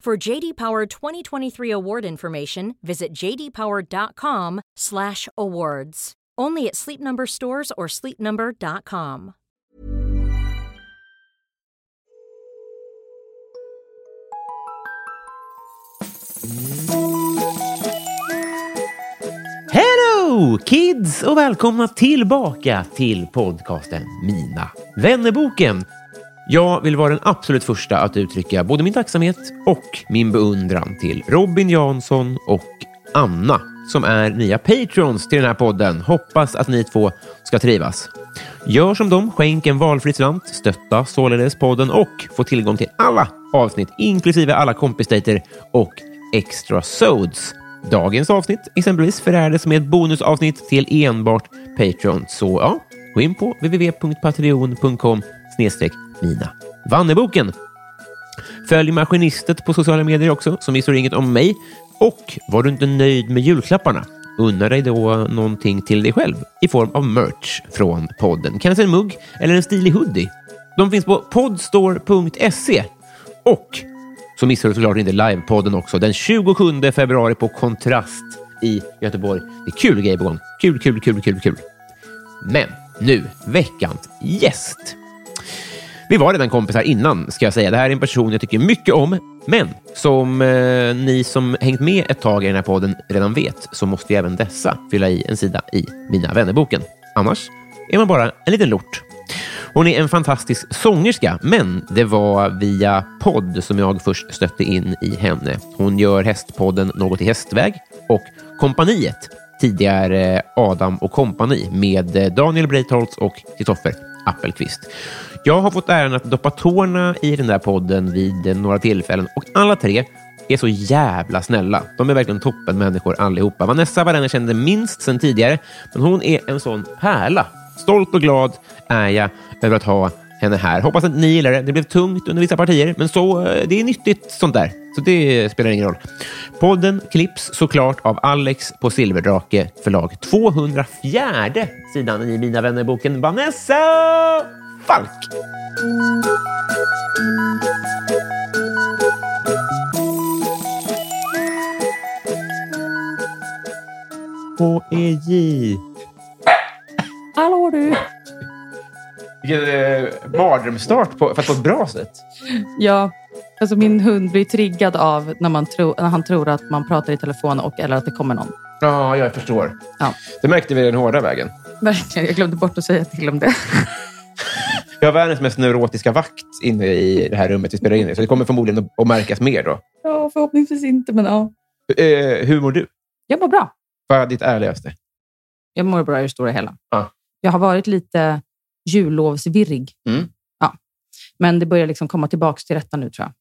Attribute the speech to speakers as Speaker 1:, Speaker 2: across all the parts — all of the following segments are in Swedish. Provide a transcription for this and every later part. Speaker 1: For JD Power 2023 award information, visit jdpower.com/awards. Only at Sleep Number stores or sleepnumber.com.
Speaker 2: Hello kids och välkomna tillbaka till podcasten Mina vännerboken. Jag vill vara den absolut första att uttrycka både min tacksamhet och min beundran till Robin Jansson och Anna som är nya patrons till den här podden. Hoppas att ni två ska trivas. Gör som dem, skänk en valfri slant, stötta således podden och få tillgång till alla avsnitt, inklusive alla kompisdejter och extra sods. Dagens avsnitt exempelvis förärades med ett bonusavsnitt till enbart Patreon. Så ja, gå in på www.patreon.com snedstreck Mina Vanneboken. Följ Maskinistet på sociala medier också, som visar inget om mig. Och var du inte nöjd med julklapparna? Unna dig då någonting till dig själv i form av merch från podden. Kanske en mugg eller en stilig hoodie. De finns på podstore.se och så missar du såklart inte livepodden också den 27 februari på Kontrast i Göteborg. Det är kul grejer på gång. Kul, kul, kul, kul, kul. Men nu, veckans gäst. Vi var redan kompisar innan, ska jag säga. Det här är en person jag tycker mycket om, men som eh, ni som hängt med ett tag i den här podden redan vet så måste ju även dessa fylla i en sida i Mina vännerboken. Annars är man bara en liten lort. Hon är en fantastisk sångerska, men det var via podd som jag först stötte in i henne. Hon gör hästpodden Något i hästväg och Kompaniet, tidigare Adam och kompani med eh, Daniel Breitholtz och Kristoffer Appelqvist. Jag har fått äran att doppa tårna i den där podden vid eh, några tillfällen och alla tre är så jävla snälla. De är verkligen toppen människor allihopa. Vanessa Varenne kände minst sen tidigare, men hon är en sån pärla Stolt och glad är jag över att ha henne här. Hoppas att ni gillar det. Det blev tungt under vissa partier, men så, eh, det är nyttigt sånt där. Så det spelar ingen roll. Podden klipps såklart av Alex på Silverdrake förlag. 204 sidan i Mina vänner-boken Vanessa Falk. E H-E-J.
Speaker 3: Hallå du!
Speaker 2: Vilken eh, mardrömsstart på, fast på ett bra sätt.
Speaker 3: Ja, alltså min hund blir triggad av när, man tro, när han tror att man pratar i telefon och, eller att det kommer någon.
Speaker 2: Ja, jag förstår.
Speaker 3: Ja.
Speaker 2: Det märkte vi den hårda vägen.
Speaker 3: Verkligen, jag glömde bort att säga till om det.
Speaker 2: Jag har världens mest neurotiska vakt inne i det här rummet vi spelar in i, så det kommer förmodligen att- att märkas mer då.
Speaker 3: Ja, förhoppningsvis inte, men ja.
Speaker 2: Eh, hur mår du?
Speaker 3: Jag mår bra.
Speaker 2: Vad är ditt ärligaste?
Speaker 3: Jag mår bra i det stora hela.
Speaker 2: Ja.
Speaker 3: Jag har varit lite jullovsvirrig.
Speaker 2: Mm.
Speaker 3: Ja. Men det börjar liksom komma tillbaka till rätta nu, tror jag.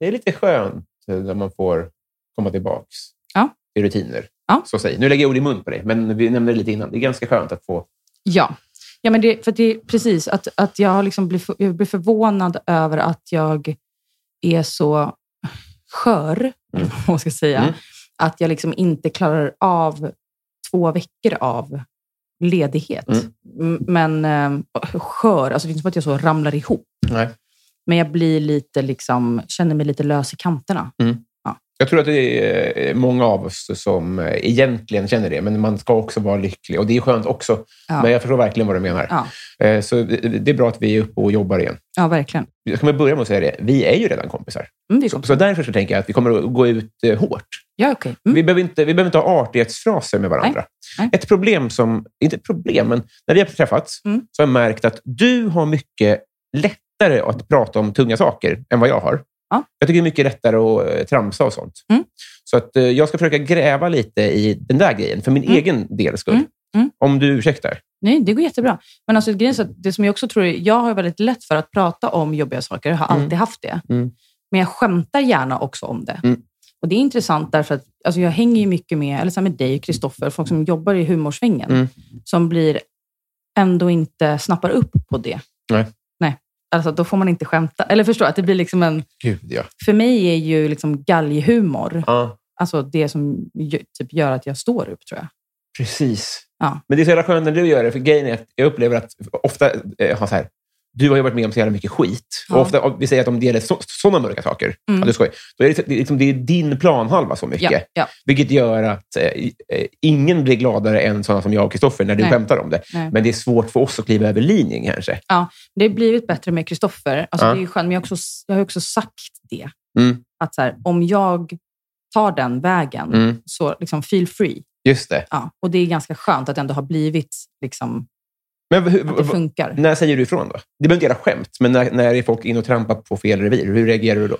Speaker 2: Det är lite skönt eh, när man får komma tillbaks
Speaker 3: Ja.
Speaker 2: i rutiner.
Speaker 3: Ja.
Speaker 2: Så säg. Nu lägger jag ord i mun på dig, men vi nämnde det lite innan. Det är ganska skönt att få...
Speaker 3: Ja, ja men det, för det är precis att, att jag, har liksom blir, för- jag blir förvånad över att jag är så skör, eller vad man ska säga.
Speaker 2: Mm.
Speaker 3: Att jag liksom inte klarar av två veckor av ledighet.
Speaker 2: Mm.
Speaker 3: M- Men eh, skör, alltså det är inte som att jag så ramlar ihop.
Speaker 2: Nej.
Speaker 3: Men jag blir lite liksom, känner mig lite lös i kanterna.
Speaker 2: Jag tror att det är eh, många av oss som eh, egentligen känner det, men man ska också vara lycklig. Och det är skönt också,
Speaker 3: Ja.
Speaker 2: men jag förstår verkligen vad du menar.
Speaker 3: Ja.
Speaker 2: Eh, Så det det är bra att vi är uppe och jobbar igen.
Speaker 3: Ja, verkligen.
Speaker 2: Jag kommer börja med att säga det, vi är ju redan kompisar.
Speaker 3: Mm, det är
Speaker 2: Så,
Speaker 3: så.
Speaker 2: så därför så tänker jag att vi kommer att gå ut eh, hårt
Speaker 3: Ja, okej. Mm.
Speaker 2: Vi, behöver inte, vi behöver inte ha artighetsfraser med varandra.
Speaker 3: Nej.
Speaker 2: Ett problem som, inte ett problem, men när vi har träffats
Speaker 3: Mm.
Speaker 2: så har jag märkt att du har mycket lättare att prata om tunga saker än vad jag har.
Speaker 3: Ja.
Speaker 2: Jag tycker det är mycket lättare att eh, tramsa och sånt.
Speaker 3: Mm.
Speaker 2: Så att eh, jag ska försöka gräva lite i den där grejen, för min
Speaker 3: Mm.
Speaker 2: egen del skull.
Speaker 3: Mm. Mm.
Speaker 2: Om du ursäktar.
Speaker 3: Nej, det går jättebra. Men alltså, grejen är så att det som jag också tror är, jag har väldigt lätt för att prata om jobbiga saker. Jag har
Speaker 2: Mm.
Speaker 3: alltid haft det.
Speaker 2: Mm.
Speaker 3: Men jag skämtar gärna också om det.
Speaker 2: Mm.
Speaker 3: Och det är intressant därför att alltså, jag hänger ju mycket med, eller så här med dig och Kristoffer, folk som jobbar i humorsvängen,
Speaker 2: Mm.
Speaker 3: som blir ändå inte snappar upp på det.
Speaker 2: Nej.
Speaker 3: Nej. Alltså, då får man inte skämta. Eller förstå, att det blir liksom en...
Speaker 2: Gud, ja.
Speaker 3: För mig är ju liksom galghumor,
Speaker 2: ja.
Speaker 3: alltså det som ju- typ gör att jag står upp, tror jag.
Speaker 2: Precis.
Speaker 3: Ja.
Speaker 2: Men det är så jävla skönt när du gör det, för grejen är att jag upplever att ofta eh, har så här, du har ju varit med om så jävla mycket skit.
Speaker 3: Ja.
Speaker 2: Och ofta, om vi säger att om det gäller sådana mörka saker,
Speaker 3: Mm.
Speaker 2: att du skojar, då är det, det, är liksom, det är din planhalva så mycket.
Speaker 3: Ja, ja.
Speaker 2: Vilket gör att eh, i- eh, ingen blir gladare än sådana som jag och Kristoffer när du
Speaker 3: Nej.
Speaker 2: skämtar om det.
Speaker 3: Nej.
Speaker 2: Men det är svårt för oss att kliva över linjen kanske.
Speaker 3: Det har blivit bättre med Kristoffer. Alltså,
Speaker 2: Ja.
Speaker 3: Det är ju skönt, men jag, har också, jag har ju också sagt det.
Speaker 2: Mm.
Speaker 3: Att så här, om jag tar den vägen,
Speaker 2: Mm.
Speaker 3: så liksom feel free.
Speaker 2: Just det.
Speaker 3: Ja. Och det är ganska skönt att det ändå har blivit, liksom,
Speaker 2: Men hur,
Speaker 3: att det
Speaker 2: v-
Speaker 3: funkar.
Speaker 2: när säger du ifrån då? Det behöver inte göra skämt, men när, när är folk inne och trampar på fel revir, hur reagerar du då?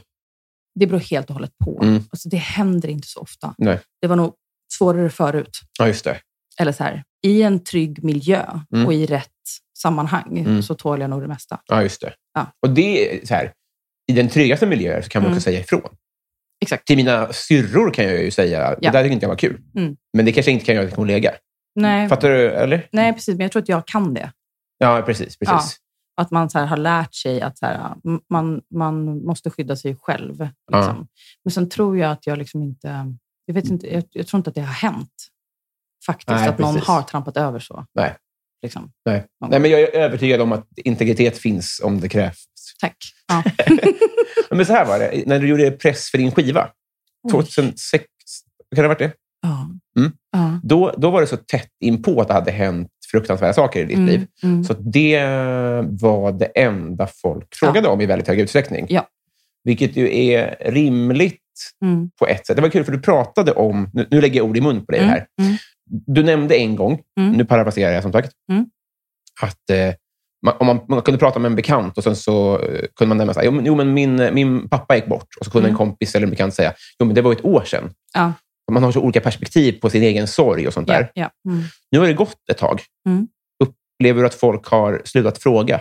Speaker 3: Det beror helt och hållet på.
Speaker 2: Mm.
Speaker 3: Alltså, det händer inte så ofta.
Speaker 2: Nej.
Speaker 3: Det var nog svårare förut.
Speaker 2: Ja, just det.
Speaker 3: Eller så här, i en trygg miljö
Speaker 2: Mm.
Speaker 3: och i rätt sammanhang
Speaker 2: Mm.
Speaker 3: så tål jag nog det mesta.
Speaker 2: Ja, just det.
Speaker 3: Ja.
Speaker 2: Och det är så här, i den tryggaste miljön så kan man
Speaker 3: Mm.
Speaker 2: också säga ifrån.
Speaker 3: Exakt.
Speaker 2: Till mina syrror kan jag ju säga,
Speaker 3: Ja.
Speaker 2: det där tycker inte jag var kul.
Speaker 3: Mm.
Speaker 2: Men det kanske jag inte kan göra till en kollega.
Speaker 3: Nej,
Speaker 2: Fattar du? Eller?
Speaker 3: nej, precis. Men jag tror att jag kan det.
Speaker 2: Ja, precis. precis.
Speaker 3: Att man så här har lärt sig att så här, m- man, man måste skydda sig själv. Liksom.
Speaker 2: Ja.
Speaker 3: Men sen tror jag att jag liksom inte... Jag, vet inte jag, jag tror inte att det har hänt. Faktiskt,
Speaker 2: Nej,
Speaker 3: att någon
Speaker 2: precis.
Speaker 3: har trampat över så.
Speaker 2: Nej.
Speaker 3: Liksom.
Speaker 2: Nej. Nej, men jag är övertygad om att integritet finns om det krävs.
Speaker 3: Tack. Ja.
Speaker 2: Men så här var det, när du gjorde press för din skiva, 2006, kan det ha varit det?
Speaker 3: ja.
Speaker 2: Mm.
Speaker 3: Ja.
Speaker 2: Då, då var det så tätt inpå att det hade hänt fruktansvärda saker i ditt
Speaker 3: Mm,
Speaker 2: liv.
Speaker 3: Mm.
Speaker 2: Så det var det enda folk frågade om i väldigt hög utsträckning.
Speaker 3: Ja.
Speaker 2: Vilket ju är rimligt
Speaker 3: Mm.
Speaker 2: på ett sätt. Det var kul, för du pratade om... Nu, nu lägger jag ord i mun på dig här.
Speaker 3: Mm.
Speaker 2: Du nämnde en gång,
Speaker 3: Mm.
Speaker 2: nu parafraserar jag som sagt,
Speaker 3: Mm.
Speaker 2: att eh, man, om man, man kunde prata med en bekant och sen så eh, kunde man nämna så här, jo, men, jo, men min, eh, min pappa gick bort. Och så kunde
Speaker 3: Mm.
Speaker 2: en kompis eller en bekant säga, jo, men det var ju ett år sedan.
Speaker 3: Ja.
Speaker 2: Och Man har så olika perspektiv på sin egen sorg och sånt där.
Speaker 3: Ja, ja. Mm.
Speaker 2: Nu har det gått ett tag.
Speaker 3: Mm.
Speaker 2: Upplever du att folk har slutat fråga?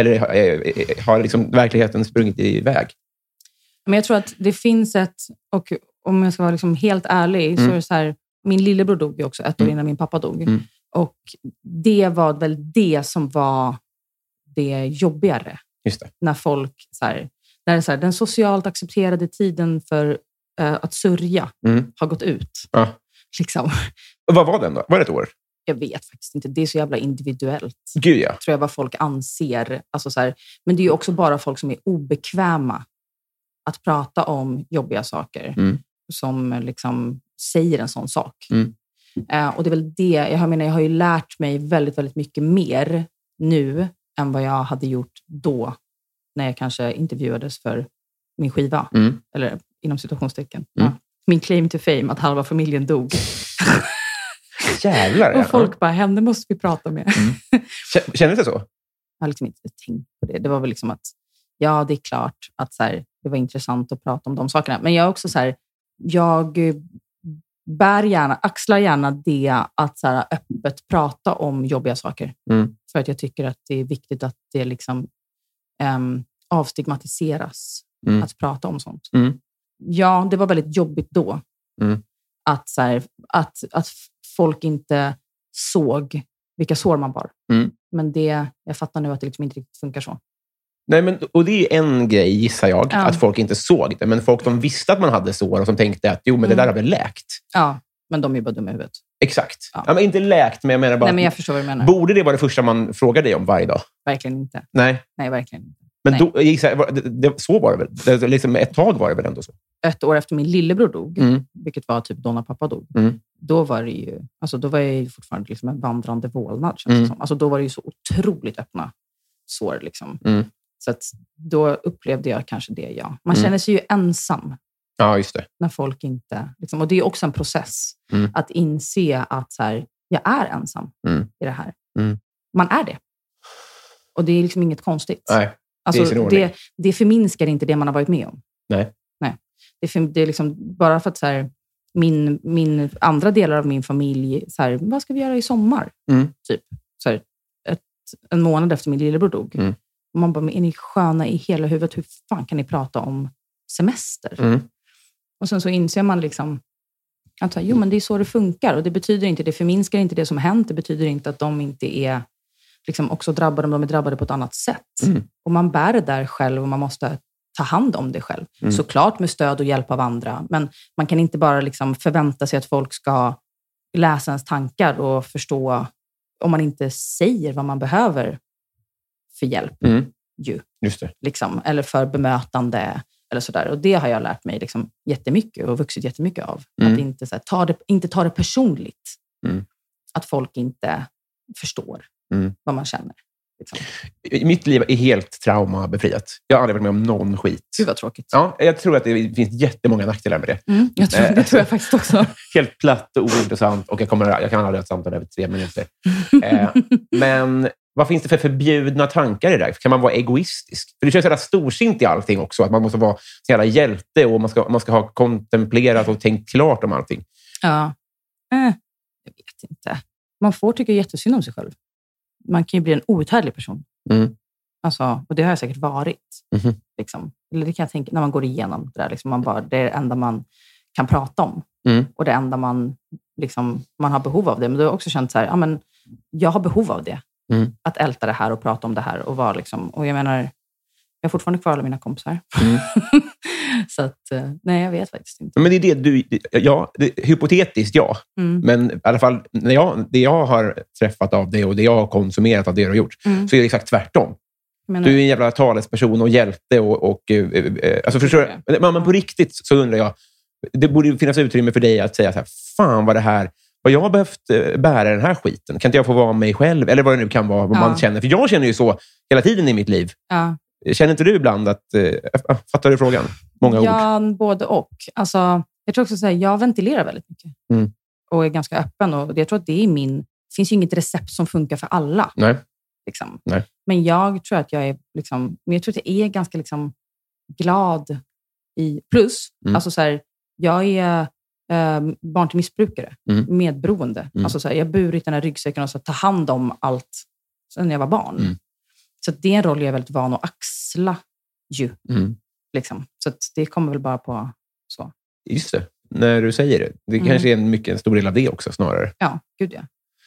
Speaker 2: Eller eh, eh, har liksom verkligheten sprungit iväg?
Speaker 3: Men jag tror att det finns ett, och om jag ska vara liksom helt ärlig, så
Speaker 2: Mm.
Speaker 3: är det så här, min lillebror dog ju också ett år
Speaker 2: Mm.
Speaker 3: innan min pappa dog.
Speaker 2: Mm.
Speaker 3: Och det var väl det som var det jobbigare.
Speaker 2: Just det.
Speaker 3: När folk, så här, när det är så här, den socialt accepterade tiden för eh, att sörja
Speaker 2: Mm.
Speaker 3: har gått ut.
Speaker 2: Ja.
Speaker 3: Liksom.
Speaker 2: Och vad var den då? Var det ett år?
Speaker 3: Jag vet faktiskt inte. Det är så jävla individuellt,
Speaker 2: Gud, ja.
Speaker 3: tror jag, vad folk anser. Alltså så här, men det är ju också bara folk som är obekväma att prata om jobbiga saker
Speaker 2: Mm.
Speaker 3: som liksom säger en sån sak.
Speaker 2: Mm.
Speaker 3: Eh, och det är väl det. Jag menar, jag har ju lärt mig väldigt, väldigt mycket mer nu än vad jag hade gjort då när jag kanske intervjuades för min skiva.
Speaker 2: Mm.
Speaker 3: Eller inom situationstecken.
Speaker 2: Mm.
Speaker 3: Ja. Min claim to fame, att halva familjen dog.
Speaker 2: Jävlar, ja.
Speaker 3: Och folk bara, henne måste vi prata med.
Speaker 2: K- Kändes det så?
Speaker 3: Jag har liksom inte tänkt på det. Det var väl liksom att, ja, det är klart att så här, det var intressant att prata om de sakerna. Men jag är också så här, jag eh, bär gärna, axlar gärna det att så här, öppet prata om jobbiga saker.
Speaker 2: Mm.
Speaker 3: För att jag tycker att det är viktigt att det liksom ehm, avstigmatiseras
Speaker 2: Mm.
Speaker 3: att prata om sånt.
Speaker 2: Mm.
Speaker 3: Ja, det var väldigt jobbigt då.
Speaker 2: Mm.
Speaker 3: Att, så här, att, att folk inte såg vilka sår man bar.
Speaker 2: Mm.
Speaker 3: Men det, jag fattar nu att det liksom inte riktigt funkar så.
Speaker 2: Nej, men, och det är en grej, gissar jag,
Speaker 3: Ja.
Speaker 2: att folk inte såg det. Men folk som visste att man hade sår och som tänkte att jo, men det
Speaker 3: Mm.
Speaker 2: där har väl läkt.
Speaker 3: Ja, men de är ju bara dumma i huvudet.
Speaker 2: Exakt. Ja.
Speaker 3: Ja.
Speaker 2: men inte läkt, men jag menar bara...
Speaker 3: Nej, men jag
Speaker 2: att-
Speaker 3: förstår vad du menar.
Speaker 2: Borde det vara det första man frågar dig om varje dag?
Speaker 3: verkligen inte.
Speaker 2: Nej.
Speaker 3: Nej, verkligen inte.
Speaker 2: Men
Speaker 3: Nej.
Speaker 2: Då, jag gissar, var- det, det, så var det väl? Det- Det, liksom, ett tag var det väl ändå så?
Speaker 3: Ett år efter min lillebror dog,
Speaker 2: Mm.
Speaker 3: vilket var typ då när pappa dog,
Speaker 2: Mm.
Speaker 3: då var det ju, alltså då var jag ju fortfarande liksom en vandrande vålnad. Känns
Speaker 2: Mm.
Speaker 3: det som. Alltså då var det ju så otroligt öppna sår. Liksom.
Speaker 2: Mm.
Speaker 3: Så att då upplevde jag kanske det, ja. Man
Speaker 2: Mm.
Speaker 3: känner sig ju ensam
Speaker 2: Ja, just det.
Speaker 3: när folk inte... Liksom, och det är också en process.
Speaker 2: Mm.
Speaker 3: Att inse att så här, jag är ensam
Speaker 2: Mm.
Speaker 3: i det här.
Speaker 2: Mm.
Speaker 3: Man är det. Och det är liksom inget konstigt.
Speaker 2: Nej.
Speaker 3: Alltså,
Speaker 2: i sin ordning.
Speaker 3: det, det förminskar inte det man har varit med om.
Speaker 2: Nej.
Speaker 3: Nej. Det, är för, det är liksom bara för att så här, min, min andra delar av min familj, så här, vad ska vi göra i sommar?
Speaker 2: Mm.
Speaker 3: Typ så här, ett, en månad efter min lillebror dog.
Speaker 2: Mm.
Speaker 3: Och man bara, men är ni sköna i hela huvudet? Hur fan kan ni prata om semester?
Speaker 2: Mm.
Speaker 3: Och sen så inser man liksom att så här, jo, men det är så det funkar. Och det betyder inte, det förminskar inte det som har hänt. Det betyder inte att de inte är liksom också drabbade, om de är drabbade på ett annat sätt.
Speaker 2: Mm.
Speaker 3: Och man bär det där själv och man måste ta hand om det själv.
Speaker 2: Mm.
Speaker 3: Såklart med stöd och hjälp av andra, men man kan inte bara liksom förvänta sig att folk ska läsa ens tankar och förstå om man inte säger vad man behöver för hjälp.
Speaker 2: Mm.
Speaker 3: Ju
Speaker 2: Just det.
Speaker 3: liksom, eller för bemötande. Eller sådär. Och Det har jag lärt mig liksom, jättemycket och vuxit jättemycket av.
Speaker 2: Mm.
Speaker 3: Att inte, så här, ta det, inte ta det personligt.
Speaker 2: Mm.
Speaker 3: Att folk inte förstår
Speaker 2: Mm.
Speaker 3: vad man känner. Liksom.
Speaker 2: I- Mitt liv är helt traumabefriat. Jag har aldrig varit med om någon skit.
Speaker 3: Gud vad tråkigt.
Speaker 2: Ja, jag tror att det finns jättemånga nackdelar med det.
Speaker 3: Mm, jag tror,
Speaker 2: Eh.
Speaker 3: det tror jag faktiskt också.
Speaker 2: Helt platt och ointressant och jag, kommer, jag kan aldrig ha ett samtal över tre minuter. Eh, men vad finns det för förbjudna tankar i det där? Kan man vara egoistisk? För det känns så jävla storsint i allting också. Att man måste vara så jävla hjälte och man ska, man ska ha kontemplerat och tänkt klart om allting.
Speaker 3: ja. eh, jag vet inte. Man får tycka jättesynd om sig själv. Man kan ju bli en outhärdlig person.
Speaker 2: Mm.
Speaker 3: Alltså, och det har jag säkert varit.
Speaker 2: Mhm.
Speaker 3: Liksom. Eller det kan jag tänka, när man går igenom det där. Liksom, man bara, det är det enda man kan prata om.
Speaker 2: Mm.
Speaker 3: Och det enda man, liksom, man har behov av det. Men du har jag också känt så här, ja, men jag har behov av det.
Speaker 2: Mm.
Speaker 3: Att älta det här och prata om det här. Och, vara, liksom, och jag menar, jag har fortfarande kvar alla mina kompisar.
Speaker 2: Mm.
Speaker 3: så att, eh, nej, jag vet faktiskt inte.
Speaker 2: Men det är det du... Ja, det, hypotetiskt ja.
Speaker 3: Mm.
Speaker 2: Men i alla fall när jag, det jag har träffat av dig och det jag har konsumerat av det du har gjort,
Speaker 3: Mm.
Speaker 2: så är det exakt tvärtom.
Speaker 3: Jag menar-
Speaker 2: Du är en jävla talesperson och hjälte. Och, och, eh, eh, alltså förstår du?
Speaker 3: det.
Speaker 2: Men- Men, men på riktigt så undrar jag, det borde ju finnas utrymme för dig att säga så här, fan vad det här vad jag har behövt eh, bära den här skiten. Kan inte jag få vara mig själv? Eller vad det nu kan vara, vad man
Speaker 3: Ja.
Speaker 2: känner. För jag känner ju så hela tiden i mitt liv.
Speaker 3: ja.
Speaker 2: Känner inte du ibland att... eh, ah, Fattar du frågan? Många ord.
Speaker 3: ja, både och. Alltså, jag tror också så här, jag ventilerar väldigt mycket
Speaker 2: Mm.
Speaker 3: och är ganska öppen. Och jag tror att det är min... Det finns ju inget recept som funkar för alla.
Speaker 2: Nej.
Speaker 3: Liksom.
Speaker 2: Nej.
Speaker 3: Men jag tror att jag är, liksom, men jag tror att jag är ganska liksom, glad i... Plus,
Speaker 2: Mm.
Speaker 3: alltså så här, jag är eh, barn till missbrukare,
Speaker 2: Mm.
Speaker 3: medberoende.
Speaker 2: Mm.
Speaker 3: Alltså så här, jag har burit den här ryggsäcken och så att ta hand om allt sedan jag var barn.
Speaker 2: Mm.
Speaker 3: Så att det är en roll jag är väldigt van att axla. Ju.
Speaker 2: Mm.
Speaker 3: Liksom. Så att det kommer väl bara på så.
Speaker 2: Just det. När du säger det. Det
Speaker 3: Mm.
Speaker 2: kanske är en, mycket, en stor del av det också snarare.
Speaker 3: Ja, gud ja.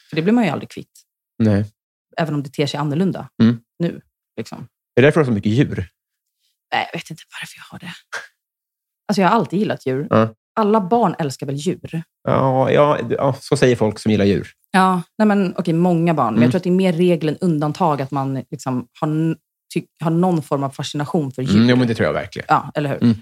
Speaker 3: För det blir man ju aldrig kvitt,
Speaker 2: Nej.
Speaker 3: även om det ter sig annorlunda
Speaker 2: Mm.
Speaker 3: nu. Liksom.
Speaker 2: Är det därför du har så mycket djur?
Speaker 3: Nej, jag vet inte varför jag har det. Alltså, jag har alltid gillat djur.
Speaker 2: Ja.
Speaker 3: Alla barn älskar väl djur?
Speaker 2: Ja, ja, ja, så säger folk som gillar djur.
Speaker 3: Ja. Nej, men, okej, många barn.
Speaker 2: Mm.
Speaker 3: Men jag tror att det är mer regel än undantag att man liksom, har, n- ty- har någon form av fascination för djur.
Speaker 2: Mm, jo, men det tror jag verkligen.
Speaker 3: Ja, eller hur?
Speaker 2: Mm.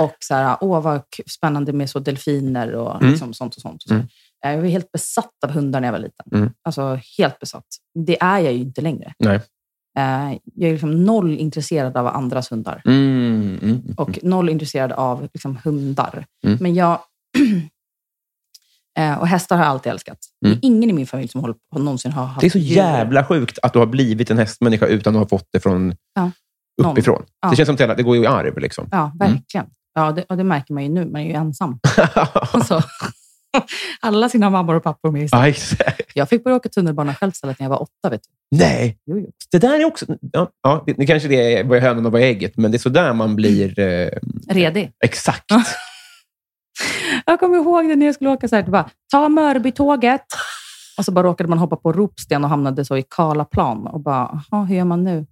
Speaker 3: Och så här, åh vad k- spännande med så delfiner och
Speaker 2: Mm.
Speaker 3: liksom sånt och sånt. Och så.
Speaker 2: Mm.
Speaker 3: Jag var helt besatt av hundar när jag var liten.
Speaker 2: Mm.
Speaker 3: Alltså helt besatt. Det är jag ju inte längre.
Speaker 2: Nej.
Speaker 3: Eh, Jag är liksom noll intresserad av andras hundar
Speaker 2: Mm, mm,
Speaker 3: och noll intresserad av liksom, hundar.
Speaker 2: Mm.
Speaker 3: Men jag... Eh, och hästar har jag alltid älskat.
Speaker 2: Mm.
Speaker 3: Det är ingen i min familj som håller, har någonsin har haft
Speaker 2: Det är så
Speaker 3: djur.
Speaker 2: jävla sjukt att du har blivit en hästmänniska utan att ha fått det från
Speaker 3: Ja. Någon.
Speaker 2: uppifrån.
Speaker 3: Ja.
Speaker 2: Det känns som att det går i arv. Liksom.
Speaker 3: Ja, verkligen. Ja, det, och det märker man ju nu. Man är ju ensam. Alltså, alla sina mammor och pappor med i
Speaker 2: Ja, exakt.
Speaker 3: Jag fick börja åka tunnelbana själv istället när jag var åtta. Vet du.
Speaker 2: Nej,
Speaker 3: Jo, jo.
Speaker 2: det där är också... Ja, ja, det, det kanske det är vad är hönan och vad är ägget, men det är så där man blir eh,
Speaker 3: Redig.
Speaker 2: exakt.
Speaker 3: Mm. Ja. Jag kommer ihåg det när jag skulle åka så här. Det bara, ta Mörbytåget. Och så bara råkade man hoppa på Ropsten och hamnade så i Karlaplan. Och bara, jaha, hur gör man nu?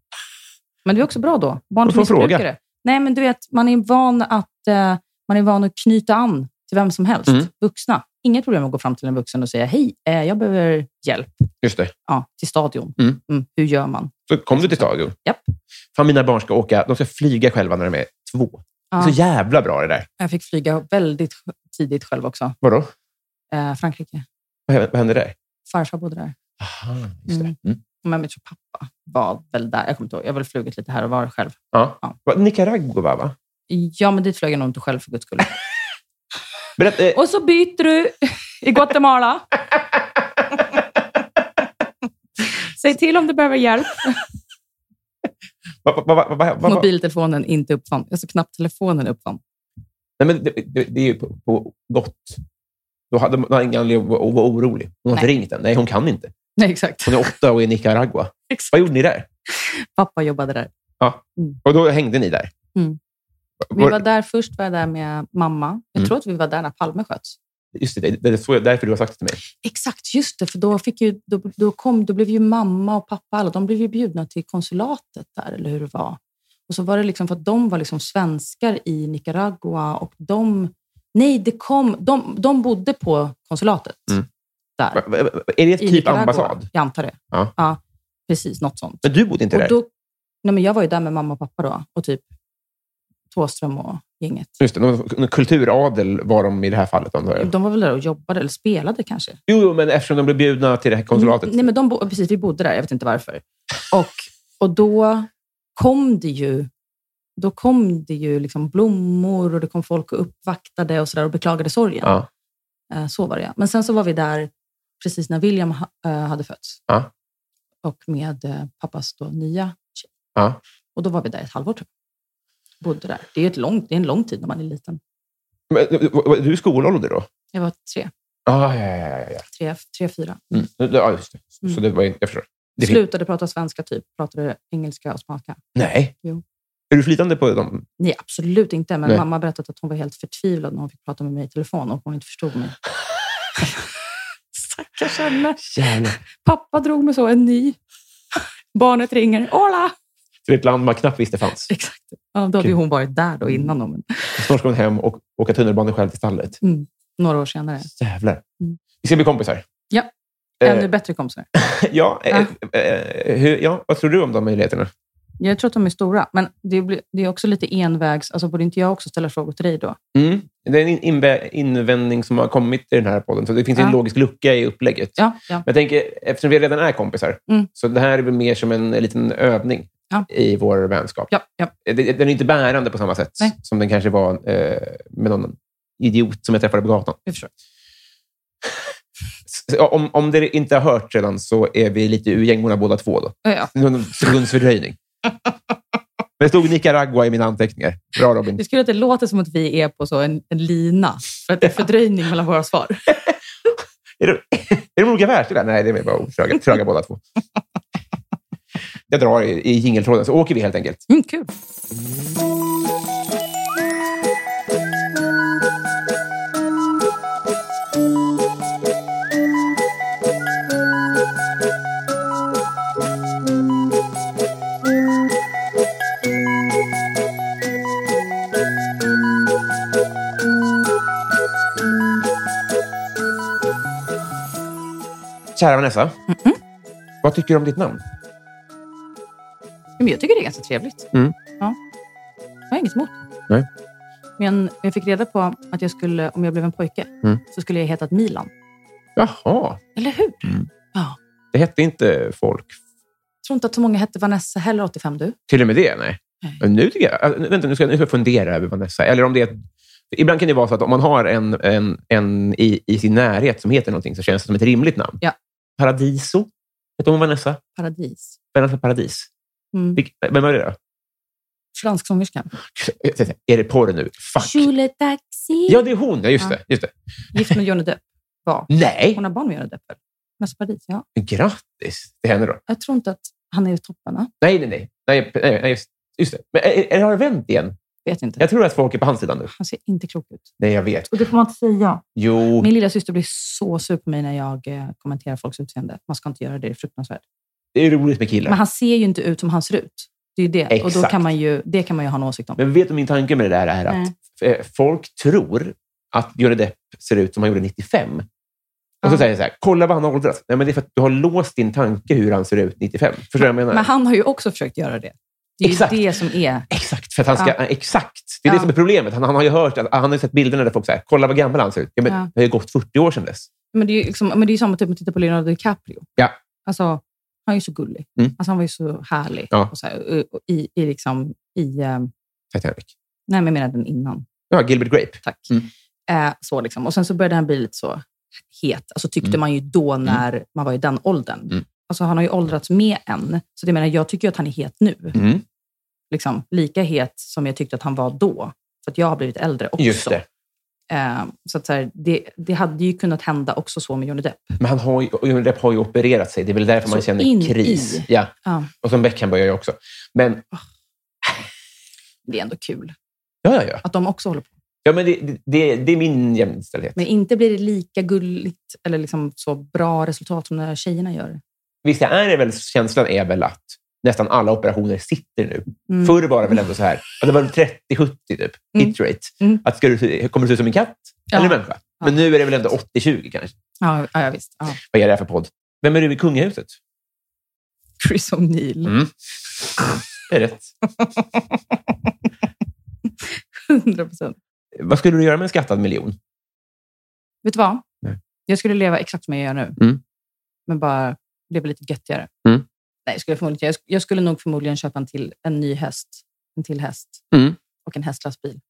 Speaker 3: Men det är också bra då. Barn
Speaker 2: Du
Speaker 3: till
Speaker 2: får fråga.
Speaker 3: missbrukare. Nej, men du vet, man är van att, eh, man är van att knyta an till vem som helst.
Speaker 2: Mm.
Speaker 3: Vuxna. Inget problem att gå fram till en vuxen och säga, hej, eh, jag behöver hjälp
Speaker 2: Just det.
Speaker 3: ja, till stadion.
Speaker 2: Mm.
Speaker 3: hur gör man?
Speaker 2: Så kom du till stadion.
Speaker 3: Japp.
Speaker 2: Fan, mina barn ska åka. De ska flyga själva när de är två. Det
Speaker 3: Ja,
Speaker 2: är så jävla bra det där.
Speaker 3: jag fick flyga väldigt tidigt själv också.
Speaker 2: Vadå?
Speaker 3: Eh, Frankrike.
Speaker 2: Vad hände- vad hände där?
Speaker 3: Farfar bodde där.
Speaker 2: Aha, just det.
Speaker 3: Mm.
Speaker 2: Mm.
Speaker 3: Men jag tror pappa var väl där. Jag kommer inte ihåg. Jag har väl flugit lite här och var själv.
Speaker 2: Ja.
Speaker 3: Ja.
Speaker 2: Va- Nicaragua, va?
Speaker 3: Ja, men dit flög jag nog inte själv för guds skull.
Speaker 2: Berätt, eh,
Speaker 3: Och så byter du i Guatemala. Säg till om du behöver hjälp.
Speaker 2: vad- vad- vad- vad- vad- vad-
Speaker 3: Mobiltelefonen inte uppfann. Alltså knappt telefonen uppfann.
Speaker 2: Nej, men det, det, det är ju på, på gott. Då hade hon hade ingen anledning att vara att vara orolig. Hon har inte ringt än. Nej, hon kan inte.
Speaker 3: Nej, exakt.
Speaker 2: Hon är åtta och är i Nicaragua.
Speaker 3: Exakt.
Speaker 2: Vad gjorde ni där?
Speaker 3: Pappa jobbade där.
Speaker 2: Och då hängde ni där.
Speaker 3: Mm. Vi
Speaker 2: Var-
Speaker 3: var där först var jag där med mamma. Jag
Speaker 2: Mm.
Speaker 3: tror att vi var där när Palme sköts.
Speaker 2: Just det, det är så- därför du har sagt det till mig.
Speaker 3: Exakt, just det. För då, fick ju, då, då, kom, då blev ju mamma och pappa alla, de blev ju bjudna till konsulatet där, eller hur det var. Och så var det liksom för att de var liksom svenskar i Nicaragua och de... Nej, det kom, de, de bodde på konsulatet
Speaker 2: Mm.
Speaker 3: där.
Speaker 2: Va- va- va- Är det
Speaker 3: i
Speaker 2: typ
Speaker 3: Nicaragua.
Speaker 2: ambassad?
Speaker 3: Jag antar det.
Speaker 2: Ja.
Speaker 3: precis. Något sånt.
Speaker 2: Men du bodde inte där?
Speaker 3: Och då, nej men jag var ju där med mamma och pappa då och typ Thåström och gänget.
Speaker 2: Just det, någon, någon kulturadel var de i det här fallet, antar jag.
Speaker 3: De var väl där och jobbade eller spelade kanske.
Speaker 2: Jo, jo, men eftersom de blev bjudna till det här konsulatet.
Speaker 3: Mm, Nej, men de bo- precis, vi bodde där. Jag vet inte varför. Och, och då kom det ju då kom det ju liksom blommor och det kom folk och uppvaktade och, så där och beklagade sorgen.
Speaker 2: Ja.
Speaker 3: Eh, Så var det, ja. Men sen så var vi där precis när William ha, eh, hade fötts.
Speaker 2: Ja.
Speaker 3: Och med eh, pappas då nya tjej.
Speaker 2: Ja.
Speaker 3: Och då var vi där ett halvår, tror jag. Bodde där. Det är, ett långt, det är en lång tid när man är liten.
Speaker 2: Men, du- var du i skolålder då?
Speaker 3: Jag var tre,
Speaker 2: Ah, ja, ja, ja, ja.
Speaker 3: tre, tre fyra.
Speaker 2: Mm. ja just det. Så
Speaker 3: Mm.
Speaker 2: det var, jag förstår. Det fin-
Speaker 3: Slutade prata svenska, typ. Pratade engelska och spanska.
Speaker 2: Nej.
Speaker 3: Jo.
Speaker 2: Är du flytande på dem?
Speaker 3: Nej, absolut inte. Men
Speaker 2: Nej.
Speaker 3: mamma berättade att hon var helt förtvivlad när hon fick prata med mig i telefon och hon inte förstod mig. Stackars henne.
Speaker 2: Jävlar.
Speaker 3: Pappa drog mig så, en ny. Barnet ringer. Hola!
Speaker 2: Till ett land man knappt visste fanns.
Speaker 3: Exakt. Ja, då hade ju
Speaker 2: Kul.
Speaker 3: hon varit där då innan, då, men
Speaker 2: Snart ska hon hem och åka tunnelbana själv till stallet.
Speaker 3: några år senare.
Speaker 2: Jävlar.
Speaker 3: Mm.
Speaker 2: Vi ska bli kompisar.
Speaker 3: Ja.
Speaker 2: Eh,
Speaker 3: Ännu bättre kompisar.
Speaker 2: ja, eh, eh, hur, ja, vad tror du om de möjligheterna?
Speaker 3: Jag tror att de är stora, men det, blir, det är också lite envägs. Alltså, borde inte jag också ställa frågor till dig då?
Speaker 2: Mm. Det är en invä- invändning som har kommit i den här podden, så det finns ju en
Speaker 3: Ja.
Speaker 2: logisk lucka i upplägget.
Speaker 3: Ja, ja.
Speaker 2: Men jag tänker, eftersom vi redan är kompisar,
Speaker 3: Mm.
Speaker 2: så det här är väl mer som en liten övning
Speaker 3: Ja.
Speaker 2: i vår vänskap.
Speaker 3: ja, ja.
Speaker 2: Eh, det- Den är inte bärande på samma sätt
Speaker 3: Nej.
Speaker 2: som den kanske var eh, med någon idiot som jag träffade på gatan.
Speaker 3: Jag förstår.
Speaker 2: Så Om, om det inte har hört redan så är vi lite ur gängorna båda två. Då.
Speaker 3: Ja, ja.
Speaker 2: Någon sekunds fördröjning. Men det stod Nicaragua i mina anteckningar. Bra Robin.
Speaker 3: Det skulle att det låter som att vi är på så en, en lina, för att det är fördröjning mellan våra svar.
Speaker 2: Är det, är det olika världsdelar? Nej, det är bara tröga, tröga båda två. Jag drar i, i jingeltråden, så åker vi helt enkelt.
Speaker 3: Mm, kul.
Speaker 2: Kära Vanessa, vad tycker du om ditt namn?
Speaker 3: Men jag tycker det är ganska trevligt.
Speaker 2: Mm.
Speaker 3: Ja. Jag har inget emot det.
Speaker 2: Nej.
Speaker 3: Men jag fick reda på att jag skulle, om jag blev en pojke
Speaker 2: Mm.
Speaker 3: så skulle jag hetat Milan.
Speaker 2: Jaha,
Speaker 3: Eller hur?
Speaker 2: det hette inte folk.
Speaker 3: Jag tror inte att så många hette Vanessa heller, 85 du.
Speaker 2: Till och med det, nej.
Speaker 3: Nej.
Speaker 2: Men Nu tycker jag... äh, Vänta, nu ska, nu ska jag fundera över Vanessa. Eller om det är, ibland kan det vara så att om man har en, en, en i, i sin närhet som heter någonting så känns det som ett rimligt namn.
Speaker 3: Ja.
Speaker 2: Paradiso. Hette hon Vanessa?
Speaker 3: Paradis.
Speaker 2: Vanessa Paradis.
Speaker 3: Mm.
Speaker 2: Vilk, vem var det då?
Speaker 3: Fransk sångerska.
Speaker 2: Är det porr nu? Fuck.
Speaker 3: Julie Taxi.
Speaker 2: Ja, det är hon. Ja, just,
Speaker 3: Ja.
Speaker 2: Det, just det.
Speaker 3: Gift med Johnny Depp. Var.
Speaker 2: Nej!
Speaker 3: Hon har barn med Johnny Depp. väl? Vanessa Paradis, ja.
Speaker 2: Grattis till henne då.
Speaker 3: Jag tror inte att han är i toppen, va?
Speaker 2: Nej, nej, nej. nej, nej, nej just, just det. Men eh, är, är, har det vänt igen?
Speaker 3: Vet inte.
Speaker 2: Jag tror att folk är på hans sida nu.
Speaker 3: Han ser inte klok ut.
Speaker 2: Nej, jag vet.
Speaker 3: Och det får man inte säga.
Speaker 2: Jo.
Speaker 3: Min lilla syster blir så sur på mig när jag eh, kommenterar folks utseende. Man ska inte göra det, det är fruktansvärt.
Speaker 2: Det är roligt med killar.
Speaker 3: Men han ser ju inte ut som han ser ut. Det är ju det. Och då
Speaker 2: Exakt.
Speaker 3: kan man ju, det kan man ju ha en åsikt om.
Speaker 2: Men vet du min tanke med det där är att
Speaker 3: Nej.
Speaker 2: eh, folk tror att Johnny Depp ser ut som han gjorde 95. Och så
Speaker 3: Ja.
Speaker 2: säger jag så här, kolla vad han har åldrats. Nej, men det är för att du har låst din tanke hur han ser ut 95. Förstår du vad jag menar?
Speaker 3: Men han har ju också försökt göra det. Det är
Speaker 2: Exakt.
Speaker 3: ju det som är...
Speaker 2: Exakt, för att han ska,
Speaker 3: Ja.
Speaker 2: exakt. Det är det
Speaker 3: Ja.
Speaker 2: som är problemet. Han, han har ju hört, att, han har ju sett bilderna där folk säger, kolla vad gammal han ser ut. Ja, men
Speaker 3: Ja.
Speaker 2: Det har ju gått 40 år sedan dess.
Speaker 3: Men det är ju liksom, men det är ju samma typ med att titta på Leonardo DiCaprio.
Speaker 2: Ja.
Speaker 3: Alltså, han är ju så gullig.
Speaker 2: Mm.
Speaker 3: Alltså, han var ju så härlig.
Speaker 2: Ja.
Speaker 3: Och så här, och, och, i, i, liksom, i, eh,
Speaker 2: Titanic.
Speaker 3: Nej, men jag menar den innan.
Speaker 2: Ja, Gilbert Grape.
Speaker 3: Tack.
Speaker 2: Mm.
Speaker 3: Eh, så liksom. Och sen så började den bli lite så het. Alltså tyckte
Speaker 2: Mm.
Speaker 3: man ju då när man var i den åldern.
Speaker 2: Mm.
Speaker 3: Alltså han har ju åldrats med en. Så det menar, jag tycker ju att han är het nu.
Speaker 2: Mm.
Speaker 3: Liksom, lika het som jag tyckte att han var då. För att jag har blivit äldre också.
Speaker 2: Just det.
Speaker 3: Eh, så att så här, det, det hade ju kunnat hända också så med Johnny Depp.
Speaker 2: Men han har ju, Johnny Depp har ju opererat sig. Det är väl därför man
Speaker 3: Så
Speaker 2: känner
Speaker 3: in
Speaker 2: kris.
Speaker 3: i.
Speaker 2: Ja.
Speaker 3: Ja.
Speaker 2: Och som Beckham börjar jag också. Men,
Speaker 3: Det är ändå kul
Speaker 2: ja, ja, ja.
Speaker 3: att de också håller på.
Speaker 2: ja men det, det, det är min jämställdhet.
Speaker 3: Men inte blir det lika gulligt eller liksom så bra resultat som när tjejerna gör.
Speaker 2: Visst är det väl, känslan är väl att nästan alla operationer sitter nu.
Speaker 3: Mm.
Speaker 2: Förr var det väl ändå så här, att det var 30-70 typ,
Speaker 3: Mm.
Speaker 2: hit rate.
Speaker 3: Mm.
Speaker 2: Att ska du, se- kommer du se ut som en katt
Speaker 3: Ja.
Speaker 2: eller en människa? Men nu är det väl ändå 80-20 kanske.
Speaker 3: Ja, ja, ja visst. Ja.
Speaker 2: Vad är det här för podd? Vem är du i kungahuset?
Speaker 3: Chris O'Neill.
Speaker 2: Mm. Det är rätt.
Speaker 3: 100 procent.
Speaker 2: Vad skulle du göra med en skattad miljon?
Speaker 3: Vet du vad?
Speaker 2: Nej.
Speaker 3: Jag skulle leva exakt som jag gör nu.
Speaker 2: Mm.
Speaker 3: Men bara leva lite göttigare.
Speaker 2: Mm.
Speaker 3: Nej, jag skulle, förmodligen, jag sk- jag skulle nog förmodligen köpa en till en ny häst. En till häst.
Speaker 2: Mm.
Speaker 3: Och en hästlastbil.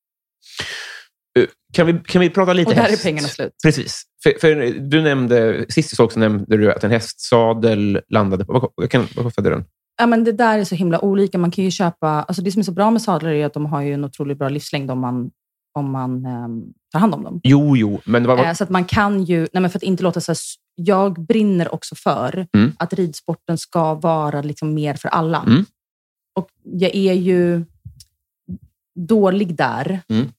Speaker 2: Kan vi, kan vi prata lite
Speaker 3: Och där
Speaker 2: häst?
Speaker 3: är pengarna slut.
Speaker 2: Precis. För, för du nämnde, sist vi såg så nämnde du att en hästsadel landade på... Vad, vad kan, vad kostade den?
Speaker 3: Ja, men det där är så himla olika. Man kan ju köpa... Alltså det som är så bra med sadlar är ju att de har ju en otroligt bra livslängd om man, om man ehm, tar hand om dem.
Speaker 2: Jo, jo, men vad var...
Speaker 3: Eh, Så att man kan ju, nej men för att inte låta så här, s- jag brinner också för
Speaker 2: Mm.
Speaker 3: att ridsporten ska vara liksom mer för alla.
Speaker 2: Mm.
Speaker 3: Och jag är ju dålig där.
Speaker 2: Mm.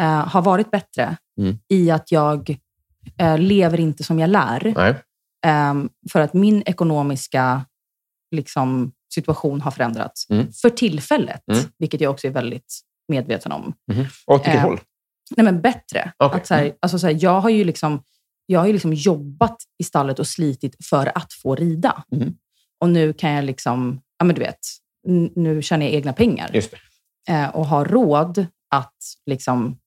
Speaker 3: Eh, har varit bättre
Speaker 2: Mm.
Speaker 3: i att jag eh, lever inte som jag lär.
Speaker 2: Nej.
Speaker 3: Ehm, för att min ekonomiska liksom, situation har förändrats.
Speaker 2: Mm.
Speaker 3: För tillfället,
Speaker 2: Mm.
Speaker 3: vilket jag också är väldigt medveten om.
Speaker 2: Åt vilket
Speaker 3: Eh,
Speaker 2: håll?
Speaker 3: Nej, men bättre.
Speaker 2: Okej.
Speaker 3: Att så här, alltså så här, jag har ju liksom, jag har ju liksom jobbat i stallet och slitit för att få rida.
Speaker 2: Mm.
Speaker 3: Och nu kan jag liksom, ja men du vet, n- nu tjänar jag egna pengar
Speaker 2: Just det.
Speaker 3: eh, och har råd att liksom,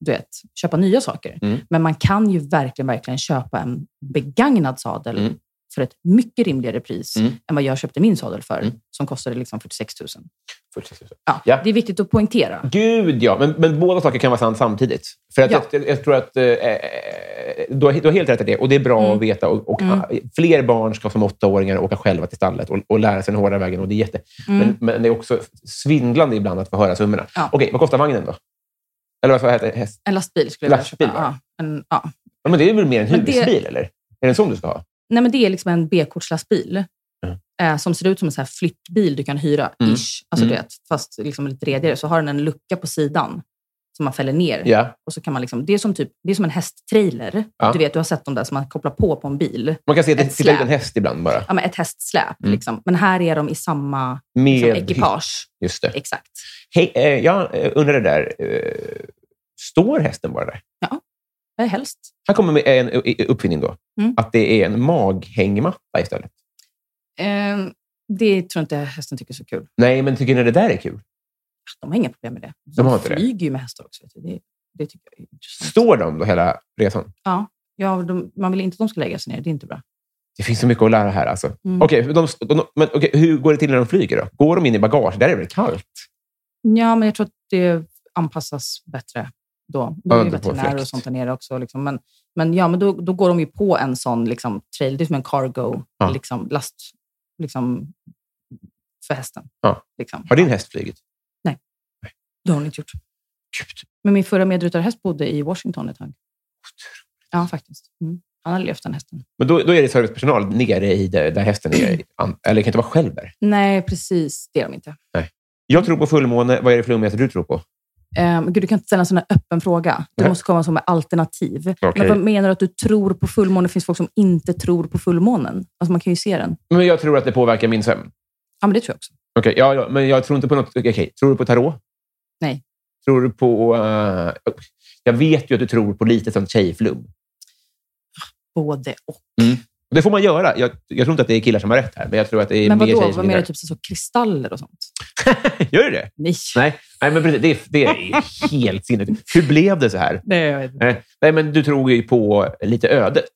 Speaker 3: du vet, köpa nya saker.
Speaker 2: Mm.
Speaker 3: Men man kan ju verkligen, verkligen köpa en begagnad sadel
Speaker 2: Mm.
Speaker 3: för ett mycket rimligare pris
Speaker 2: Mm.
Speaker 3: än vad jag köpte min sadel för,
Speaker 2: Mm.
Speaker 3: som kostade liksom 46 000.
Speaker 2: 46 000.
Speaker 3: Ja,
Speaker 2: Ja.
Speaker 3: Det är viktigt att poängtera.
Speaker 2: Gud, ja. Men, men båda saker kan vara sant samtidigt. För att
Speaker 3: Ja.
Speaker 2: jag, jag tror att eh, du, har, du har helt rätt i det. Och det är bra
Speaker 3: Mm.
Speaker 2: att veta. Och, och,
Speaker 3: Mm.
Speaker 2: ah, Fler barn ska som åttaåringar åka själva till stallet och, och lära sig den hårda vägen. Och det är jätte...
Speaker 3: Mm.
Speaker 2: men, men det är också svindlande ibland att få höra summorna.
Speaker 3: Ja.
Speaker 2: Okej, vad kostar vagnen då? Eller vad heter häst?
Speaker 3: en lastbil skulle jag vilja
Speaker 2: Lastbil,
Speaker 3: köpa. Ja, en, ja.
Speaker 2: Ja, men det är väl mer en
Speaker 3: Men det-
Speaker 2: husbil, eller? Är det en sån du ska ha?
Speaker 3: Nej, men det är liksom en B-kortslastbil
Speaker 2: Mm.
Speaker 3: eh, som ser ut som en så här flyttbil du kan hyra,
Speaker 2: Mm.
Speaker 3: ish. Alltså,
Speaker 2: Mm.
Speaker 3: du vet, fast liksom lite redigare. Så har den en lucka på sidan som man fäller ner.
Speaker 2: Ja.
Speaker 3: Och så kan man liksom, det, är som typ, det är som en hästtrailer.
Speaker 2: Ja.
Speaker 3: Du vet, du har sett dem där som man kopplar på på en bil.
Speaker 2: Man kan se att det
Speaker 3: Ett
Speaker 2: tittar ut
Speaker 3: släp.
Speaker 2: en häst ibland bara.
Speaker 3: Ja, men ett hästsläp.
Speaker 2: Mm.
Speaker 3: Liksom. Men här är de i samma liksom,
Speaker 2: Med
Speaker 3: ekipage.
Speaker 2: Just det.
Speaker 3: Exakt.
Speaker 2: Hej, eh, jag eh, undrar det där. Eh, står hästen bara där?
Speaker 3: Eh, Helst.
Speaker 2: Han kommer med en u- i- uppfinning då.
Speaker 3: Mm.
Speaker 2: Att det är en maghängmatta istället.
Speaker 3: Eh, det tror inte hästen tycker är så kul. Ah,
Speaker 2: Nej, men tycker ni det där är kul?
Speaker 3: De har inga problem med det. De,
Speaker 2: har inte det.
Speaker 3: flyger ju med hästar också. Vet du. Det, det tycker jag är intressant.
Speaker 2: Står de då hela resan?
Speaker 3: Ja, de, man vill inte att de ska lägga sig ner. Det är inte bra.
Speaker 2: Det finns så mycket att lära här alltså.
Speaker 3: Mm.
Speaker 2: Okej, men de, de, men okej, hur går det till när de flyger då? Går de in i bagage? Där är det väl kallt?
Speaker 3: Ja, men jag tror att det anpassas bättre då. Det
Speaker 2: Ja,
Speaker 3: är ju
Speaker 2: inte på
Speaker 3: veterinärer och
Speaker 2: fläkt.
Speaker 3: sånt där nere också. Liksom. Men, men, ja, men då, då går de ju på en sån liksom, trail. Det är som en cargo
Speaker 2: Ja.
Speaker 3: liksom, last liksom, för hästen.
Speaker 2: Ja.
Speaker 3: Liksom.
Speaker 2: Har din häst flugit?
Speaker 3: Det har hon inte gjort.
Speaker 2: Gud.
Speaker 3: Men min förra medryttarhäst bodde i Washington ett tag. Ja, faktiskt. Mm. Han har levt den hästen.
Speaker 2: Men då, då är det servicepersonal nere i där, där hästen är. An- Eller det kan inte vara själv där.
Speaker 3: Nej, precis. Det är de inte.
Speaker 2: Jag tror på fullmåne. Vad är det flummigaste du tror på?
Speaker 3: Um, gud, du kan inte ställa en sån här öppen fråga. Du
Speaker 2: Nej.
Speaker 3: måste komma som med alternativ.
Speaker 2: Okej.
Speaker 3: Men vad menar du att du tror på fullmånen? Det finns folk som inte tror på fullmånen. Alltså man kan ju se den.
Speaker 2: Men jag tror att det påverkar min sömn.
Speaker 3: Ja, men det tror jag också.
Speaker 2: Okej, ja, ja, men jag tror inte på något... Okej, tror du på tarot?
Speaker 3: Nej.
Speaker 2: Tror du på... eh, jag vet ju att du tror på lite sånt tjejflum.
Speaker 3: Både och.
Speaker 2: Och Det får man göra. Jag, jag tror inte att det är killar som har rätt här, men jag tror att det är
Speaker 3: Men
Speaker 2: mer
Speaker 3: vadå?
Speaker 2: tjejer som
Speaker 3: Vad menar
Speaker 2: gillar
Speaker 3: du? Typ så, så kristaller och sånt?
Speaker 2: det. Gör du det?
Speaker 3: Nej.
Speaker 2: Nej, Nej men precis, det, är- det är helt sinnessjukt. Hur blev det så här?
Speaker 3: Nej, jag vet inte.
Speaker 2: Nej, Nej, men du tror ju på lite ödet.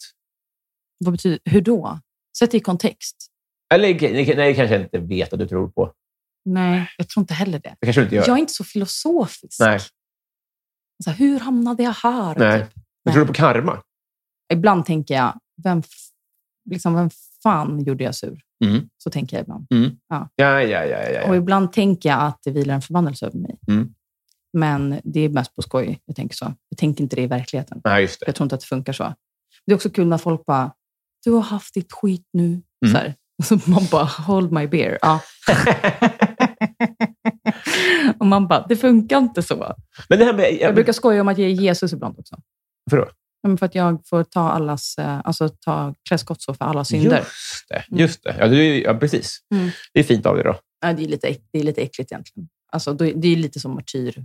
Speaker 3: Vad betyder, hur då? Sätt det i kontext.
Speaker 2: Eller nej, nej, jag kanske inte vet att du tror på.
Speaker 3: Nej, jag tror inte heller det.
Speaker 2: Det kanske du inte gör.
Speaker 3: Jag är inte så filosofisk.
Speaker 2: Nej.
Speaker 3: Så här, hur hamnade jag här?
Speaker 2: Nej.
Speaker 3: Typ.
Speaker 2: Men tror du på karma?
Speaker 3: Ibland tänker jag, vem, f- liksom, vem fan gjorde jag sur?
Speaker 2: Mm.
Speaker 3: Så tänker jag ibland.
Speaker 2: Ja, ja, ja. ja,
Speaker 3: Och
Speaker 2: ja.
Speaker 3: ibland tänker jag att det vilar en förbannelse över mig.
Speaker 2: Eh. Mm.
Speaker 3: Men det är mest på skoj. Jag tänker så. Jag tänker inte det i verkligheten.
Speaker 2: Nej, just det.
Speaker 3: Jag tror inte att det funkar så. Det är också kul när folk bara, du har haft ditt skit nu.
Speaker 2: Mm.
Speaker 3: Så här. Så man bara, hold my beer. Ja. Och man bara, det funkar inte så.
Speaker 2: Men det här med...
Speaker 3: Jag brukar skoja om att jag är Jesus ibland också.
Speaker 2: För då?
Speaker 3: Ja, men För att jag får ta allas, eh, alltså ta klä skottsår för alla synder.
Speaker 2: Just det. Just det. Ja, du, ja, precis.
Speaker 3: Mm.
Speaker 2: Det är fint av dig då.
Speaker 3: Ja, det, är lite, äck- det är lite äckligt egentligen. Alltså, då- det är lite som martyr.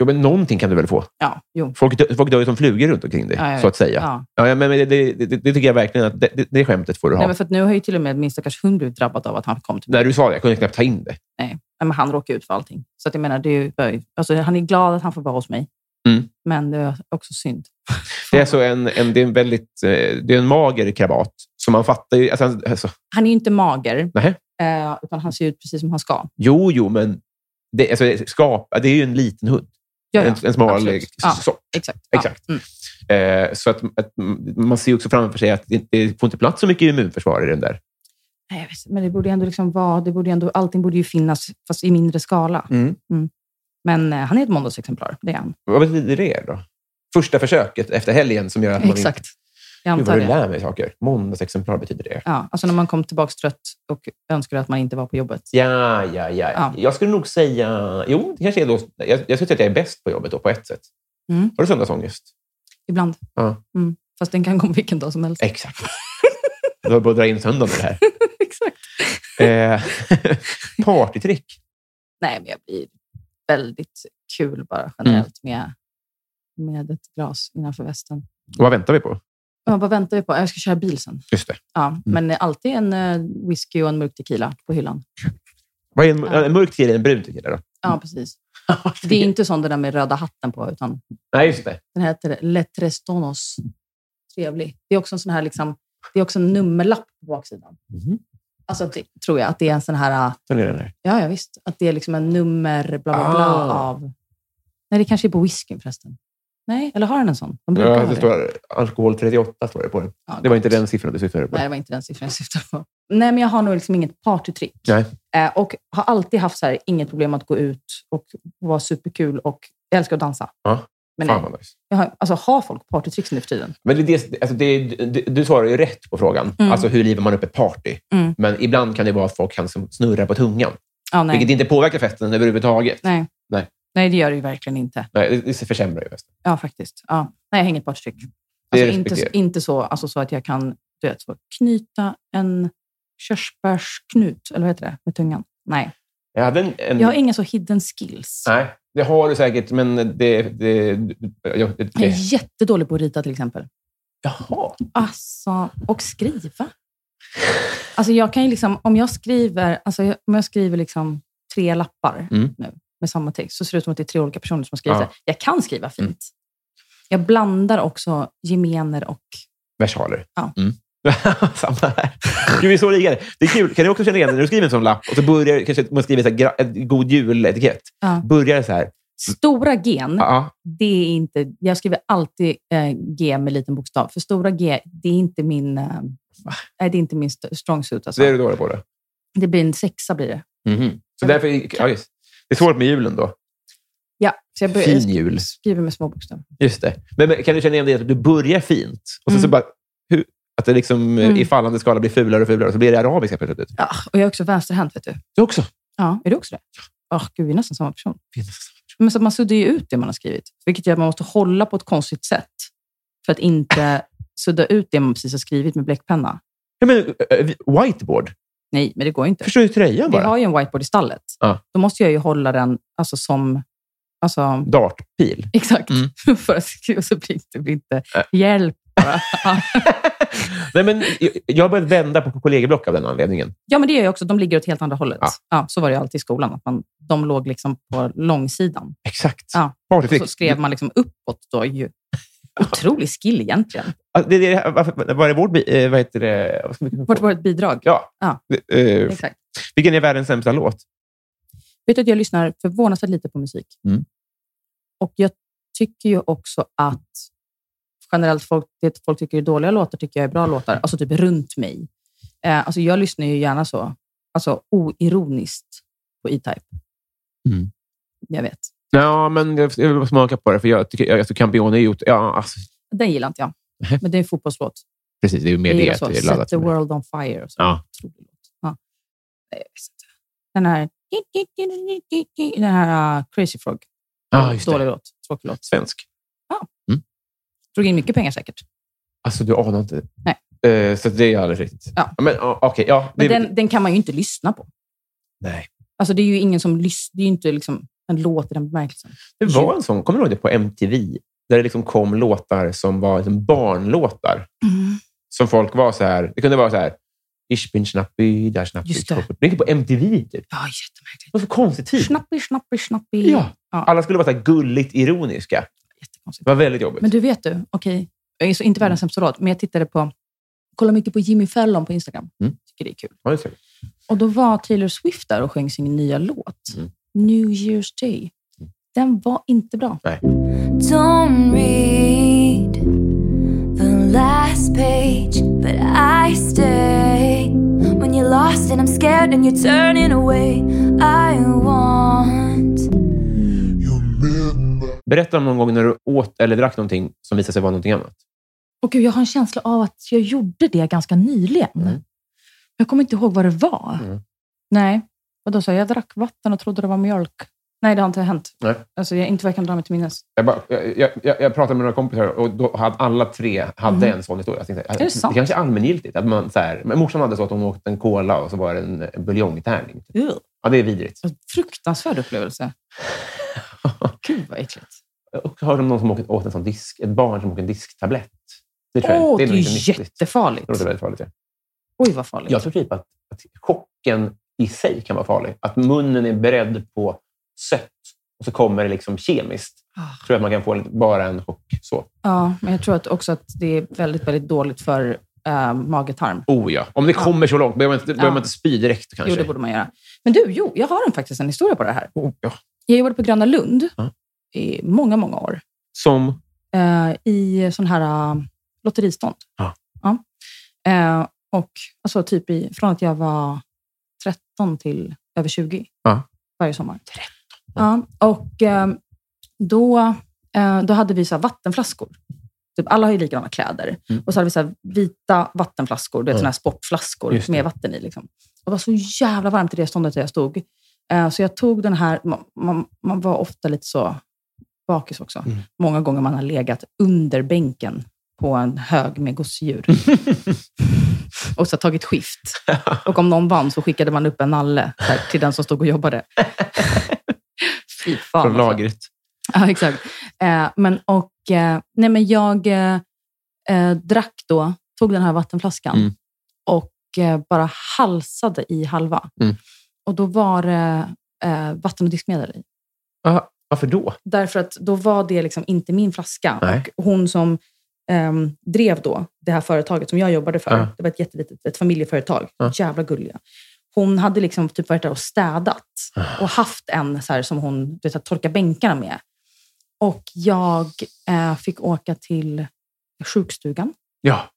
Speaker 2: Jo, men någonting kan du väl få?
Speaker 3: Ja, jo.
Speaker 2: Folk, dö, folk dör ju som flugor runt omkring dig,
Speaker 3: Ja, jag
Speaker 2: så
Speaker 3: vet.
Speaker 2: att säga.
Speaker 3: Ja.
Speaker 2: Ja. men men det, det, det, det tycker jag verkligen att det, det, det skämtet får du ha.
Speaker 3: Nej, men för att nu har ju till och med min stackars hund blivit drabbad av att han kom till mig.
Speaker 2: När du sa det, jag kunde knappt ta in det.
Speaker 3: Nej, men han råkar ut för allting. Så att jag menar, det är ju, det är ju- alltså, han är glad att han får vara hos mig.
Speaker 2: Mm.
Speaker 3: Men det är också synd.
Speaker 2: Det är, så en, en, det är en väldigt eh, det är en mager krabat. Så man fattar ju... Alltså, han- alltså,
Speaker 3: Han är ju inte mager,
Speaker 2: Nähä.
Speaker 3: eh, utan han ser ut precis som han ska.
Speaker 2: jo, jo, men det, alltså, det, skap, det är ju en liten hund.
Speaker 3: Ja, ja.
Speaker 2: En, en smal
Speaker 3: Absolut.
Speaker 2: eh,
Speaker 3: Ja.
Speaker 2: sort.
Speaker 3: Exakt.
Speaker 2: Exakt.
Speaker 3: Ja. Mm.
Speaker 2: Eh, så att, att man ser ju också framför sig att det, det får inte plats så mycket immunförsvar i den där.
Speaker 3: Nej, jag vet, men det borde ju ändå liksom vara, det borde ju ändå, allting borde ju finnas, fast i mindre skala.
Speaker 2: Mm.
Speaker 3: Men eh, han är ett måndagsexemplar, det är han.
Speaker 2: Vad betyder det då? Första försöket efter helgen som gör att man inte...
Speaker 3: Jag
Speaker 2: Gud, vad
Speaker 3: antar
Speaker 2: du
Speaker 3: det.
Speaker 2: lär mig saker. Måndagsexemplar betyder det.
Speaker 3: Ja, alltså när man kom tillbaka trött och önskade att man inte var på jobbet.
Speaker 2: Ja, ja, ja.
Speaker 3: Ja.
Speaker 2: Jag skulle nog säga... Jo, det kanske är då... Jag, jag skulle säga att jag är bäst på jobbet då, på ett sätt.
Speaker 3: Mm.
Speaker 2: Har du söndagsångest?
Speaker 3: Ibland.
Speaker 2: Ja.
Speaker 3: Mm. Fast den kan komma vilken dag som helst.
Speaker 2: Exakt. Du har börjat dra in söndagen i det
Speaker 3: Exakt.
Speaker 2: här. Eh, Partytrick.
Speaker 3: Nej, men jag blir väldigt kul bara generellt med, med ett glas innanför västen.
Speaker 2: Vad väntar vi på?
Speaker 3: Man bara väntar vi på? Jag ska köra bil sen.
Speaker 2: Just det.
Speaker 3: Ja, Men det är alltid en eh, whisky och en mörk tequila på hyllan.
Speaker 2: Vad är en,
Speaker 3: Ja.
Speaker 2: en mörk tequila och en brun tequila då?
Speaker 3: Ja, precis. Det är inte sån där med röda hatten på, utan
Speaker 2: Nej, just det.
Speaker 3: den heter Le Trestonos. Trevlig. Det är också en sån här liksom, det är också en nummerlapp på baksidan.
Speaker 2: Mhm.
Speaker 3: Alltså, det, tror jag att det är en sån här... eh,
Speaker 2: Den är den här.
Speaker 3: Ja, ja visst. Att det är liksom en nummer, bla, bla, bla,
Speaker 2: Ah.
Speaker 3: av... Nej, det kanske är på whiskyn förresten. Nej, eller har den en sån? De brukar
Speaker 2: Ja,
Speaker 3: ha
Speaker 2: det
Speaker 3: det.
Speaker 2: står alkohol 38 står det på den.
Speaker 3: Ja,
Speaker 2: Det var inte
Speaker 3: gott.
Speaker 2: den siffran du syftade på.
Speaker 3: Nej, det var inte den siffran jag syftade på. Nej, men jag har nog liksom inget partytrick.
Speaker 2: Nej.
Speaker 3: Eh, och har alltid haft så här, inget problem att gå ut och vara superkul. Och jag älskar att dansa.
Speaker 2: Ja.
Speaker 3: Men
Speaker 2: Fan
Speaker 3: nej,
Speaker 2: vad nice.
Speaker 3: jag har, alltså, har folk partytricks nu för tiden?
Speaker 2: Men det, är det, alltså det, är- du, du svarar ju rätt på frågan.
Speaker 3: Mm.
Speaker 2: Alltså hur livar man upp ett party?
Speaker 3: Mm.
Speaker 2: Men ibland kan det vara att folk kan som snurra på tungan,
Speaker 3: Ja, nej.
Speaker 2: vilket inte påverkar festen överhuvudtaget.
Speaker 3: Nej.
Speaker 2: Nej.
Speaker 3: nej, det gör det ju verkligen inte.
Speaker 2: Nej, det, det försämrar ju festen.
Speaker 3: Ja, faktiskt. Ja. Nej, jag har inget partytrick.
Speaker 2: Mm. Det
Speaker 3: Alltså, inte,
Speaker 2: respekterar jag.
Speaker 3: inte så, alltså, så att jag kan du vet, så, knyta en körsbärsknut, eller vad heter det, med tungan. Nej,
Speaker 2: Jag hade en... en
Speaker 3: jag har inga så hidden skills.
Speaker 2: Mm. Nej, det har du säkert, men det... det, jag, det,
Speaker 3: Jag är
Speaker 2: det.
Speaker 3: jättedålig på att rita till exempel.
Speaker 2: Jaha.
Speaker 3: Alltså, och skriva. Alltså jag kan ju liksom, om jag skriver, alltså jag- om jag skriver liksom tre lappar
Speaker 2: Mm.
Speaker 3: nu med samma text, så ser det ut som att det är tre olika personer som har skrivit
Speaker 2: Ja.
Speaker 3: det. Jag kan skriva fint.
Speaker 2: Mm.
Speaker 3: Jag blandar också gemener och...
Speaker 2: Versaler.
Speaker 3: Ja.
Speaker 2: Mm. Samma här. Gud, vi är så lika. Det är kul. Kan du också känna igen det när du skriver en sån lapp och så börjar kanske man skriver så här, gra- ett god jul-etikett?
Speaker 3: Ja.
Speaker 2: Börjar det så här.
Speaker 3: Stora gen,
Speaker 2: Ja,
Speaker 3: det är inte... Jag skriver alltid eh, G med liten bokstav, för stora G, det är inte min... Eh, nej, det är inte min st- strong suit. Alltså.
Speaker 2: så är du dålig på det.
Speaker 3: Det blir en sexa blir det.
Speaker 2: Mhm. Så därför... Ja, just. Det är svårt med julen då.
Speaker 3: Ja, så jag börjar
Speaker 2: Fin
Speaker 3: jag
Speaker 2: jul.
Speaker 3: skriver med små bokstäver.
Speaker 2: Just det. Men, men kan du känna igen det att du börjar fint och sen så
Speaker 3: Mm.
Speaker 2: bara... Hur, att det liksom eh,
Speaker 3: Mm.
Speaker 2: i fallande skala blir fulare och fulare och så blir det arabiska plötsligt.
Speaker 3: Ja, och jag är också vänsterhänt, vet du.
Speaker 2: Du också?
Speaker 3: Ja, är du också det? Ja. gud, vi är nästan samma person. Men så att man suddar ju ut det man har skrivit, vilket gör att man måste hålla på ett konstigt sätt för att inte sudda ut det man precis har skrivit med bläckpenna.
Speaker 2: Ja, men, eh, eh, whiteboard.
Speaker 3: Nej, men det går ju inte.
Speaker 2: Förstår du tröjan
Speaker 3: Vi
Speaker 2: bara?
Speaker 3: har ju en whiteboard i stallet.
Speaker 2: Ja.
Speaker 3: Då måste jag ju hålla den alltså, som... Alltså,
Speaker 2: Dartpil.
Speaker 3: exakt.
Speaker 2: Mm. Äh.
Speaker 3: för att skriva så blir det blir inte... Hjälp bara. Ja.
Speaker 2: Nej, men, jag- jag har börjat vända på kollegieblock av den anledningen.
Speaker 3: ja, men det gör jag också. De ligger åt helt andra hållet.
Speaker 2: Ja.
Speaker 3: Ja. så var det ju alltid i skolan. Att man, de låg liksom på långsidan.
Speaker 2: Exakt.
Speaker 3: Ja. Och
Speaker 2: Partytrick.
Speaker 3: så skrev man liksom uppåt då ju. Otrolig skill egentligen.
Speaker 2: Alltså, det, är det, här- varför- vad är vårt... bi- eh, Vad heter det? Vad ska vi kunna få?
Speaker 3: Vårt, vårt bidrag.
Speaker 2: Ja.
Speaker 3: Ja.
Speaker 2: Eh,
Speaker 3: Exakt.
Speaker 2: vilken är världens sämsta låt?
Speaker 3: Vet du att jag lyssnar förvånansvärt lite på musik.
Speaker 2: Mm.
Speaker 3: Och jag tycker ju också att generellt folk, det folk tycker är dåliga låtar tycker jag är bra låtar. Alltså typ runt mig. Eh, alltså jag lyssnar ju gärna så. Alltså oironiskt på E-Type.
Speaker 2: Mm.
Speaker 3: Jag vet.
Speaker 2: Ja, men jag jag vill bara smaka på det, för jag tycker jag, jag tror Campione är gjort... Ja, alltså,
Speaker 3: Den gillar inte jag.
Speaker 2: Nej.
Speaker 3: Men det är en fotbollslåt.
Speaker 2: precis. Det är ju mer
Speaker 3: Jag
Speaker 2: det.
Speaker 3: gillar
Speaker 2: att
Speaker 3: så.
Speaker 2: det är
Speaker 3: Set
Speaker 2: laddat
Speaker 3: the
Speaker 2: med.
Speaker 3: world on fire. Och så.
Speaker 2: Ja.
Speaker 3: Otrolig låt. Ja. Nej, jag vet inte. Den här... Den här uh, Crazy Frog.
Speaker 2: Ja, Ah, just
Speaker 3: Dålig
Speaker 2: det.
Speaker 3: låt. Tråkig låt.
Speaker 2: Svensk.
Speaker 3: Drog in mycket pengar säkert.
Speaker 2: Alltså, du anar inte.
Speaker 3: Nej.
Speaker 2: Eh, så det är alldeles riktigt.
Speaker 3: Ja.
Speaker 2: Men ja, okej, ja.
Speaker 3: Men
Speaker 2: det-
Speaker 3: den, den kan man ju inte lyssna på.
Speaker 2: Nej.
Speaker 3: Alltså det är ju ingen som lyssnar. Det är ju inte liksom en låt i den bemärkelsen.
Speaker 2: Det var en sån, kommer du ihåg det, på MTV? Där det liksom kom låtar som var liksom barnlåtar. Som folk var så här... Det kunde vara så här... Ich bin schnappi, där schnappi.
Speaker 3: Just det.
Speaker 2: Det gick på MTV, typ.
Speaker 3: Ja,
Speaker 2: Det
Speaker 3: jättemärkligt.
Speaker 2: var så konstig tid.
Speaker 3: Snappi, snappi, snappi.
Speaker 2: Typ. Ja. Alla skulle vara så här gulligt ironiska.
Speaker 3: Jättekonstigt.
Speaker 2: Det var väldigt jobbigt.
Speaker 3: Men du vet du, okej. Jag är så inte världens sämsta låt, men jag tittade på... Kollar mycket på Jimmy Fallon på Instagram.
Speaker 2: Mm.
Speaker 3: Tycker det är kul.
Speaker 2: Ja, det är säkert.
Speaker 3: Och då var Taylor Swift där och sjöng sin nya låt,
Speaker 2: Mm.
Speaker 3: New Year's Day. Den var inte bra.
Speaker 4: Don't read the last page, but I stay. When you're lost and I'm scared and you're turning away, I want.
Speaker 2: Berätta om någon gång när du åt eller drack någonting som visade sig vara någonting annat.
Speaker 3: Och gud, jag har en känsla av att jag gjorde det ganska nyligen.
Speaker 2: Mm.
Speaker 3: Jag kommer inte ihåg vad det var.
Speaker 2: Mm.
Speaker 3: Nej. Och då sa jag, jag drack vatten och trodde det var mjölk. Nej, det har inte hänt.
Speaker 2: Nej.
Speaker 3: Alltså, jag, inte vad jag kan dra mig till minnes.
Speaker 2: Jag, bara, jag, jag, jag jag pratade med några kompisar och då hade alla tre hade en sån historia. Jag tänkte,
Speaker 3: Mhm. det sant?
Speaker 2: kanske är allmängiltigt. Att man, så här, men morsan hade så att hon åt en cola och så var det en eh, buljongtärning.
Speaker 3: Ugh.
Speaker 2: Ja, det är vidrigt.
Speaker 3: Fruktansvärd upplevelse. Gud, vad äckligt.
Speaker 2: Och hörde om någon som åt, åt en sån disk, ett barn som åt en disktablett. Det tror jag
Speaker 3: Åh,
Speaker 2: det är,
Speaker 3: det
Speaker 2: nog inte
Speaker 3: är
Speaker 2: nyttigt.
Speaker 3: jättefarligt.
Speaker 2: Det låter väldigt farligt. Ja.
Speaker 3: Oj, vad farligt.
Speaker 2: Jag tror typ att, att chocken i sig kan vara farlig. Att munnen är beredd på sött och så kommer det liksom kemiskt.
Speaker 3: Ah.
Speaker 2: tror jag att man kan få en, bara en chock så.
Speaker 3: Ja, men jag tror att också att det är väldigt, väldigt dåligt för äh, mage-tarm.
Speaker 2: Oh ja. Om det kommer så långt, behöver man inte, behöver man inte spy direkt kanske.
Speaker 3: Jo, det borde man göra. Men du, jo, jag har en, faktiskt en historia på det här.
Speaker 2: oh, ja.
Speaker 3: Jag jobbade på Gröna Lund
Speaker 2: Ja.
Speaker 3: i många, många år
Speaker 2: Som...
Speaker 3: eh, i sån här eh, lotteristånd.
Speaker 2: Ja.
Speaker 3: Ja. Eh, och alltså, typ i, från att jag var 13 till över 20
Speaker 2: Ja.
Speaker 3: varje sommar. 13. Ja. och eh, då, eh, då hade vi så här vattenflaskor. Typ alla har ju likadana kläder.
Speaker 2: Mm.
Speaker 3: Och så hade vi så här vita vattenflaskor, du vet,
Speaker 2: Ja.
Speaker 3: såna här sportflaskor
Speaker 2: Just det.
Speaker 3: med vatten i. Liksom. Och det var så jävla varmt i det ståndet där jag stod. Eh, Så jag tog den här, man, man, man var ofta lite så bakis också.
Speaker 2: Mm.
Speaker 3: Många gånger man har legat under bänken på en hög med gosedjur. och så tagit skift. Och om någon vann så skickade man upp en nalle så här, till den som stod och jobbade. Fy fan.
Speaker 2: Från
Speaker 3: alltså.
Speaker 2: lagret.
Speaker 3: Ja, exakt. Eh, men, och, eh, nej, men jag eh, eh, drack då, tog den här vattenflaskan
Speaker 2: Mm.
Speaker 3: och eh, bara halsade i halva.
Speaker 2: Mm.
Speaker 3: Och då var det eh, vatten och diskmedel i.
Speaker 2: Ah, varför då?
Speaker 3: Därför att då var det liksom inte min flaska.
Speaker 2: Nej.
Speaker 3: Och hon som ehm, drev då det här företaget som jag jobbade för,
Speaker 2: Ja.
Speaker 3: det var ett jättelitet ett familjeföretag,
Speaker 2: Ja.
Speaker 3: jävla gulliga. Hon hade liksom typ varit där och städat
Speaker 2: Ah.
Speaker 3: och haft en så här, som hon du vet, att torka bänkarna med. Och jag eh, fick åka till sjukstugan. Mm.
Speaker 2: Ja.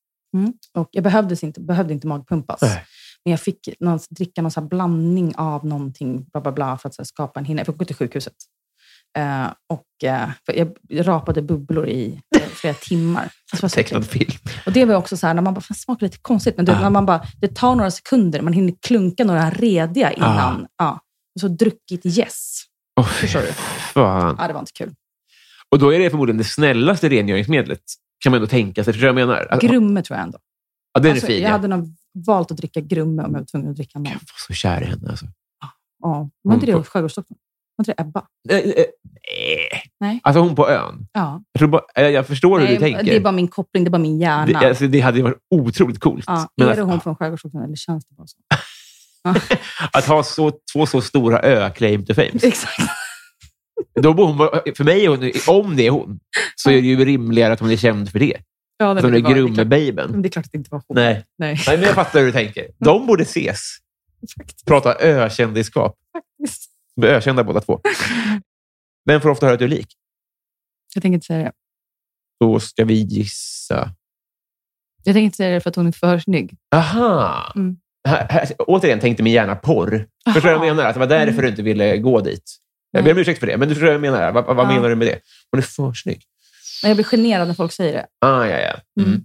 Speaker 3: Och jag behövdes inte, behövde inte magpumpas.
Speaker 2: Nej.
Speaker 3: Men jag fick någon, dricka någon så här blandning av någonting bla bla bla, för att så här skapa en hinna. Jag fick gå till sjukhuset. Eh, och, eh, för jag rapade bubblor i eh, flera timmar. Alltså, det var så
Speaker 2: Tecknad
Speaker 3: äckligt.
Speaker 2: film.
Speaker 3: och det var också så här, när man bara, fan smakar lite konstigt. Men du,
Speaker 2: Ah.
Speaker 3: när man bara, det tar några sekunder, man hinner klunka några rediga innan. Ja. Och så druckit gäss. Yes.
Speaker 2: Åh, fy
Speaker 3: Förstår du?
Speaker 2: fan.
Speaker 3: Ja, det var inte kul.
Speaker 2: Och då är det förmodligen det snällaste rengöringsmedlet. Kan man ändå tänka sig. Förstår du vad jag menar? Att-
Speaker 3: Grumme tror jag ändå.
Speaker 2: ja, den Alltså, är
Speaker 3: Alltså,
Speaker 2: fin.
Speaker 3: jag
Speaker 2: ja.
Speaker 3: hade nog valt att dricka grumme om jag var tvungen att dricka någon.
Speaker 2: Jag var så kär i henne. Alltså.
Speaker 3: Ja. Var inte
Speaker 2: Hon
Speaker 3: det Skärgårdsdoktorn? Var inte det Ebba?
Speaker 2: Eh, eh, eh.
Speaker 3: Nej.
Speaker 2: Alltså hon på ön.
Speaker 3: Ja.
Speaker 2: Jag, tror bara, jag, jag förstår hur du
Speaker 3: Nej,
Speaker 2: tänker.
Speaker 3: det är bara min koppling, det är bara min hjärna.
Speaker 2: Det, alltså, det hade ju varit otroligt coolt.
Speaker 3: ja,
Speaker 2: Men alltså-
Speaker 3: är
Speaker 2: att,
Speaker 3: det hon från Skärgårdsdoktorn eller känns det bara så?
Speaker 2: att ha så, två så stora ö-claim to fame.
Speaker 3: Exakt.
Speaker 2: Då borde hon, vara- för mig, är hon, om det är hon, så är det ju rimligare att hon är känd för det.
Speaker 3: Ja,
Speaker 2: Att
Speaker 3: nej,
Speaker 2: hon
Speaker 3: men
Speaker 2: är
Speaker 3: det, var, det, är klart,
Speaker 2: Grumme-babyn.
Speaker 3: men det är klart att det inte var hon.
Speaker 2: Nej.
Speaker 3: Nej,
Speaker 2: Nej, men jag fattar hur du tänker. De borde ses.
Speaker 3: faktiskt.
Speaker 2: Prata ö-kändisskap.
Speaker 3: faktiskt.
Speaker 2: Ökända båda två. Vem får ofta höra att du är lik?
Speaker 3: Jag tänker inte säga det.
Speaker 2: Då ska vi gissa.
Speaker 3: Jag tänker inte säga det för att hon är för snygg.
Speaker 2: Aha!
Speaker 3: Mm.
Speaker 2: Här, här, återigen tänkte min hjärna porr. Förstår du vad jag menar? Att det var därför du inte ville gå dit. Jag ber om ursäkt för det, men du förstår vad jag menar. Vad, vad
Speaker 3: Mm. Ja.
Speaker 2: menar du med det? Hon är för snygg.
Speaker 3: Nej, Jag blir generad när folk säger det.
Speaker 2: Ah, ja, ja. Mm.
Speaker 3: Mm.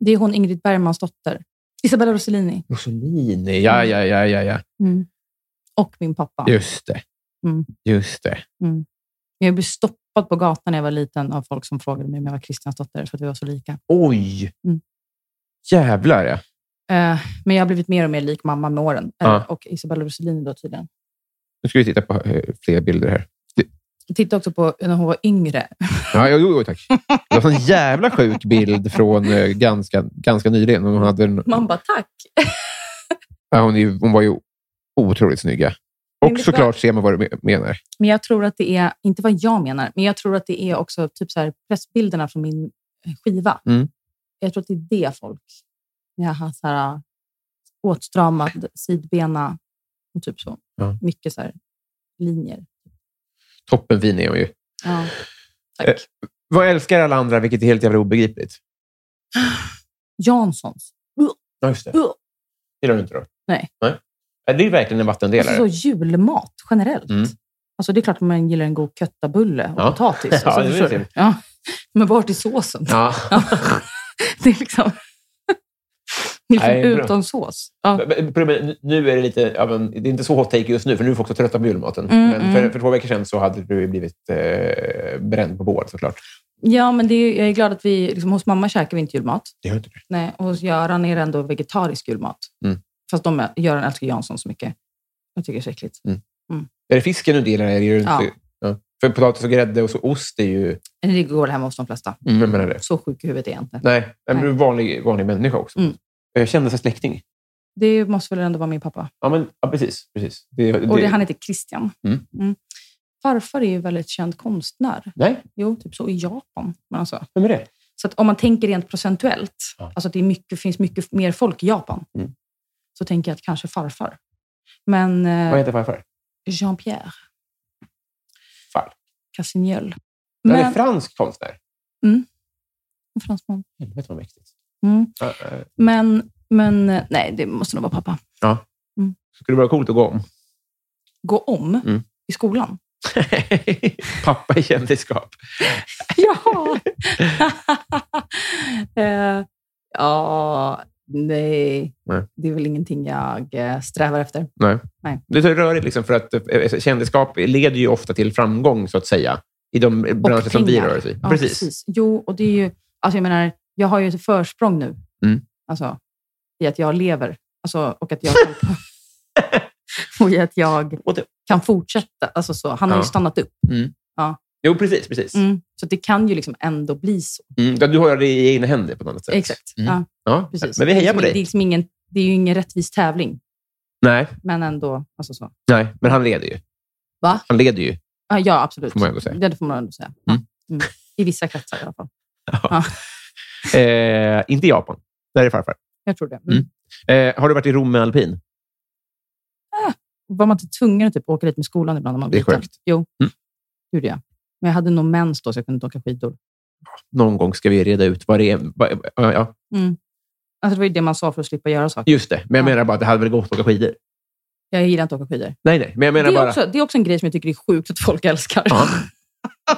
Speaker 3: Det är hon, Ingrid Bergmans dotter. Isabella Rossellini.
Speaker 2: Mussolini, ja, ja, ja, ja, ja.
Speaker 3: Och min pappa.
Speaker 2: Just det.
Speaker 3: Mm.
Speaker 2: Just det.
Speaker 3: Jag blev stoppad på gatan när jag var liten av folk som frågade mig om jag var Kristians dotter för att vi var så lika.
Speaker 2: Oj!
Speaker 3: Mm.
Speaker 2: Jävlar, ja.
Speaker 3: Eh, men jag har blivit mer och mer lik mamma med åren. Eh,
Speaker 2: Ja.
Speaker 3: Och Isabella Rossellini då tydligen.
Speaker 2: Nu ska vi titta på eh, fler bilder här.
Speaker 3: Jag tittade också på när hon var yngre.
Speaker 2: Ja, jo, jo, tack. Det var en jävla sjuk bild från eh, ganska, ganska nyligen. Hon, hade en,
Speaker 3: Man bara, tack!
Speaker 2: ja, hon, är, ju- hon var ju otroligt snygg. ja.
Speaker 3: Men
Speaker 2: Och
Speaker 3: det-
Speaker 2: såklart ser man vad du me- menar.
Speaker 3: Men jag tror att det är, inte vad jag menar, men jag tror att det är också typ så här pressbilderna från min eh, skiva.
Speaker 2: Mm.
Speaker 3: Jag tror att det är det folk... Jag har så här äh, åtstramad sidbena och typ så.
Speaker 2: Ja.
Speaker 3: Mycket så här linjer.
Speaker 2: Toppenfin är hon ju.
Speaker 3: Ja,
Speaker 2: Eh.
Speaker 3: tack.
Speaker 2: Vad älskar alla andra, vilket är helt jävla obegripligt?
Speaker 3: Janssons.
Speaker 2: Ja, just det.
Speaker 3: Uh.
Speaker 2: Gillar du inte då?
Speaker 3: Nej.
Speaker 2: Nej. Ja, Det är verkligen en vattendelare.
Speaker 3: Alltså så julmat generellt.
Speaker 2: Mm.
Speaker 3: Alltså det är klart att man gillar en god köttabulle och
Speaker 2: Ja.
Speaker 3: potatis.
Speaker 2: Ja,
Speaker 3: Alltså,
Speaker 2: det
Speaker 3: förstår
Speaker 2: vet
Speaker 3: du? ja. Men vart är såsen?
Speaker 2: Ja.
Speaker 3: Det är liksom, det är
Speaker 2: Nej, bra.
Speaker 3: liksom utan sås. Ja.
Speaker 2: Men- men Nu är det lite av en, det är inte så hot take just nu, för nu är folk så trötta på julmaten.
Speaker 3: Mm,
Speaker 2: men för,
Speaker 3: mm.
Speaker 2: för två veckor sedan så hade du ju blivit eh, bränd på bål såklart.
Speaker 3: ja, men det är, jag är glad att vi... Liksom, hos mamma käkar vi inte julmat.
Speaker 2: Det gör inte du.
Speaker 3: Nej, och hos Göran är det ändå vegetarisk julmat.
Speaker 2: Mm.
Speaker 3: Fast de, är- Göran älskar Jansson så mycket. Jag tycker det är så äckligt.
Speaker 2: Är det fisken du inte gillar? Är det ju inte, ja.
Speaker 3: Ja.
Speaker 2: För potatis och grädde och så ost är ju...
Speaker 3: Men Det går väl hemma hos de flesta.
Speaker 2: Mm, jag menar det.
Speaker 3: Så sjuk i huvudet är jag inte.
Speaker 2: Nej, nej, men du är en vanlig, vanlig människa också.
Speaker 3: Mm.
Speaker 2: Eh, Kände sig släkting.
Speaker 3: Det måste väl ändå vara min pappa.
Speaker 2: Ja, men, ja precis. precis. Det,
Speaker 3: Och det, han heter Christian.
Speaker 2: Mm.
Speaker 3: Farfar är ju väldigt känd konstnär.
Speaker 2: Nej,
Speaker 3: Jo, typ så i Japan. Men alltså,
Speaker 2: vem är det?
Speaker 3: Så att om man tänker rent procentuellt,
Speaker 2: Ja.
Speaker 3: alltså att det är mycket, finns mycket mer folk i Japan,
Speaker 2: Mm.
Speaker 3: så tänker jag att kanske farfar. Men eh,
Speaker 2: Vad heter farfar?
Speaker 3: Jean-Pierre
Speaker 2: Falk.
Speaker 3: Cassignol.
Speaker 2: Han är
Speaker 3: Men,
Speaker 2: fransk konstnär.
Speaker 3: en fransman.
Speaker 2: Helvete vad mäktigt.
Speaker 3: Mm.
Speaker 2: Ja, eh,
Speaker 3: Men, men eh, nej, det måste nog vara pappa.
Speaker 2: Skulle det vara coolt att gå om?
Speaker 3: Gå om
Speaker 2: Mm.
Speaker 3: i skolan.
Speaker 2: Pappa i kändisskap.
Speaker 3: Jaha! eh, ja, nej.
Speaker 2: Nej.
Speaker 3: Det är väl ingenting jag eh, strävar efter.
Speaker 2: Det är så rörigt, liksom, för att eh, kändisskap leder ju ofta till framgång, så att säga, i de branscher som vi
Speaker 3: pengar.
Speaker 2: rör oss i.
Speaker 3: Ja, precis. Jo, och det är ju... Alltså jag menar, jag har ju ett försprång nu.
Speaker 2: Mm.
Speaker 3: Alltså, i att jag lever. Alltså, och att jag kan... och i att jag
Speaker 2: Och det-
Speaker 3: kan fortsätta. Alltså så. Han har
Speaker 2: Ja.
Speaker 3: ju stannat upp.
Speaker 2: Jo, precis. precis.
Speaker 3: Mm. Så det kan ju liksom ändå bli så.
Speaker 2: Mm, ja, Du har det i egna händer på något annat sätt.
Speaker 3: Exakt.
Speaker 2: Mm.
Speaker 3: Ja,
Speaker 2: Ja.
Speaker 3: precis.
Speaker 2: Men vi
Speaker 3: Det är
Speaker 2: hejar
Speaker 3: liksom-
Speaker 2: på
Speaker 3: Det är,
Speaker 2: dig.
Speaker 3: liksom ingen, det är ju ingen rättvis tävling,
Speaker 2: Nej,
Speaker 3: men ändå. Alltså så.
Speaker 2: nej, men han leder ju.
Speaker 3: Va?
Speaker 2: Han leder ju.
Speaker 3: Ja, Ja, absolut.
Speaker 2: Får man ändå säga.
Speaker 3: Ja, det får man ändå säga.
Speaker 2: Mm.
Speaker 3: Ja. Mm. I vissa kretsar i alla fall.
Speaker 2: Eh, inte i Japan. Där är farfar.
Speaker 3: Jag tror det. Mm.
Speaker 2: Mm. Eh, har du varit i Rom med alpin?
Speaker 3: Var man inte tvungen att typ åka dit med skolan ibland när man var
Speaker 2: Det är
Speaker 3: liten?
Speaker 2: sjukt.
Speaker 3: Jo,
Speaker 2: Mm.
Speaker 3: gjorde jag. Men jag hade nog mens då, så jag kunde inte åka skidor.
Speaker 2: Någon gång ska vi reda ut vad det är. vad- ja, ja,
Speaker 3: Alltså, det var ju det man sa för att slippa göra saker.
Speaker 2: just det. Men jag
Speaker 3: Ja.
Speaker 2: menar bara att det hade väl gått att åka skidor?
Speaker 3: Jag gillar inte att åka skidor.
Speaker 2: Nej, nej. Men jag
Speaker 3: Det
Speaker 2: menar
Speaker 3: är,
Speaker 2: bara...
Speaker 3: också, det är också en grej som jag tycker är sjukt att folk älskar.
Speaker 2: Ja.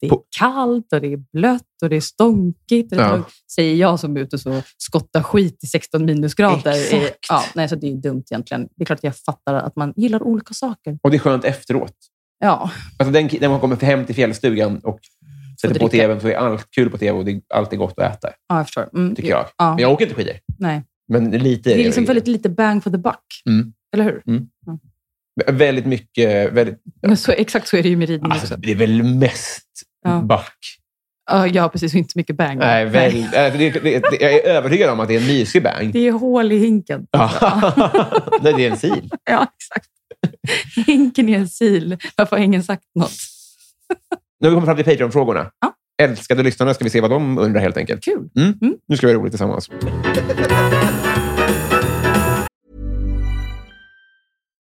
Speaker 3: Det är
Speaker 2: På-
Speaker 3: kallt och det är blött och det är stånkigt. Och det är
Speaker 2: Ja.
Speaker 3: trångt. Säger jag som är ute och så skottar skit i 16 minusgrader.
Speaker 2: Exakt.
Speaker 3: Eh, Ja, nej, så det är ju dumt egentligen. Det är klart att jag fattar att man gillar olika saker.
Speaker 2: Och det är skönt efteråt.
Speaker 3: Ja,
Speaker 2: Alltså den, den man kommer hem till fjällstugan och sätter på
Speaker 3: dricka.
Speaker 2: tvn så är allt kul på tv och det är alltid gott att äta,
Speaker 3: ja jag förstår. Mm,
Speaker 2: tycker jag.
Speaker 3: Ja.
Speaker 2: Men jag åker inte skidor.
Speaker 3: Nej.
Speaker 2: Men lite
Speaker 3: Det
Speaker 2: är
Speaker 3: är liksom
Speaker 2: jag.
Speaker 3: väldigt lite bang for the buck.
Speaker 2: Mm.
Speaker 3: Eller hur?
Speaker 2: Väldigt mycket... Väldigt,
Speaker 3: Men så, exakt så är det ju med ridning
Speaker 2: alltså,
Speaker 3: också.
Speaker 2: det är väl mest
Speaker 3: Ja.
Speaker 2: back.
Speaker 3: Ja, ja, precis. Och inte så mycket bang.
Speaker 2: Nej, väl, äh, det, det, det, jag är övertygad om att det är en mysig bang.
Speaker 3: Det är hål i hinken.
Speaker 2: Nej, det är en sil.
Speaker 3: Ja, exakt. Hinken är en sil. Varför har ingen sagt något?
Speaker 2: Nu har vi kommit fram till Patreon-frågorna.
Speaker 3: Ja.
Speaker 2: Älskade lyssnarna ska vi se vad de undrar helt enkelt.
Speaker 3: Kul.
Speaker 2: Mm.
Speaker 3: Mm.
Speaker 2: Nu ska vi ha roligt tillsammans.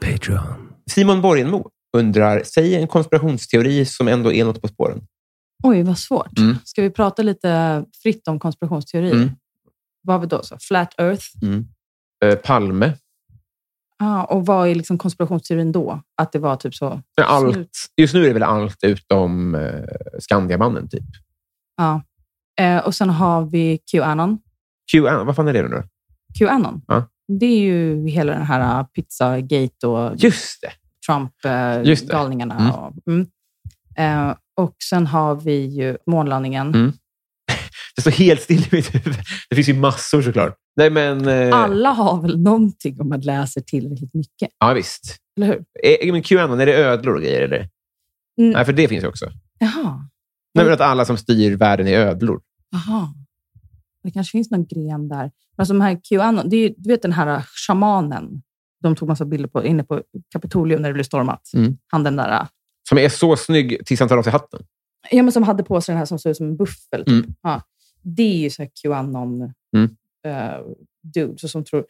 Speaker 5: Patreon.
Speaker 2: Simon Borgenmo undrar, säg en konspirationsteori som ändå är något på spåren.
Speaker 3: Oj, vad svårt.
Speaker 2: Mm.
Speaker 3: Ska vi prata lite fritt om konspirationsteorier?
Speaker 2: Mm.
Speaker 3: Vad har vi då? Så? Flat Earth.
Speaker 2: Eh, Palme.
Speaker 3: Ah, och vad är liksom konspirationsteorin då? Att det var typ så?
Speaker 2: Men Allt,
Speaker 3: Slut.
Speaker 2: just nu är det väl allt utom eh, Skandiamannen, typ.
Speaker 3: Ja. Eh, och sen har vi Qanon.
Speaker 2: QAnon, vad fan är det nu då?
Speaker 3: Qanon.
Speaker 2: Ja.
Speaker 3: Det är ju hela den här ah, pizzagate och
Speaker 2: Just det! Just det.
Speaker 3: Trump-galningarna.
Speaker 2: Mm.
Speaker 3: eh, Och, mm. eh, och sen har vi ju månlandningen.
Speaker 2: Mm. Det står helt still i mitt huvud. Det finns ju massor såklart. Nej, men... eh,
Speaker 3: Alla har väl någonting om man läser tillräckligt mycket,
Speaker 2: Ja, visst.
Speaker 3: eller hur?
Speaker 2: Eh, Men QAnon, är det ödlor och grejer? Eller? Nej, för det finns ju också.
Speaker 3: Jaha.
Speaker 2: Nej, men att alla som styr världen är ödlor.
Speaker 3: Jaha. Det kanske finns någon gren där. Men alltså de här QAnon, det är, ju- du vet den här eh, shamanen de tog massa bilder på inne på Kapitolium när det blev stormat.
Speaker 2: Mm.
Speaker 3: Han den där, eh,
Speaker 2: Som är så snygg tills han tar av sig hatten.
Speaker 3: ja, men som hade på sig den här som såg ut som en buffel. Typ.
Speaker 2: Mm.
Speaker 3: Ja. Det är ju så här QAnon
Speaker 2: Mm.
Speaker 3: eh, dudes som tror...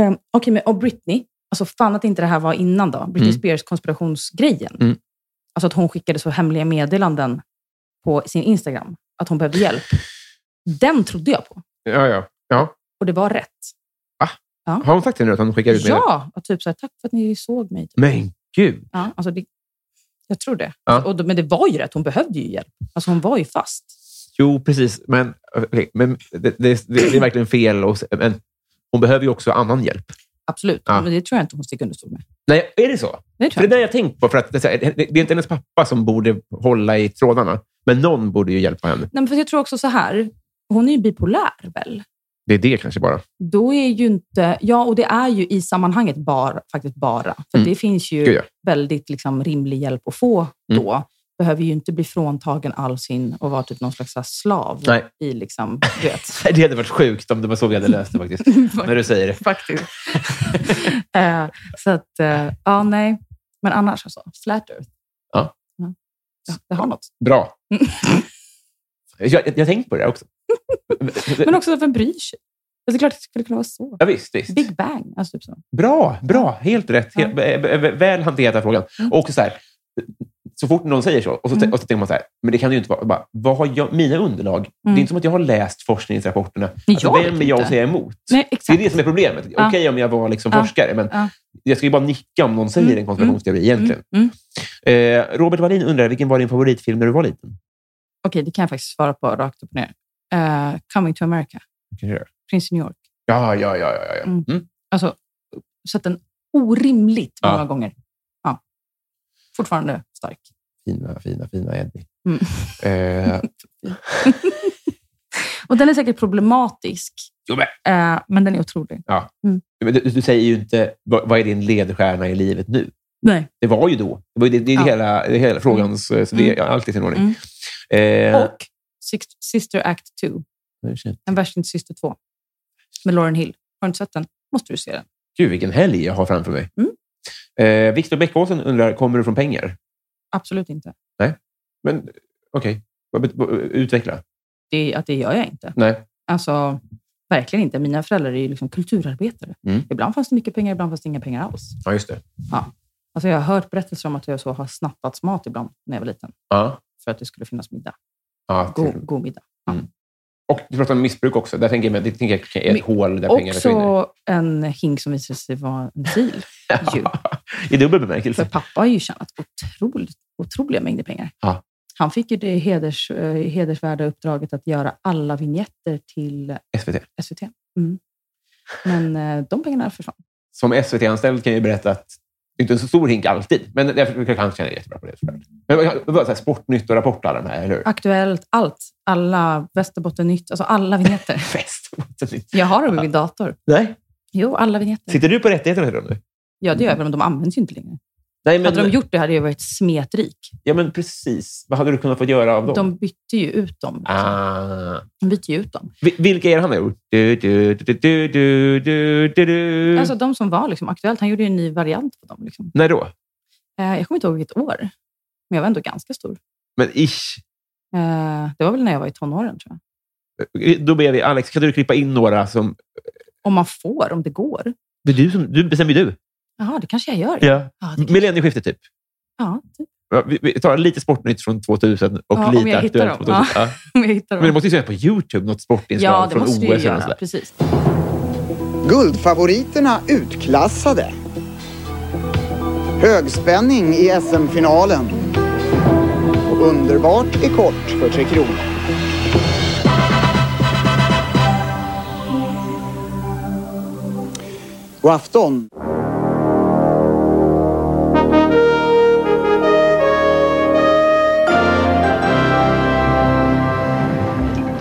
Speaker 3: Um, Okej, men och Britney. Alltså fan att inte det här var innan då. Britney
Speaker 2: Mm.
Speaker 3: Spears konspirationsgrejen.
Speaker 2: Mm.
Speaker 3: Alltså att hon skickade så hemliga meddelanden på sin Instagram. Att hon behövde hjälp. Den trodde jag på.
Speaker 2: Ja, ja. ja.
Speaker 3: Och det var rätt.
Speaker 2: Har hon sagt det nu? Att hon skickar ut meddelanden?
Speaker 3: Ja! Och typ så här, tack för att ni såg mig. Typ.
Speaker 2: Men gud!
Speaker 3: Ja, alltså det, jag tror det.
Speaker 2: Ja.
Speaker 3: Och, då- men det var ju rätt. Hon behövde ju hjälp. Alltså hon var ju fast.
Speaker 2: Jo, precis. Men, okej, men det, det, det är verkligen fel. Och, men hon behöver ju också annan hjälp.
Speaker 3: Absolut.
Speaker 2: Ja.
Speaker 3: Men det tror jag inte hon sticker under stol med.
Speaker 2: Nej, är det så?
Speaker 3: Det
Speaker 2: För
Speaker 3: tror
Speaker 2: det
Speaker 3: jag.
Speaker 2: där jag tänkt på. För att det, är så här, det det är inte hennes pappa som borde hålla i trådarna. Men någon borde ju hjälpa henne.
Speaker 3: Nej, men för jag tror också så här. Hon är ju bipolär väl?
Speaker 2: Det är det kanske bara.
Speaker 3: Då är ju inte... Ja, och det är ju i sammanhanget bara, faktiskt bara. För
Speaker 2: Mm.
Speaker 3: det finns ju
Speaker 2: Gud, ja. Mm.
Speaker 3: väldigt liksom, rimlig hjälp att få då. Behöver ju inte bli fråntagen all sin och vara typ någon slags så här slav
Speaker 2: Nej.
Speaker 3: i liksom, du vet.
Speaker 2: Nej, Det hade varit sjukt om det var så vi hade löst det faktiskt. När du säger det.
Speaker 3: faktiskt. Eh, så att, eh, ja, nej. Men annars alltså, flat earth.
Speaker 2: Ja.
Speaker 3: ja. Ja, Det har något.
Speaker 2: Bra.
Speaker 3: Mm.
Speaker 2: Jag, jag, jag har tänkt på det där också.
Speaker 3: Men också, vem bryr sig? Alltså, det är klart att det skulle kunna vara så.
Speaker 2: Ja, visst, visst.
Speaker 3: Big bang. Alltså, typ så.
Speaker 2: Bra, bra. Helt rätt. Helt, vä- vä- Väl hanterat den här frågan.
Speaker 3: Mm.
Speaker 2: Och så, här, så fort någon säger så, och så, t- och så tänker man så här, men det kan det ju inte vara. Bara, vad har jag, mina underlag? Det är inte som att jag har läst forskningsrapporterna.
Speaker 3: Nej,
Speaker 2: Alltså,
Speaker 3: Mm. jag
Speaker 2: vem
Speaker 3: vet
Speaker 2: är jag
Speaker 3: inte.
Speaker 2: att säga emot?
Speaker 3: Nej,
Speaker 2: Det är
Speaker 3: exakt.
Speaker 2: det som är problemet. Okej
Speaker 3: Ja.
Speaker 2: om jag var liksom
Speaker 3: Ja.
Speaker 2: forskare, men
Speaker 3: Ja.
Speaker 2: jag ska ju bara nicka om någon säger
Speaker 3: Mm.
Speaker 2: en konspirationsteori egentligen.
Speaker 3: Mm.
Speaker 2: Eh, Robert Wallin undrar, vilken var din favoritfilm när du var liten?
Speaker 3: Okej, det kan jag faktiskt svara på rakt upp och ner. Eh, Coming to America,
Speaker 2: Vilken är det?
Speaker 3: Prins i New York.
Speaker 2: Ja, ja, ja. ja, ja.
Speaker 3: Mm.
Speaker 2: Mm.
Speaker 3: Alltså, sett den orimligt
Speaker 2: Ja.
Speaker 3: många gånger. Ja. Fortfarande stark.
Speaker 2: Fina, fina, fina Eddie.
Speaker 3: Mm.
Speaker 2: Eh,
Speaker 3: Och den är säkert problematisk,
Speaker 2: jo, men
Speaker 3: eh, men den är otrolig.
Speaker 2: Men du, du säger ju inte, vad, vad är din ledstjärna i livet nu?
Speaker 3: Nej.
Speaker 2: Det var ju då. Det, var ju det, det är
Speaker 3: Ja. Mm.
Speaker 2: hela, det är hela frågans... Så det är allt i sin ordning. Eh,
Speaker 3: Och Six- Sister Act 2.
Speaker 2: ursäkta.
Speaker 3: En värst inte syster 2. Med Lauren Hill. Har du inte sett den? Måste du se den.
Speaker 2: Gud, vilken helg jag har framför mig.
Speaker 3: Mm.
Speaker 2: Eh, Viktor Bäckåsen undrar, kommer du från pengar?
Speaker 3: Absolut inte.
Speaker 2: Men okej, Vad bet- vad- utveckla.
Speaker 3: Det, att det gör jag inte.
Speaker 2: Nej.
Speaker 3: Alltså, verkligen inte. Mina föräldrar är ju liksom kulturarbetare.
Speaker 2: Mm.
Speaker 3: Ibland fanns det mycket pengar, ibland fanns det inga pengar alls.
Speaker 2: Ja, just det.
Speaker 3: Ja. Alltså jag har hört berättelser om att jag så har snattats mat ibland när jag var liten.
Speaker 2: Ja.
Speaker 3: För att det skulle finnas middag.
Speaker 2: ja till-
Speaker 3: God, god middag.
Speaker 2: Och du pratar om missbruk också. Där tänker jag, mig- det tänker jag kanske är ett
Speaker 3: Men
Speaker 2: hål där pengar försvinner.
Speaker 3: Också en hink som visade sig vara en bil. ju.
Speaker 2: I dubbel
Speaker 3: För
Speaker 2: bemärkelse.
Speaker 3: pappa har ju tjänat otroligt, otroliga mängder pengar.
Speaker 2: Ja.
Speaker 3: Han fick ju det heders, eh, hedersvärda uppdraget att göra alla vignetter till
Speaker 2: SVT.
Speaker 3: SVT. Mm. Men eh, de pengarna försvann.
Speaker 2: Som SVT-anställd kan jag ju berätta att det är inte en så stor hink alltid, men jag jag kan känna jättebra på det. såklart. Men det var så här, Sportnytt och Rapport alla de här, eller hur?
Speaker 3: Aktuellt, allt. Alla Västerbottennytt, alltså alla vignetter.
Speaker 2: Fest.
Speaker 3: Jag har dem i min dator.
Speaker 2: Nej.
Speaker 3: Jo, alla vignetter.
Speaker 2: Sitter du på rättigheterna till dem nu?
Speaker 3: Ja, det gör jag, men de används ju inte längre.
Speaker 2: Nej, men,
Speaker 3: Hade de gjort det hade jag varit smetrik.
Speaker 2: ja, men precis. Vad hade du kunnat få göra av dem?
Speaker 3: De bytte ju ut dem.
Speaker 2: Ah.
Speaker 3: De byter ju ut dem.
Speaker 2: Vi- Vilka är det han har gjort? Du, du, du, du, du, du, du, du.
Speaker 3: Alltså de som var liksom aktuellt. Han gjorde ju en ny variant på dem. Liksom.
Speaker 2: När då?
Speaker 3: Eh, jag kommer inte ihåg vilket år, men jag var ändå ganska stor.
Speaker 2: Men ish.
Speaker 3: Eh, det var väl när jag var i tonåren, tror jag.
Speaker 2: Då ber vi Alex, kan du klippa in några som...
Speaker 3: Om man får, om det går.
Speaker 2: Det är du som du bestämmer ju du.
Speaker 3: Jaha, det kanske jag gör.
Speaker 2: Ja.
Speaker 3: Ja, det,
Speaker 2: Millennieskiftet, typ.
Speaker 3: ja, typ.
Speaker 2: Ja, Vi, vi tar lite Sportnytt från 2000 och
Speaker 3: Ja, om
Speaker 2: lite
Speaker 3: jag hittar
Speaker 2: Aktuellt från
Speaker 3: dem.
Speaker 2: 2000. Ja.
Speaker 3: Om jag hittar
Speaker 2: Men du
Speaker 3: dem.
Speaker 2: måste ju se på YouTube något sportinslag
Speaker 3: Ja, det
Speaker 2: från OS.
Speaker 3: måste vi ju
Speaker 2: eller något
Speaker 3: göra.
Speaker 2: sådär.
Speaker 3: Precis.
Speaker 5: Guldfavoriterna utklassade. Högspänning i SM-finalen. Och underbart är kort för Tre Kronor. God afton!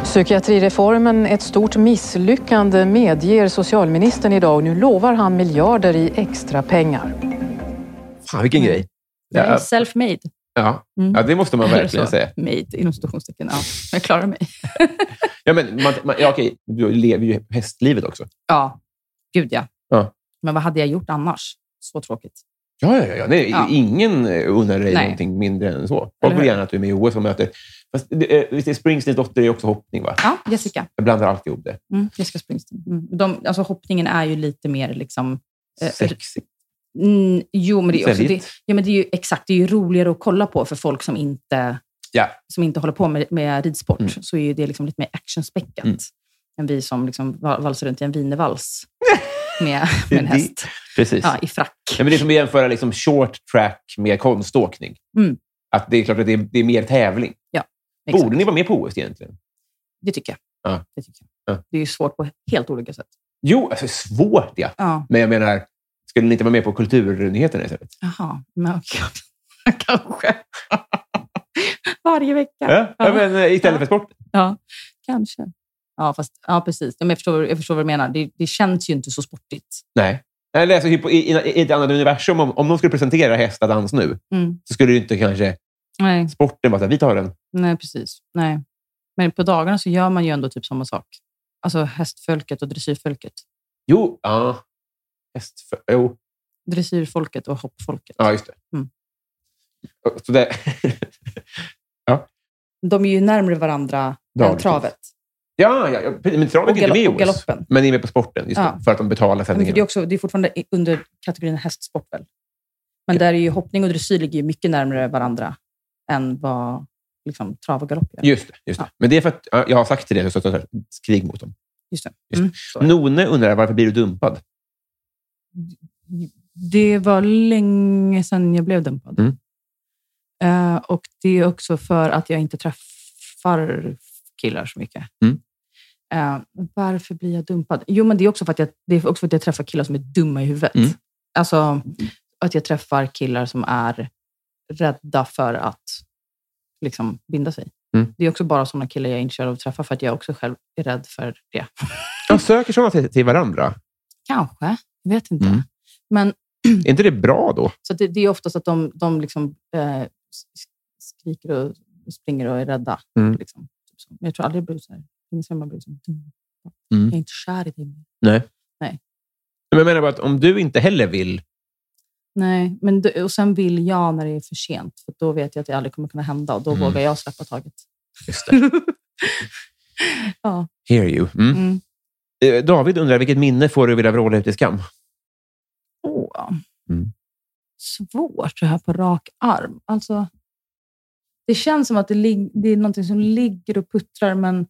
Speaker 6: Psykiatrireformen ett stort misslyckande medger socialministern idag. Nu lovar han miljarder i extra pengar.
Speaker 2: Fan, vilken grej.
Speaker 3: Jag är
Speaker 2: Ja,
Speaker 3: self-made.
Speaker 2: ja.
Speaker 3: Mm.
Speaker 2: ja, det måste man verkligen
Speaker 3: Så,
Speaker 2: säga.
Speaker 3: Made, inom situationstecken. Ja, jag klarar mig.
Speaker 2: Ja, men man, man, ja, okej. Du lever ju hästlivet också.
Speaker 3: Ja, gud ja.
Speaker 2: Ja.
Speaker 3: Men vad hade jag gjort annars? Så tråkigt.
Speaker 2: Ja, ja, ja. Nej,
Speaker 3: Ja.
Speaker 2: Ingen eh, unnar dig
Speaker 3: Nej.
Speaker 2: någonting mindre än så.
Speaker 3: Eller
Speaker 2: Folk vill
Speaker 3: hur?
Speaker 2: gärna att du är med i OS och möter... Fast, det, eh, visst är Springsteens dotter är också hoppning, va?
Speaker 3: Ja, Jessica.
Speaker 2: Jag blandar alltid ihop det.
Speaker 3: Mm, Jessica Springsteen. Mm. De, alltså, hoppningen är ju lite mer liksom... Eh,
Speaker 2: Sexigt.
Speaker 3: Mm, jo, men det är, också,
Speaker 2: Säljigt.
Speaker 3: det, ja, men det är ju exakt. Det är ju roligare att kolla på för folk som inte,
Speaker 2: Ja.
Speaker 3: som inte håller på med, med ridsport.
Speaker 2: Mm.
Speaker 3: Så är ju det liksom lite mer actionspäckat
Speaker 2: Mm.
Speaker 3: än vi som liksom val- valsar runt i en wienervals med, med en
Speaker 2: Det-
Speaker 3: häst
Speaker 2: Precis.
Speaker 3: ja, i frack.
Speaker 2: Ja, men det är som att jämföra liksom short track med konståkning.
Speaker 3: Mm.
Speaker 2: Att det är klart att det är, det är mer tävling.
Speaker 3: Exakt.
Speaker 2: Borde ni vara med på OS egentligen?
Speaker 3: Liksom. Det tycker jag.
Speaker 2: Ja.
Speaker 3: Det, tycker jag.
Speaker 2: Ja.
Speaker 3: det är ju svårt på helt olika sätt.
Speaker 2: Jo, alltså svårt ja.
Speaker 3: Ja,
Speaker 2: Men jag menar, skulle ni inte vara med på Kulturnyheterna istället?
Speaker 3: jaha. Men, okej. kanske. Varje vecka.
Speaker 2: Ja. Ja,
Speaker 3: Ja.
Speaker 2: men eh, istället för sport.
Speaker 3: Ja, kanske. Ja, fast, ja precis. Ja, men jag, förstår, jag förstår vad du menar. Det, det känns ju inte så sportigt.
Speaker 2: Nej. Eller alltså, hypo- i, i, I ett annat universum, om, om de skulle presentera hästadans nu,
Speaker 3: Mm.
Speaker 2: så skulle det ju inte kanske
Speaker 3: Nej,
Speaker 2: sporten vara så här, vi tar den.
Speaker 3: nej, precis. Nej. Men på dagarna så gör man ju ändå typ samma sak. Alltså hästfolket och dressyrfolket.
Speaker 2: Jo, ja. Häst för, jo.
Speaker 3: Dressyrfolket och hoppfolket.
Speaker 2: ja just det.
Speaker 3: Mm.
Speaker 2: Och Så det
Speaker 3: De är ju närmare varandra än
Speaker 2: Dagligt.
Speaker 3: travet.
Speaker 2: ja, ja, ja, men travet
Speaker 3: Och
Speaker 2: är inte med i
Speaker 3: galopp- och
Speaker 2: OS.
Speaker 3: galoppen.
Speaker 2: Men ni är med på sporten, just
Speaker 3: Ja.
Speaker 2: det, för att de betalar
Speaker 3: Men
Speaker 2: sändningen.
Speaker 3: för det, är också, det är fortfarande i- under kategorin hästsport väl? Men där är ju hoppning och dressyr ligger ju mycket närmare varandra än vad liksom, trav och galopp gör.
Speaker 2: Just det. Just det.
Speaker 3: Ja.
Speaker 2: Men det är för att ja, jag har sagt till dig att jag ska ta krig mot dem.
Speaker 3: Just det.
Speaker 2: Just
Speaker 3: Mm, så är det.
Speaker 2: None undrar varför blir du dumpad?
Speaker 3: Det var länge sedan jag blev dumpad.
Speaker 2: Mm.
Speaker 3: Eh, och det är också för att jag inte träffar killar så mycket.
Speaker 2: Mm.
Speaker 3: Eh, varför blir jag dumpad? Jo, men det är också för att jag, det är också för att jag träffar killar som är dumma i huvudet.
Speaker 2: Mm.
Speaker 3: Alltså, att jag träffar killar som är rädda för att liksom, binda sig.
Speaker 2: Mm.
Speaker 3: Det är också bara sådana killar jag är intresserad av att träffa för att jag också själv är rädd för det.
Speaker 2: Jag söker sådana till, till varandra.
Speaker 3: Kanske, jag vet inte.
Speaker 2: Mm.
Speaker 3: Men
Speaker 2: Är inte det bra då?
Speaker 3: Så det, det är oftast att de, de liksom, eh, sk- skriker och springer och är rädda.
Speaker 2: Mm.
Speaker 3: Liksom. Typ så. Men jag tror aldrig jag blir så här. Ingen som jag blir så här, "Dum,
Speaker 2: Mm.
Speaker 3: Jag är inte kär i dig.
Speaker 2: Men jag menar bara att om du inte heller vill...
Speaker 3: Nej, men då, och sen vill jag när det är för sent. För då vet jag att det aldrig kommer kunna hända och då
Speaker 2: Mm.
Speaker 3: vågar jag släppa taget.
Speaker 2: Just det.
Speaker 3: ja.
Speaker 2: Hear you. Mm.
Speaker 3: Mm.
Speaker 2: Eh, David undrar, vilket minne får du vilja vråla ut i skam?
Speaker 3: Åh.
Speaker 2: Mm.
Speaker 3: svårt så här på rak arm. Alltså, det känns som att det, lig- det är någonting som ligger och puttrar, men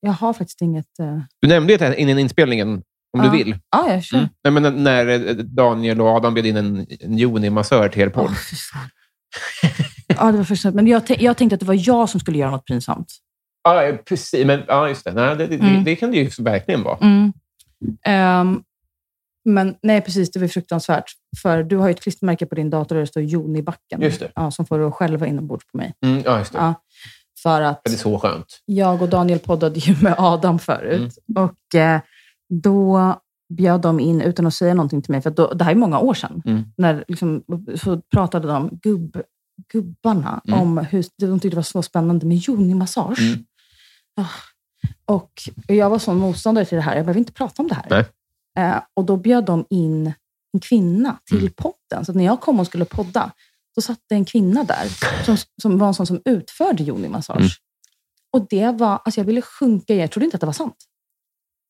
Speaker 3: jag har faktiskt inget... eh,
Speaker 2: Du nämnde ju det här innan inspelningen, om
Speaker 3: Ja.
Speaker 2: du vill. Mm.
Speaker 3: Ja, jag kör.
Speaker 2: Nej, men när eh, Daniel och Adam bjöd in en, en Joni-massör till er podd.
Speaker 3: Åh, fy fan. ja, det var först, men jag, tän- jag tänkte att det var jag som skulle göra något pinsamt.
Speaker 2: Ja, eh, precis. Men, ja, just det. Nej, det, det,
Speaker 3: Mm.
Speaker 2: det kan det ju verkligen vara.
Speaker 3: Mm. Ehm, men nej, precis. Det var ju fruktansvärt. För du har ju ett klistermärke på din dator där det står Jon i backen.
Speaker 2: Just det.
Speaker 3: Ja, som får du att skälva inombords på mig.
Speaker 2: Mm, ja, just det.
Speaker 3: Ja. För att
Speaker 2: Det är så skönt.
Speaker 3: jag och Daniel poddade ju med Adam förut.
Speaker 2: Mm.
Speaker 3: Och eh, då bjöd de in, utan att säga någonting till mig, för att då, det här är många år sedan,
Speaker 2: Mm.
Speaker 3: när, liksom, så pratade de, gubb, gubbarna,
Speaker 2: Mm.
Speaker 3: om hur de tyckte det var så spännande med yoni-massage.
Speaker 2: Mm.
Speaker 3: Ah. Och jag var sån motståndare till det här. Jag behöver inte prata om det här. Eh, och då bjöd de in en kvinna till
Speaker 2: Mm.
Speaker 3: podden. Så att när jag kom och skulle podda, då satt det en kvinna där som, som var en sån som utförde yoni-massage.
Speaker 2: Mm.
Speaker 3: Och det var, alltså jag ville sjunka i, jag trodde inte att det var sant.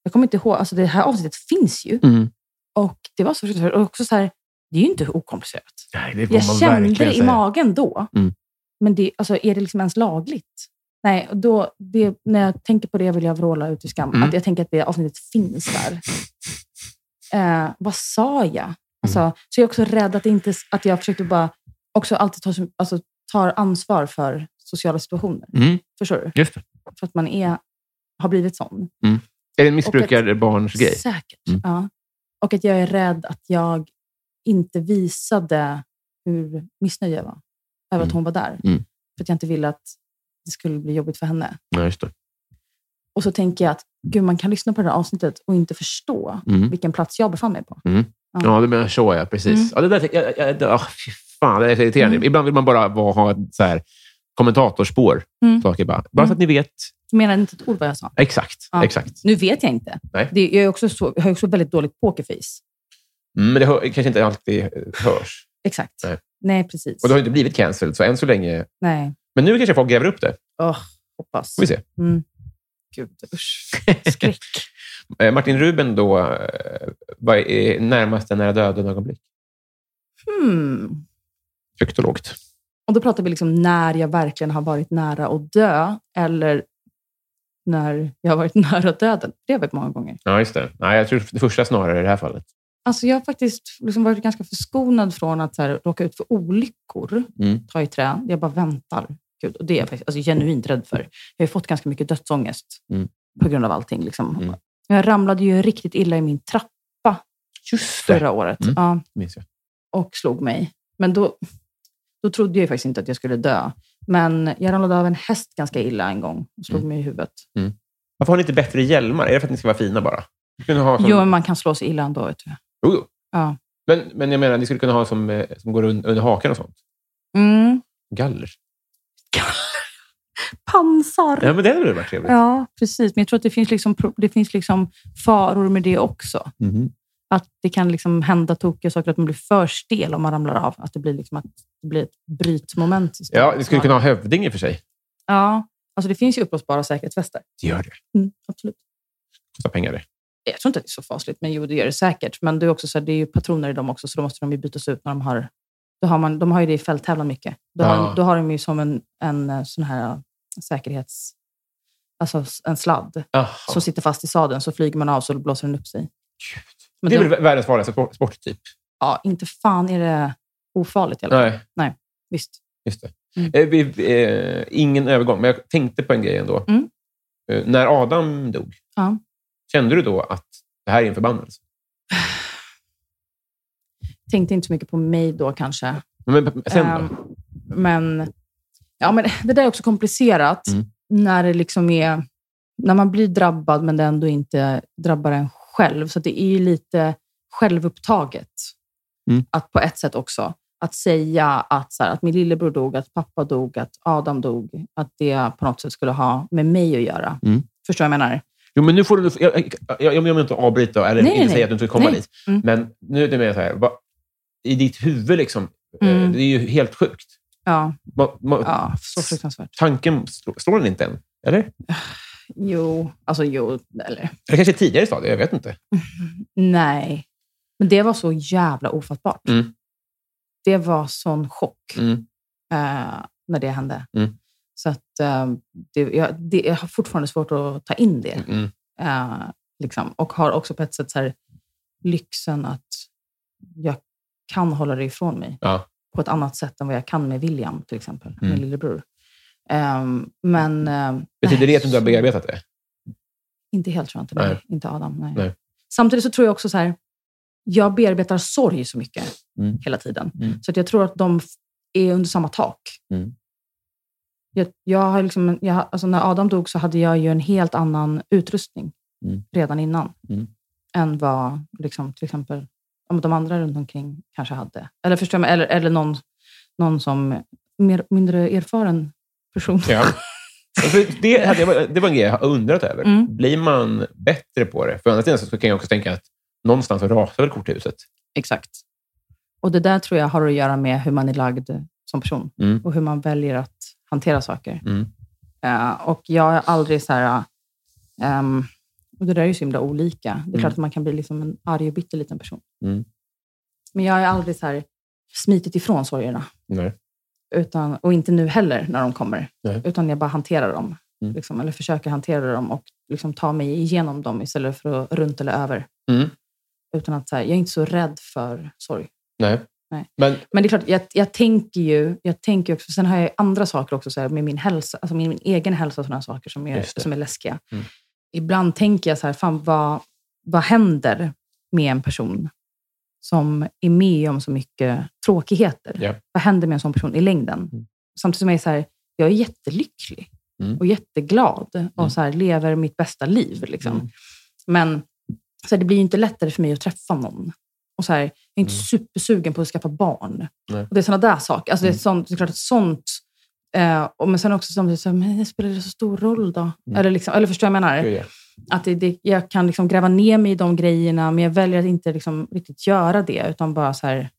Speaker 3: Jag kommer inte ihåg, alltså det här avsnittet finns ju.
Speaker 2: Mm.
Speaker 3: Och det var så fruktansvärt. Och också så här, det är ju inte okomplicerat.
Speaker 2: Nej, det
Speaker 3: Jag kände det i magen då.
Speaker 2: Mm.
Speaker 3: Men det, alltså, är det liksom ens lagligt? Nej, och då, det, när jag tänker på det vill jag vråla ut i skam.
Speaker 2: Mm.
Speaker 3: Att jag tänker att det avsnittet finns där. Eh, vad sa jag? Alltså,
Speaker 2: Mm.
Speaker 3: Så jag är också rädd att, det inte, att jag försökte bara också alltid ta, som- alltså, tar ansvar för sociala situationer.
Speaker 2: Mm.
Speaker 3: Förstår du?
Speaker 2: Just det.
Speaker 3: För att man är, har blivit sån.
Speaker 2: Är det en missbrukarbarnsgrej?
Speaker 3: Säkert.
Speaker 2: Mm.
Speaker 3: Ja. Och att jag är rädd att jag inte visade hur missnöjd jag var över att
Speaker 2: Mm.
Speaker 3: hon var där.
Speaker 2: Mm.
Speaker 3: För att jag inte ville att det skulle bli jobbigt för henne.
Speaker 2: Nej, just det.
Speaker 3: Och så tänker jag att gud, man kan lyssna på det här avsnittet och inte förstå
Speaker 2: Mm.
Speaker 3: vilken plats jag befann mig på.
Speaker 2: Ja, du menar så, ja. Precis.
Speaker 3: Mm.
Speaker 2: Ja, det där, jag, jag, jag, åh, fy fan, det där är så irriterande.
Speaker 3: Mm.
Speaker 2: Ibland vill man bara vara, ha ett så här, kommentatorspår.
Speaker 3: Mm.
Speaker 2: Saker bara. bara så
Speaker 3: Mm.
Speaker 2: att ni vet.
Speaker 3: Jag menar inte ett ord vad jag sa.
Speaker 2: Exakt.
Speaker 3: Ja.
Speaker 2: exakt.
Speaker 3: Nu vet jag inte.
Speaker 2: Nej.
Speaker 3: Det, jag, är också så, jag har ju också väldigt dåligt pokerface.
Speaker 2: Mm, men det hör, kanske inte alltid eh, hörs.
Speaker 3: Exakt.
Speaker 2: Nej.
Speaker 3: precis.
Speaker 2: Och det har ju inte blivit cancelled, så än så länge...
Speaker 3: Nej.
Speaker 2: Men nu kanske folk gräver upp det.
Speaker 3: Åh, hoppas.
Speaker 2: Får vi se.
Speaker 3: Mm. Gud, usch. Skräck.
Speaker 2: Eh, Martin Ruben då, eh, vad är närmaste nära döden-ögonblick?
Speaker 3: Hmm.
Speaker 2: Högt och lågt.
Speaker 3: Och då pratar vi liksom när jag verkligen har varit nära att dö eller när jag har varit nära döden. Det har varit många gånger.
Speaker 2: Ja, just det. Nej, jag tror det första snarare i det här fallet.
Speaker 3: Alltså jag har faktiskt liksom varit ganska förskonad från att så här, råka ut för olyckor.
Speaker 2: Mm.
Speaker 3: Ta i trä. Jag bara väntar. Gud, och det är jag faktiskt alltså, genuint rädd för. Jag har ju fått ganska mycket dödsångest
Speaker 2: Mm.
Speaker 3: på grund av allting. Liksom.
Speaker 2: Mm.
Speaker 3: Jag ramlade ju riktigt illa i min trappa
Speaker 2: Just det,
Speaker 3: förra året.
Speaker 2: Mm.
Speaker 3: Ja.
Speaker 2: minns jag.
Speaker 3: och slog mig. Men då, då trodde jag ju faktiskt inte att jag skulle dö. Men jag ramlade av en häst ganska illa en gång och slog
Speaker 2: Mm.
Speaker 3: mig i huvudet.
Speaker 2: Varför har ni inte bättre hjälmar? Är det för att ni ska vara fina bara? Ni kunde ha som...
Speaker 3: Jo, men man kan slå sig illa ändå. Vet du.
Speaker 2: Jo, jo.
Speaker 3: Ja.
Speaker 2: Men, men jag menar, ni skulle kunna ha som, eh, som går un- under hakan och sånt.
Speaker 3: Mm.
Speaker 2: Galler.
Speaker 3: Pansar!
Speaker 2: Ja, men det hade väl varit trevligt?
Speaker 3: Ja, precis. Men jag tror att det finns, liksom, pro- det finns liksom faror med det också.
Speaker 2: Mhm.
Speaker 3: Att det kan liksom hända tokiga saker, att man blir för stel om man ramlar av. Att det blir, liksom att det blir ett brytmoment. istället.
Speaker 2: Ja, ni skulle kunna ha hövding i och för sig.
Speaker 3: Ja, alltså det finns ju uppblåsbara säkerhetsvästar.
Speaker 2: Det gör det.
Speaker 3: Mm, absolut.
Speaker 2: Kostar pengar det.
Speaker 3: jag tror inte att det är så fasligt, men jo, det gör det säkert. Men det är, också så här, det är ju patroner i dem också, så då måste de ju bytas ut när de har... Då har man, de har ju det i fälttävlan mycket. Då,
Speaker 2: Ja.
Speaker 3: har, då har de ju som en, en eh, sån här eh, säkerhets... Alltså s- en sladd
Speaker 2: Jaha.
Speaker 3: som sitter fast i sadeln. Så flyger man av så blåser den upp sig. Men
Speaker 2: Det är
Speaker 3: det,
Speaker 2: väl världens farligaste sport, typ. sporttyp?
Speaker 3: ja, inte fan är det ofarligt i alla fall.
Speaker 2: Nej,
Speaker 3: Visst.
Speaker 2: just det.
Speaker 3: Mm.
Speaker 2: Eh, vi, eh, ingen övergång, men jag tänkte på en grej ändå.
Speaker 3: Mm.
Speaker 2: Eh, när Adam dog,
Speaker 3: Ja.
Speaker 2: kände du då att det här är en förbannelse?
Speaker 3: Tänkte inte så mycket på mig då kanske.
Speaker 2: Men, men sen då?
Speaker 3: Ehm, men, ja, men det där är också komplicerat.
Speaker 2: Mm.
Speaker 3: När, det liksom är, när man blir drabbad, men det ändå inte drabbar en själv. Så att det är ju lite självupptaget.
Speaker 2: Mm.
Speaker 3: Att på ett sätt också. Att säga att, så här, att min lillebror dog, att pappa dog, att Adam dog. Att det på något sätt skulle ha med mig att göra.
Speaker 2: Mm.
Speaker 3: Förstår du vad jag menar?
Speaker 2: Jo, men nu får du... Jag, jag, jag, jag vill inte avbryta eller
Speaker 3: Nej,
Speaker 2: inte
Speaker 3: nej,
Speaker 2: säga
Speaker 3: nej.
Speaker 2: att du inte vill komma
Speaker 3: Nej.
Speaker 2: dit.
Speaker 3: Mm.
Speaker 2: Men nu är det mer så här, vad- i ditt huvud liksom, eh,
Speaker 3: Mm.
Speaker 2: det är ju helt sjukt.
Speaker 3: Ja,
Speaker 2: Ma, ma,
Speaker 3: ja så fruktansvärt.
Speaker 2: Tanken slår, slår den inte än, eller? Eller
Speaker 3: Jo, alltså jo, eller
Speaker 2: kanske tidigare stadie, jag vet inte.
Speaker 3: nej. Men det var så jävla ofattbart.
Speaker 2: Mm.
Speaker 3: det var sån chock
Speaker 2: Mm.
Speaker 3: eh, när det hände.
Speaker 2: Mm.
Speaker 3: Så att, eh, det, jag, det, jag har fortfarande svårt att ta in det.
Speaker 2: Mm.
Speaker 3: Eh, liksom. Och har också på ett sätt så här, lyxen att jag kan hålla det ifrån mig
Speaker 2: Ja.
Speaker 3: på ett annat sätt än vad jag kan med William, till exempel,
Speaker 2: Mm.
Speaker 3: min lillebror. Ehm, men, ehm,
Speaker 2: Betyder
Speaker 3: nej,
Speaker 2: det att du inte har bearbetat det?
Speaker 3: Inte helt, tror jag inte. Nej.
Speaker 2: Nej.
Speaker 3: Inte Adam. Nej.
Speaker 2: Nej.
Speaker 3: Samtidigt så tror jag också så här, jag bearbetar sorg så mycket
Speaker 2: Mm.
Speaker 3: hela tiden.
Speaker 2: Mm.
Speaker 3: Så att jag tror att de f- är under samma tak.
Speaker 2: Mm.
Speaker 3: Jag, jag har liksom, en- jag, har- alltså när Adam dog så hade jag ju en helt annan utrustning
Speaker 2: Mm.
Speaker 3: redan innan
Speaker 2: Mm.
Speaker 3: än vad liksom, till exempel om de andra runt omkring kanske hade. Eller, förstår jag, mig? eller, eller någon, någon som mer, mindre erfaren person.
Speaker 2: Ja. För det, hade jag, det var en grej jag har undrat över.
Speaker 3: Mm.
Speaker 2: Blir man bättre på det? För å andra sidan så kan jag också tänka att någonstans så rasar väl korthuset?
Speaker 3: Exakt. Och det där tror jag har att göra med hur man är lagd som person
Speaker 2: Mm.
Speaker 3: och hur man väljer att hantera saker.
Speaker 2: Mm.
Speaker 3: Eh, och jag är aldrig så här... ehm, och det där är ju så himla olika. Det är klart att man kan bli liksom en arg och bitter liten person.
Speaker 2: Mm.
Speaker 3: Men jag är aldrig så här smitit ifrån sorgerna.
Speaker 2: Nej.
Speaker 3: Utan, och inte nu heller när de kommer.
Speaker 2: Nej.
Speaker 3: Utan jag bara hanterar dem.
Speaker 2: Mm.
Speaker 3: Liksom, eller försöker hantera dem och liksom ta mig igenom dem istället för att runt eller över.
Speaker 2: Mm.
Speaker 3: Utan att så här, jag är inte så rädd för sorg.
Speaker 2: Nej.
Speaker 3: Nej.
Speaker 2: Men
Speaker 3: Men det är klart, jag, jag tänker ju... Jag tänker också, sen har jag ju andra saker också så här, med min hälsa, alltså min, min egen hälsa och sådana saker som är,
Speaker 2: Just det.
Speaker 3: som är läskiga.
Speaker 2: Mm.
Speaker 3: Ibland tänker jag så här, fan vad, vad händer med en person som är med om så mycket tråkigheter?
Speaker 2: Ja.
Speaker 3: Vad händer med en sån person i längden?
Speaker 2: Mm.
Speaker 3: Samtidigt som jag är så här, jag är jättelycklig
Speaker 2: Mm.
Speaker 3: och jätteglad och
Speaker 2: Mm.
Speaker 3: så här, lever mitt bästa liv. Liksom.
Speaker 2: Mm.
Speaker 3: Men så här, det blir ju inte lättare för mig att träffa någon. Och så här, jag är inte
Speaker 2: Mm.
Speaker 3: supersugen på att skaffa barn.
Speaker 2: Nej.
Speaker 3: Och det är sådana där saker. Alltså, det, är
Speaker 2: Mm.
Speaker 3: sånt, det är klart att sånt... Eh, och, men sen också samtidigt, så här, men spelar det så stor roll då?
Speaker 2: Mm.
Speaker 3: Eller, liksom, eller förstår jag vad jag menar?
Speaker 2: gud, ja.
Speaker 3: Att det, det, jag kan liksom gräva ner mig i de grejerna, men jag väljer att inte liksom riktigt göra det, utan bara så här,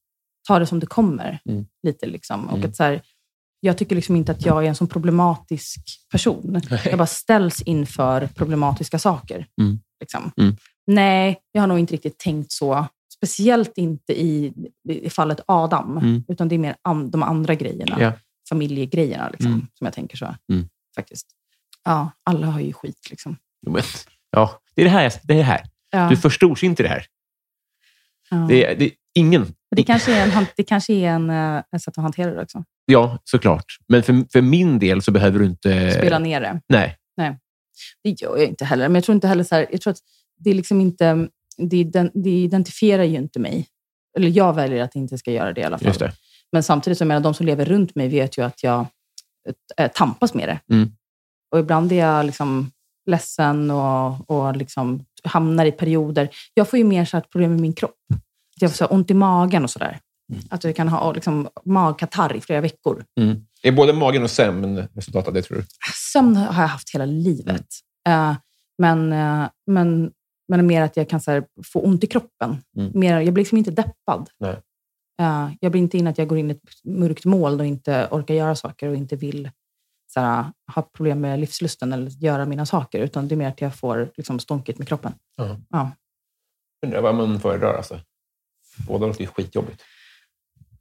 Speaker 3: ta det som det kommer.
Speaker 2: Mm.
Speaker 3: lite liksom. Och
Speaker 2: Mm.
Speaker 3: att så här, Jag tycker liksom inte att jag är en sån problematisk person. Jag bara ställs inför problematiska saker.
Speaker 2: Mm.
Speaker 3: Liksom.
Speaker 2: Mm.
Speaker 3: Nej, jag har nog inte riktigt tänkt så. Speciellt inte i, i fallet Adam,
Speaker 2: Mm.
Speaker 3: utan det är mer an, de andra grejerna.
Speaker 2: Ja.
Speaker 3: Familjegrejerna, liksom,
Speaker 2: Mm.
Speaker 3: som jag tänker så.
Speaker 2: Mm.
Speaker 3: Faktiskt. Ja, alla har ju skit. Liksom.
Speaker 2: Jo, men- ja. Det är det här. jag- Det är det här.
Speaker 3: Ja,
Speaker 2: Du förstors inte det här.
Speaker 3: ja.
Speaker 2: Det, är- det är ingen.
Speaker 3: Och det kanske är, en, han- det kanske är en, eh, ett sätt att hantera det också.
Speaker 2: Ja, såklart. Men för, för min del så behöver du inte...
Speaker 3: Spela ner det.
Speaker 2: Nej.
Speaker 3: Det gör jag inte heller. Men jag tror inte heller så här, jag tror att det är liksom inte, det, iden- det identifierar ju inte mig. Eller jag väljer att inte ska göra det i alla fall.
Speaker 2: Just det.
Speaker 3: Men samtidigt, så menar jag, de som lever runt mig vet ju att jag eh, tampas med det.
Speaker 2: Mm.
Speaker 3: Och ibland är jag liksom ledsen och, och liksom hamnar i perioder. Jag får ju mer så här ett problem med min kropp. Att Jag får så här ont i magen och sådär. Att jag kan ha liksom, magkatarr i flera veckor.
Speaker 2: Mm. Är både magen och sömn resultat av det, tror du?
Speaker 3: Sömn har jag haft hela livet. Eh, men, eh, men, men mer att jag kan så här, få ont i kroppen.
Speaker 2: Mm.
Speaker 3: Mer, jag blir liksom inte deppad.
Speaker 2: Nej.
Speaker 3: Eh, jag blir inte in att jag går in i ett mörkt moln och inte orkar göra saker och inte vill så här, ha problem med livslusten eller göra mina saker. Utan det är mer att jag får liksom, stånkigt med kroppen.
Speaker 2: Ja.
Speaker 3: Ja.
Speaker 2: Undrar vad man föredrar. Alltså. Båda låter ju skitjobbigt.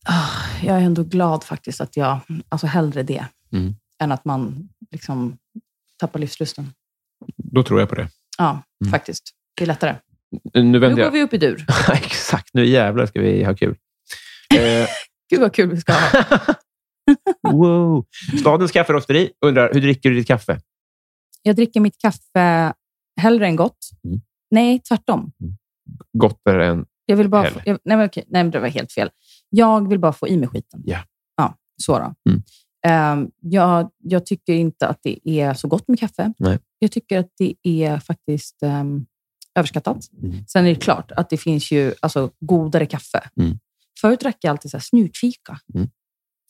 Speaker 3: Ah, Jag är ändå glad faktiskt att jag, alltså hellre det,
Speaker 2: Mm.
Speaker 3: än att man liksom, tappar livslusten.
Speaker 2: Då tror jag på det.
Speaker 3: Ja,
Speaker 2: Mm.
Speaker 3: faktiskt. Det är lättare.
Speaker 2: Nu
Speaker 3: Nu
Speaker 2: vänder
Speaker 3: går
Speaker 2: jag.
Speaker 3: vi upp i dur.
Speaker 2: Exakt. Nu jävlar ska vi ha kul. Eh,
Speaker 3: Gud vad kul vi ska ha.
Speaker 2: wow. Stadens kafferosteri undrar, hur dricker du ditt kaffe?
Speaker 3: Jag dricker mitt kaffe hellre än gott.
Speaker 2: Mm.
Speaker 3: Nej, tvärtom.
Speaker 2: Gottare än...
Speaker 3: Jag vill bara få,
Speaker 2: Hellre.
Speaker 3: jag, nej, men okej, nej, men det var helt fel. Jag vill bara få i mig skiten.
Speaker 2: Ja.
Speaker 3: Ja, så då.
Speaker 2: Mm.
Speaker 3: Ehm, jag, jag tycker inte att det är så gott med kaffe.
Speaker 2: Nej.
Speaker 3: Jag tycker att det är faktiskt ehm, överskattat.
Speaker 2: Mm.
Speaker 3: Sen är det klart att det finns ju alltså, godare kaffe.
Speaker 2: Mm.
Speaker 3: Förut drack jag alltid så här snutfika.
Speaker 2: Mm.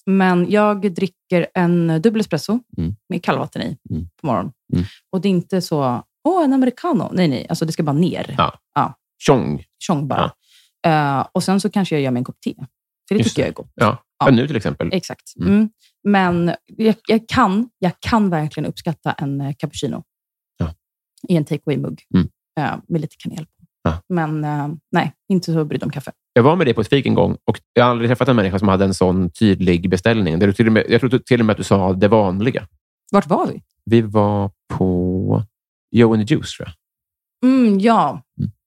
Speaker 3: Men jag dricker en dubbel espresso
Speaker 2: Mm.
Speaker 3: med kallvatten i
Speaker 2: Mm.
Speaker 3: på morgonen.
Speaker 2: Mm.
Speaker 3: Och det är inte så, åh, en americano. Nej, nej. Alltså, det ska bara ner.
Speaker 2: Ja. Tjong.
Speaker 3: Tjong bara. Eh, och sen så kanske jag gör mig en kopp te. För det
Speaker 2: Just
Speaker 3: tycker
Speaker 2: det.
Speaker 3: jag är gott.
Speaker 2: Ja.
Speaker 3: Ja.
Speaker 2: ja. Nu till exempel.
Speaker 3: Exakt.
Speaker 2: Mm.
Speaker 3: Mm. Men jag, jag, kan, jag kan verkligen uppskatta en eh, cappuccino
Speaker 2: Ja.
Speaker 3: i en takeaway-mugg
Speaker 2: Mm.
Speaker 3: eh, med lite kanel på.
Speaker 2: Ja.
Speaker 3: Men eh, nej, inte så brydd om kaffe.
Speaker 2: Jag var med dig på ett fik en gång och jag har aldrig träffat en människa som hade en sån tydlig beställning. Där du till och med, jag tror till och med att du sa det vanliga.
Speaker 3: Vart var vi?
Speaker 2: Vi var på Joe and the Juice, tror jag.
Speaker 3: Mm, ja,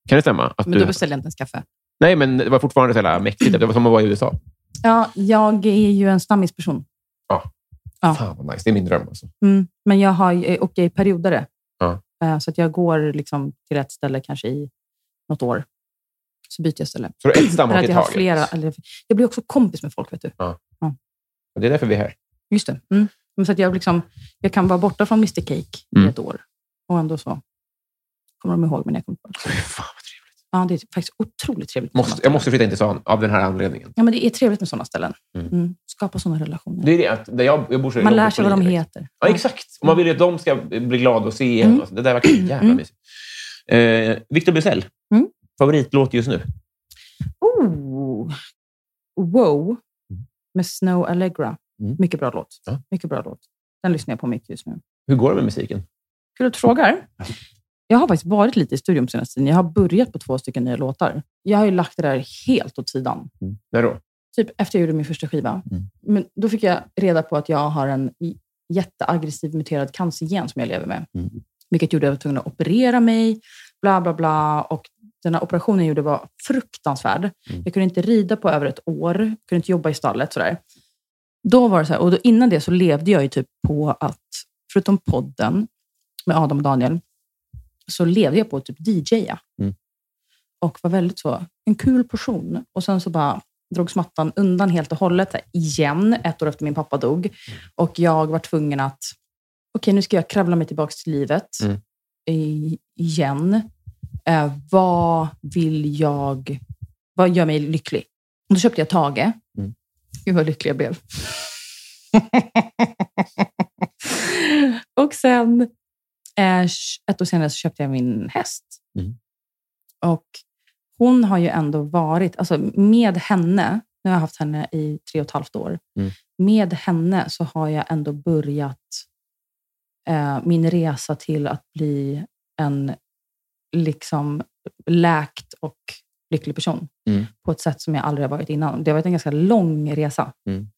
Speaker 2: Kan det stämma? Att
Speaker 3: men då
Speaker 2: du...
Speaker 3: beställde jag inte ens kaffe.
Speaker 2: Nej, men det var fortfarande så jävla mäktigt. Det var som att vara i USA.
Speaker 3: Ja, jag är ju en stammisperson. Ja.
Speaker 2: Fan vad nice. Det är min dröm. Alltså.
Speaker 3: Mm. Men jag har, ju- och jag är periodare.
Speaker 2: Ja.
Speaker 3: Eh, Så att jag går liksom till ett ställe kanske i något år. Så byter jag ställe.
Speaker 2: Så ett
Speaker 3: För
Speaker 2: stamhopp
Speaker 3: att
Speaker 2: i
Speaker 3: jag har
Speaker 2: taget.
Speaker 3: flera. eller- Jag blir också kompis med folk, vet du.
Speaker 2: Och Det är därför vi är här.
Speaker 3: Just det. Mm. Men så att jag, liksom, jag kan vara borta från Mr Cake
Speaker 2: Mm.
Speaker 3: i ett år och ändå så kommer de ihåg mig när jag kommer tillbaka.
Speaker 2: Fan, vad trevligt.
Speaker 3: Ja, det är faktiskt otroligt trevligt. med sådana
Speaker 2: Måste, jag måste flytta in till stan av den här anledningen.
Speaker 3: Ja, men det är trevligt med sådana ställen.
Speaker 2: Mm.
Speaker 3: Mm. Skapa sådana relationer.
Speaker 2: Det är det att där jag, jag bor så är det
Speaker 3: Man
Speaker 2: långt
Speaker 3: lär
Speaker 2: upp
Speaker 3: sig
Speaker 2: på
Speaker 3: vad de
Speaker 2: linjen.
Speaker 3: heter.
Speaker 2: Ja, exakt. Och man vill ju att de ska bli glada och se en.
Speaker 3: Mm.
Speaker 2: och så. Det där verkar jävla
Speaker 3: Mm.
Speaker 2: mysigt. Eh, Victor Blusell.
Speaker 3: Mm.
Speaker 2: Favoritlåt just nu?
Speaker 3: Oh. Wow med Snow Allegra.
Speaker 2: Mm.
Speaker 3: Mycket bra låt.
Speaker 2: Ja.
Speaker 3: Mycket bra låt. Den lyssnar jag på mycket just nu.
Speaker 2: Hur går det med musiken?
Speaker 3: Kul att du frågar. Jag har faktiskt varit lite i studion på senaste tiden. Jag har börjat på två stycken nya låtar. Jag har ju lagt det där helt åt sidan.
Speaker 2: När då?
Speaker 3: typ efter jag gjorde min första skiva.
Speaker 2: Mm.
Speaker 3: Men då fick jag reda på att jag har en j- jätteaggressiv muterad cancergen som jag lever med.
Speaker 2: Mm.
Speaker 3: Vilket gjorde att jag var tvungen att operera mig, bla bla bla. Och den här operationen jag gjorde var fruktansvärd.
Speaker 2: Mm.
Speaker 3: Jag kunde inte rida på över ett år, jag kunde inte jobba i stallet. Sådär. Då var det så här, och då, innan det så levde jag ju typ på att, förutom podden med Adam och Daniel, så levde jag på att typ DJa.
Speaker 2: Mm.
Speaker 3: Och var väldigt så, en kul person. Och sen så bara drogs mattan undan helt och hållet så här, igen, ett år efter min pappa dog.
Speaker 2: Mm.
Speaker 3: Och jag var tvungen att, okej nu ska jag kravla mig tillbaka till livet
Speaker 2: Mm.
Speaker 3: i, igen. Eh, vad vill jag, vad gör mig lycklig? Och då köpte jag Tage.
Speaker 2: Mm.
Speaker 3: Gud vad lycklig jag blev. och sen, eh, ett år senare så köpte jag min häst.
Speaker 2: Mm.
Speaker 3: Och hon har ju ändå varit, alltså med henne, nu har jag haft henne i tre och ett halvt år,
Speaker 2: Mm.
Speaker 3: med henne så har jag ändå börjat eh, min resa till att bli en liksom läkt och lycklig person
Speaker 2: Mm.
Speaker 3: på ett sätt som jag aldrig har varit innan. Det har varit en ganska lång resa.
Speaker 2: Mm.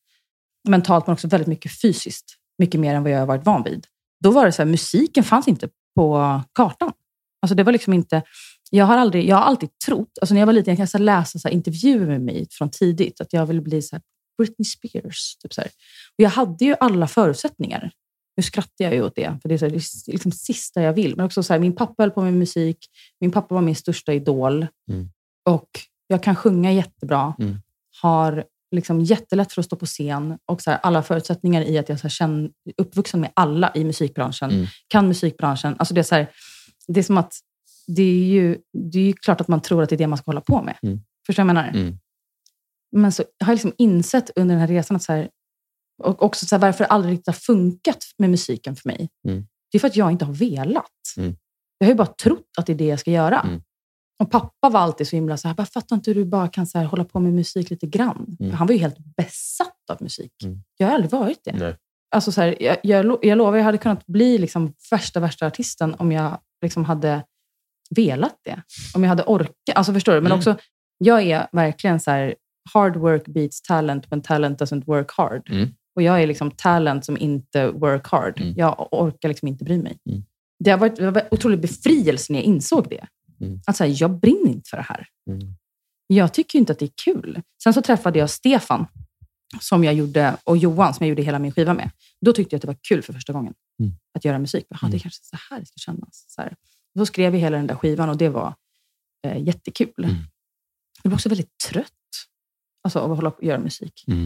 Speaker 3: Mentalt men också väldigt mycket fysiskt. Mycket mer än vad jag har varit van vid. Då var det så här, musiken fanns inte på kartan. Alltså det var liksom inte... Jag har, aldrig, jag har alltid trott, alltså när jag var liten, jag kan så här läsa så här intervjuer med mig från tidigt, att jag ville bli så här Britney Spears. Typ så här. Och jag hade ju alla förutsättningar. Nu skrattar jag ju åt det, för det är, så här, det är liksom sista jag vill. Men också så här, min pappa höll på med musik, min pappa var min största idol.
Speaker 2: Mm.
Speaker 3: Och jag kan sjunga jättebra,
Speaker 2: Mm.
Speaker 3: har liksom jättelätt för att stå på scen och så här, alla förutsättningar i att jag så här, känner, uppvuxen med alla i musikbranschen,
Speaker 2: Mm.
Speaker 3: kan musikbranschen. Alltså det, är så här, det är som att det är, ju, det är ju klart att man tror att det är det man ska hålla på med.
Speaker 2: Mm.
Speaker 3: Förstår du vad jag menar?
Speaker 2: Mm.
Speaker 3: Men så har jag liksom insett under den här resan att så här, och också så här, varför det aldrig riktigt har funkat med musiken för mig.
Speaker 2: Mm.
Speaker 3: Det är för att jag inte har velat.
Speaker 2: Mm.
Speaker 3: Jag har ju bara trott att det är det jag ska göra.
Speaker 2: Mm.
Speaker 3: Och pappa var alltid så himla så här, bara, fattar inte hur du bara kan så här, hålla på med musik lite grann.
Speaker 2: Mm.
Speaker 3: För Han var ju helt besatt av musik.
Speaker 2: Mm.
Speaker 3: Jag har aldrig varit det.
Speaker 2: Nej.
Speaker 3: Alltså så här, jag, jag, lo- jag lovar, jag hade kunnat bli liksom värsta, värsta artisten om jag liksom hade velat det. Om jag hade orkat. Alltså förstår du? Men
Speaker 2: Mm.
Speaker 3: också, jag är verkligen så här, hard work beats talent, men talent doesn't work hard.
Speaker 2: Mm.
Speaker 3: Och jag är liksom talent som inte work hard.
Speaker 2: Mm.
Speaker 3: Jag orkar liksom inte bry mig.
Speaker 2: Mm.
Speaker 3: Det har varit det var en otrolig befrielse när jag insåg det.
Speaker 2: Mm.
Speaker 3: Att så här, jag brinner inte för det här.
Speaker 2: Mm.
Speaker 3: Jag tycker ju inte att det är kul. Sen så träffade jag Stefan som jag gjorde, och Johan som jag gjorde hela min skiva med. Då tyckte jag att det var kul för första gången
Speaker 2: Mm.
Speaker 3: att göra musik. Jaha,
Speaker 2: Mm.
Speaker 3: Det är kanske så här det ska kännas. Så här. Då skrev jag hela den där skivan och det var eh, jättekul.
Speaker 2: Mm.
Speaker 3: Jag blev också väldigt trött alltså, av att hålla på och göra musik.
Speaker 2: Mm.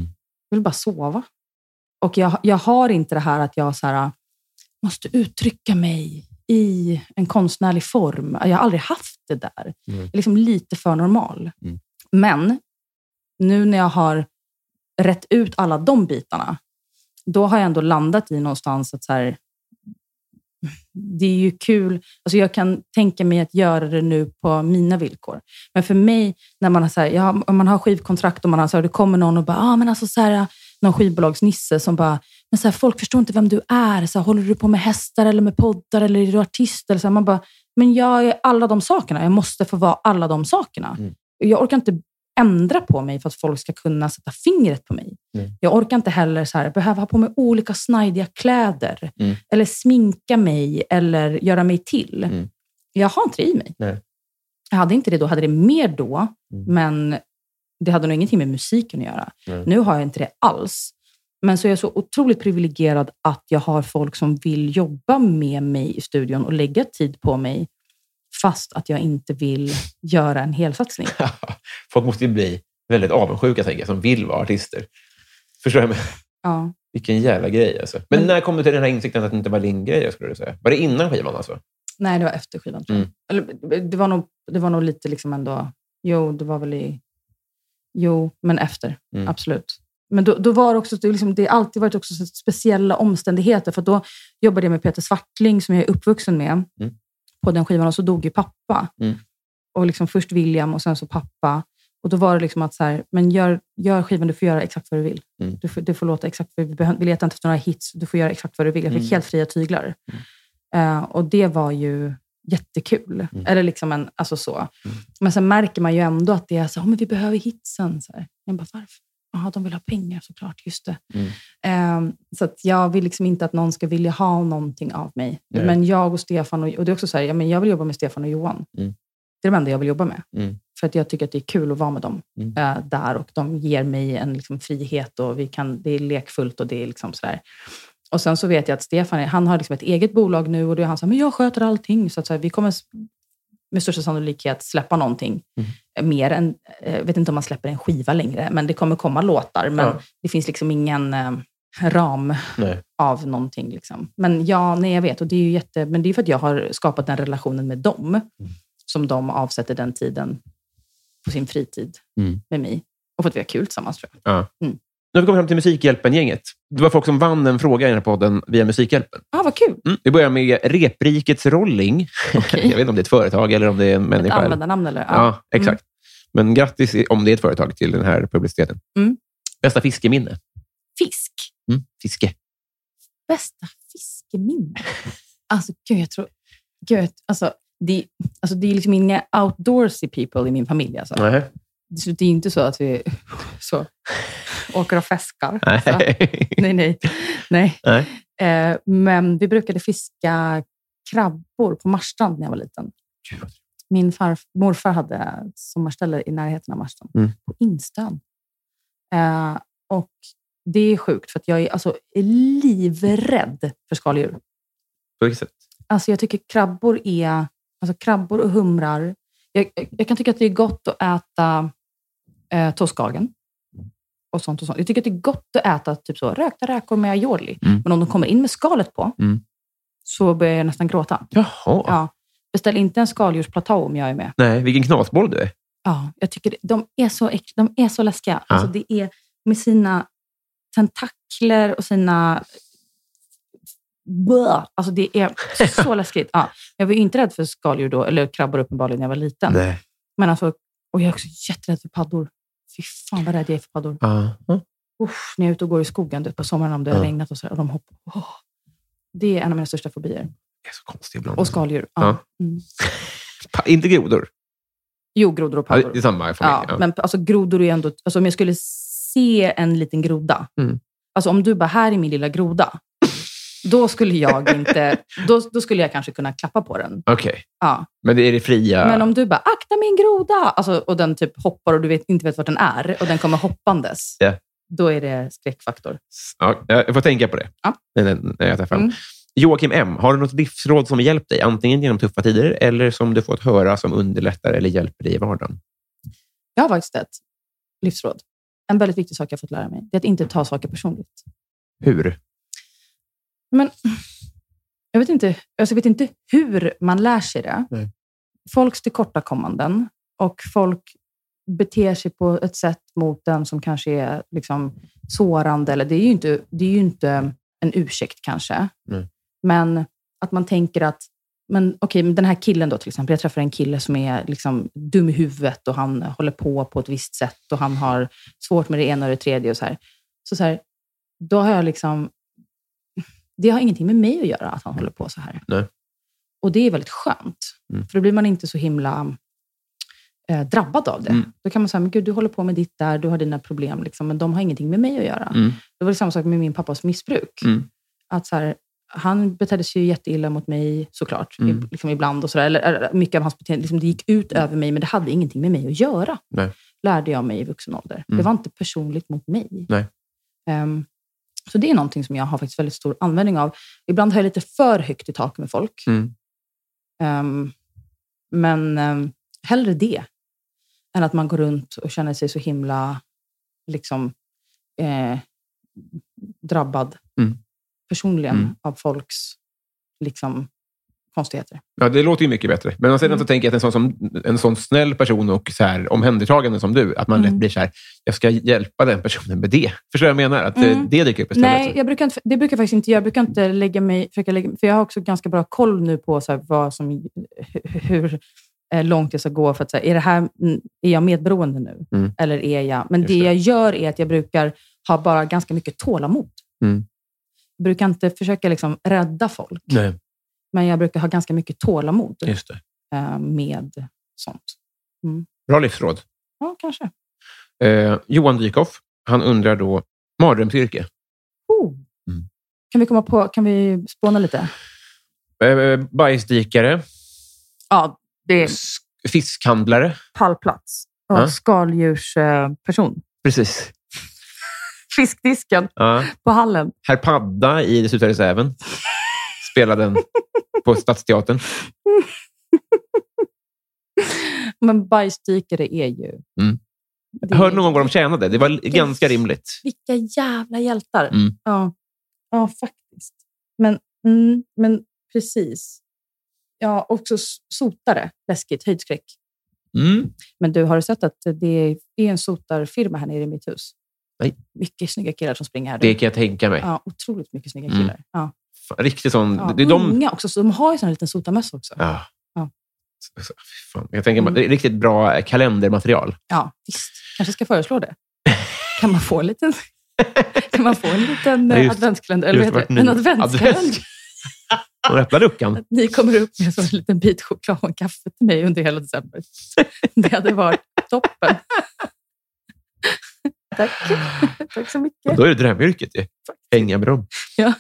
Speaker 3: Jag vill bara sova. Och jag, jag har inte det här att jag så här, äh, måste uttrycka mig i en konstnärlig form. Jag har aldrig haft det där.
Speaker 2: Mm.
Speaker 3: Jag är liksom lite för normal.
Speaker 2: Mm.
Speaker 3: Men nu när jag har rätt ut alla de bitarna, då har jag ändå landat i någonstans att så här, det är ju kul. Alltså jag kan tänka mig att göra det nu på mina villkor. Men för mig, när man har, så här, jag har, om man har skivkontrakt och man har så här, det kommer någon och bara, ah, men alltså så här, någon skivbolagsnisse som bara, men så här, folk förstår inte vem du är. Så här, håller du på med hästar eller med poddar eller är du artist? Eller så här, man bara, men jag är alla de sakerna. Jag måste få vara alla de sakerna.
Speaker 2: Mm.
Speaker 3: Jag orkar inte ändra på mig för att folk ska kunna sätta fingret på mig.
Speaker 2: Mm.
Speaker 3: Jag orkar inte heller så här, behöva ha på mig olika snajdiga kläder.
Speaker 2: Mm.
Speaker 3: Eller sminka mig eller göra mig till.
Speaker 2: Mm.
Speaker 3: Jag har inte det i mig.
Speaker 2: Nej.
Speaker 3: Jag hade inte det då. Jag hade det mer då,
Speaker 2: Mm.
Speaker 3: men det hade nog ingenting med musiken att göra.
Speaker 2: Nej.
Speaker 3: Nu har jag inte det alls. Men så är jag så otroligt privilegierad att jag har folk som vill jobba med mig i studion och lägga tid på mig, fast att jag inte vill göra en helsatsning.
Speaker 2: Folk måste ju bli väldigt avundsjuka, tänker jag, som vill vara artister. Förstår jag? menar?
Speaker 3: Ja.
Speaker 2: Vilken jävla grej alltså. Men,
Speaker 3: Men-
Speaker 2: när kom du till den här insikten att det inte var din grej, skulle du säga? Var det innan skivan alltså?
Speaker 3: Nej, det var efter skivan. Tror jag.
Speaker 2: Mm.
Speaker 3: Eller, det, var nog, det var nog lite liksom ändå... Jo, det var väl i... Jo, men efter.
Speaker 2: Mm.
Speaker 3: Absolut. Men då, då var det också, det, är liksom, det har alltid varit också så speciella omständigheter. För då jobbade jag med Peter Svartling, som jag är uppvuxen med, på den skivan. Och så dog ju pappa.
Speaker 2: Mm.
Speaker 3: Och liksom först William och sen så pappa. Och då var det liksom att så här, men gör, gör skivan, du får göra exakt vad du vill.
Speaker 2: Mm.
Speaker 3: Du, får, du får låta exakt vad du vill. Vi behö- Vi letar inte efter några hits. Du får göra exakt vad du vill. Jag fick
Speaker 2: Mm.
Speaker 3: helt fria tyglar. Eh, och det var ju jättekul.
Speaker 2: Mm.
Speaker 3: Eller liksom en, alltså så. Men sen märker man ju ändå att det är så här, "Åh, men vi behöver hitsen. Så här. Jag bara, varför? Jaha, de vill ha pengar såklart. Just det.
Speaker 2: Mm.
Speaker 3: Eh, så att jag vill liksom inte att någon ska vilja ha någonting av mig.
Speaker 2: Nej.
Speaker 3: Men jag och Stefan, och, och det är också så här, ja, men jag vill jobba med Stefan och Johan.
Speaker 2: Mm.
Speaker 3: Det är de enda jag vill jobba med.
Speaker 2: Mm.
Speaker 3: För att jag tycker att det är kul att vara med dem
Speaker 2: Mm.
Speaker 3: eh, där. Och de ger mig en liksom, frihet och vi kan, det är lekfullt och det är liksom sådär. Och sen så vet jag att Stefan är- han har liksom ett eget bolag nu och då är han så här, men jag sköter allting. Så, att så här, vi kommer s- med största sannolikhet släppa någonting.
Speaker 2: Mm.
Speaker 3: Eh, Mer än, eh, jag vet inte om man släpper en skiva längre, men det kommer komma låtar. Men
Speaker 2: Ja.
Speaker 3: det finns liksom ingen eh, ram
Speaker 2: Nej.
Speaker 3: av någonting. Liksom. Men ja, nej, jag vet. Och det är ju jätte, men det är för att jag har skapat den relationen med dem
Speaker 2: Mm.
Speaker 3: som de avsätter den tiden på sin fritid
Speaker 2: Mm.
Speaker 3: med mig. Och för att vi har kul tillsammans, tror jag.
Speaker 2: Nu har vi kommit fram till Musikhjälpen-gänget. Det var folk som vann en fråga i den här podden via Musikhjälpen.
Speaker 3: Ja, ah, vad kul!
Speaker 2: Mm. Vi börjar med Reprikets Rolling. jag vet inte om det är ett företag eller om det är en
Speaker 3: Ett
Speaker 2: människa. eller-
Speaker 3: användarnamn, eller?
Speaker 2: Ja, exakt. Men grattis, i- om det är ett företag, till den här publiciteten.
Speaker 3: Mm.
Speaker 2: Bästa fiskeminne?
Speaker 3: Fisk.
Speaker 2: Mm. Fiske.
Speaker 3: Bästa fiskeminne. Alltså, gud, jag tror... Gud, jag- alltså, det, alltså, det är liksom inga outdoorsy people i min familj. Alltså.
Speaker 2: Nej.
Speaker 3: Så Det är inte så att vi så, åker och fiskar. Så.
Speaker 2: Nej.
Speaker 3: Nej, nej. nej.
Speaker 2: Nej.
Speaker 3: Eh, men vi brukade fiska krabbor på Marstrand när jag var liten. Min farf, morfar hade sommarställe i närheten av Marstrand,
Speaker 2: Mm.
Speaker 3: på Instön. Eh, och det är sjukt, för att jag är alltså livrädd för skaldjur.
Speaker 2: På vilket sätt?
Speaker 3: Alltså jag tycker krabbor är... Alltså krabbor och humrar. Jag, jag, jag kan tycka att det är gott att äta eh, toskagen. Och sånt och sånt. Jag tycker att det är gott att äta typ så, rökta räkor med aioli.
Speaker 2: Mm.
Speaker 3: Men om de kommer in med skalet på
Speaker 2: Mm.
Speaker 3: så börjar jag nästan gråta.
Speaker 2: Jaha.
Speaker 3: Ja. Beställ inte en skaldjursplatå om jag är med.
Speaker 2: Nej, vilken knasboll du är.
Speaker 3: Ja, jag tycker det- de är så, äck- de är så läskiga.
Speaker 2: Ja.
Speaker 3: Alltså det är med sina tentakler och sina... Blah. Alltså det är så läskigt. Ja. Jag var ju inte rädd för skaldjur då, eller krabbor uppenbarligen när jag var liten.
Speaker 2: Nej.
Speaker 3: Men alltså, och jag är också jätterädd för paddor. Fy fan vad rädd jag är för paddor.
Speaker 2: Ja.
Speaker 3: Uff, när jag är ute och går i skogen du vet, på sommaren om det har
Speaker 2: Ja.
Speaker 3: regnat och, så, och de hoppar. Åh. Det är en av mina största fobier.
Speaker 2: Det är så konstigt ibland.
Speaker 3: Och skaldjur. Ja. Mm.
Speaker 2: Pa- inte grodor.
Speaker 3: Jo, grodor och
Speaker 2: Ja,
Speaker 3: paddor.
Speaker 2: det är samma familj.
Speaker 3: Ja, men alltså, grodor är ju ändå... Alltså, om jag skulle se en liten groda.
Speaker 2: Mm.
Speaker 3: Alltså, om du bara, här är min lilla groda. Då skulle jag inte... Då, då skulle jag kanske kunna klappa på den.
Speaker 2: Okej.
Speaker 3: Ja.
Speaker 2: Men det är det fria...
Speaker 3: Men om du bara, akta min groda! Alltså, och den typ hoppar och du vet, inte vet vart den är och den kommer hoppandes.
Speaker 2: Ja.
Speaker 3: Då är det skräckfaktor.
Speaker 2: Ja, jag får tänka på det
Speaker 3: Ja.
Speaker 2: när, när, när jag träffar honom.
Speaker 3: Mm.
Speaker 2: Joakim M, har du något livsråd som har hjälpt dig, antingen genom tuffa tider eller som du fått höra som underlättar eller hjälper dig i vardagen?
Speaker 3: Jag har faktiskt ett livsråd. En väldigt viktig sak jag fått lära mig, det är att inte ta saker personligt.
Speaker 2: Hur?
Speaker 3: Men jag vet inte, alltså jag vet inte hur man lär sig det.
Speaker 2: Nej.
Speaker 3: Folks tillkortakommanden och folk beter sig på ett sätt mot den som kanske är liksom sårande. Eller det, är ju inte, det är ju inte en ursäkt kanske.
Speaker 2: Nej.
Speaker 3: Men att man tänker att men okej, men den här killen då till exempel. Jag träffar en kille som är liksom dum i huvudet och han håller på på ett visst sätt och han har svårt med det ena och det tredje. och så här. Så, så här, då har jag liksom det har ingenting med mig att göra att han håller på så här.
Speaker 2: Nej.
Speaker 3: Och det är väldigt skönt.
Speaker 2: Mm.
Speaker 3: För då blir man inte så himla eh, drabbad av det.
Speaker 2: Mm.
Speaker 3: Då kan man säga, men gud, du håller på med ditt där, du har dina problem, liksom, men de har ingenting med mig att göra.
Speaker 2: Mm.
Speaker 3: Det var det samma sak med min pappas missbruk.
Speaker 2: Mm.
Speaker 3: Att så här, han betedde sig ju jätteilla mot mig såklart,
Speaker 2: Mm.
Speaker 3: ib- liksom ibland och sådär. Eller, eller, mycket av hans beteende, liksom, det gick ut över mig, men det hade ingenting med mig att göra.
Speaker 2: Nej.
Speaker 3: Lärde jag mig i vuxen ålder.
Speaker 2: Mm.
Speaker 3: Det var inte personligt mot mig.
Speaker 2: Nej.
Speaker 3: Ehm, så det är någonting som jag har faktiskt väldigt stor användning av. Ibland har jag lite för högt i tak med folk.
Speaker 2: Mm.
Speaker 3: Ehm, men um, hellre det än att man går runt och känner sig så himla liksom, eh, drabbad
Speaker 2: Mm.
Speaker 3: personligen
Speaker 2: Mm.
Speaker 3: av folks liksom, konstigheter.
Speaker 2: Ja, det låter ju mycket bättre. Men å andra sidan
Speaker 3: Mm.
Speaker 2: så tänker jag att en sån, som, en sån snäll person och så här, omhändertagande som du, att man
Speaker 3: Mm.
Speaker 2: lätt blir så här, jag ska hjälpa den personen med det. Förstår du vad jag menar? Att eh,
Speaker 3: Mm.
Speaker 2: det dyker upp istället. typ.
Speaker 3: Nej, jag brukar inte, det brukar jag faktiskt inte göra. Jag brukar inte lägga mig, försöka lägga, för jag har också ganska bra koll nu på så här, vad som, hur eh, långt jag ska gå. För att, så här, är, det här, mm, är jag medberoende nu?
Speaker 2: Mm.
Speaker 3: Eller är jag... Men det,
Speaker 2: Just det.
Speaker 3: jag gör är att jag brukar ha bara ganska mycket tålamod.
Speaker 2: Mm.
Speaker 3: Jag brukar inte försöka liksom rädda folk,
Speaker 2: Nej,
Speaker 3: men jag brukar ha ganska mycket tålamod
Speaker 2: just det.
Speaker 3: eh, med sånt.
Speaker 2: Bra livsråd.
Speaker 3: Ja, kanske.
Speaker 2: Eh, Johan Dykhoff, han undrar då, mardrömsyrke?
Speaker 3: Oh.
Speaker 2: Mm.
Speaker 3: Kan vi komma på, kan vi spåna lite?
Speaker 2: Eh, bajsdykare?
Speaker 3: Ja, det
Speaker 2: S- Fiskhandlare?
Speaker 3: pallplats.
Speaker 2: Ja, Ja.
Speaker 3: Skaldjursperson.
Speaker 2: Precis.
Speaker 3: Fiskdisken
Speaker 2: Ja.
Speaker 3: på hallen.
Speaker 2: Herr Padda i Det slutade säven. Spelade den på Stadsteatern.
Speaker 3: Men bajsdykare är ju...
Speaker 2: Mm.
Speaker 3: Det är-
Speaker 2: Hörde någon gång vad de tjänade? Det var l- ganska rimligt.
Speaker 3: Vilka jävla hjältar.
Speaker 2: Mm.
Speaker 3: Ja. ja, faktiskt. Men, mm, men precis. Ja, också s- sotare. Läskigt. Höjdskräck.
Speaker 2: Mm.
Speaker 3: Men du, har du sett att det är en sotarfirma här nere i mitt hus?
Speaker 2: Nej.
Speaker 3: Mycket snygga killar som springer här. du.
Speaker 2: Det kan jag tänka mig.
Speaker 3: Ja, otroligt mycket snygga
Speaker 2: Mm.
Speaker 3: killar. Ja,
Speaker 2: Fan, Riktigt sån...
Speaker 3: ja.
Speaker 2: Det är de...
Speaker 3: Unga också. Så de har ju sån här liten sotarmössa också. Ja.
Speaker 2: Ja.
Speaker 3: Ja. Mm.
Speaker 2: Så- så- Fan. Jag tänker bara, det är riktigt bra kalendermaterial.
Speaker 3: visst. Kanske ska föreslå det. Kan man få en liten, kan man få en liten
Speaker 2: Ja,
Speaker 3: eh,
Speaker 2: just-
Speaker 3: adventskalender? Eller
Speaker 2: Just
Speaker 3: vad heter
Speaker 2: varit
Speaker 3: det? En
Speaker 2: ny.
Speaker 3: adventskalender.
Speaker 2: Advents- De öppnar luckan.
Speaker 3: Att ni kommer upp med som en liten bit choklad och en kaffe till mig under hela december. Det hade varit toppen. Tack. Tack så mycket.
Speaker 2: Då är det drömyrket. ju. Hänga med dem.
Speaker 3: Ja. Mm.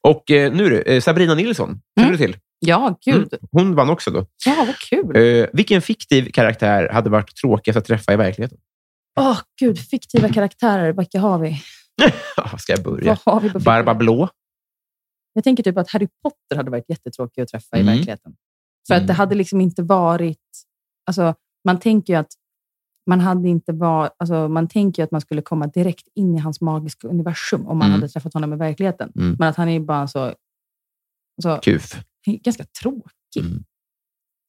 Speaker 2: Och eh, nu du, eh, Sabrina Nilsson. Känner du till?
Speaker 3: Ja, gud.
Speaker 2: Mm. Hon vann också då.
Speaker 3: Ja, vad kul.
Speaker 2: Eh, vilken fiktiv karaktär hade varit tråkigast att träffa i verkligheten?
Speaker 3: Åh, gud. Fiktiva karaktärer. Vilka har vi?
Speaker 2: Ah, ska jag börja?
Speaker 3: Vad har vi på fiktiva-
Speaker 2: Barba Blå?
Speaker 3: Jag tänker typ att Harry Potter hade varit jättetråkig att träffa
Speaker 2: Mm.
Speaker 3: i verkligheten. För att det
Speaker 2: Mm.
Speaker 3: hade liksom inte varit... Alltså, man tänker ju att man hade inte var, alltså, man tänker ju att man skulle komma direkt in i hans magiska universum om man
Speaker 2: Mm.
Speaker 3: hade träffat honom i verkligheten.
Speaker 2: Mm.
Speaker 3: Men att han är ju bara så... Alltså,
Speaker 2: Kuf.
Speaker 3: ganska tråkig.
Speaker 2: Mm.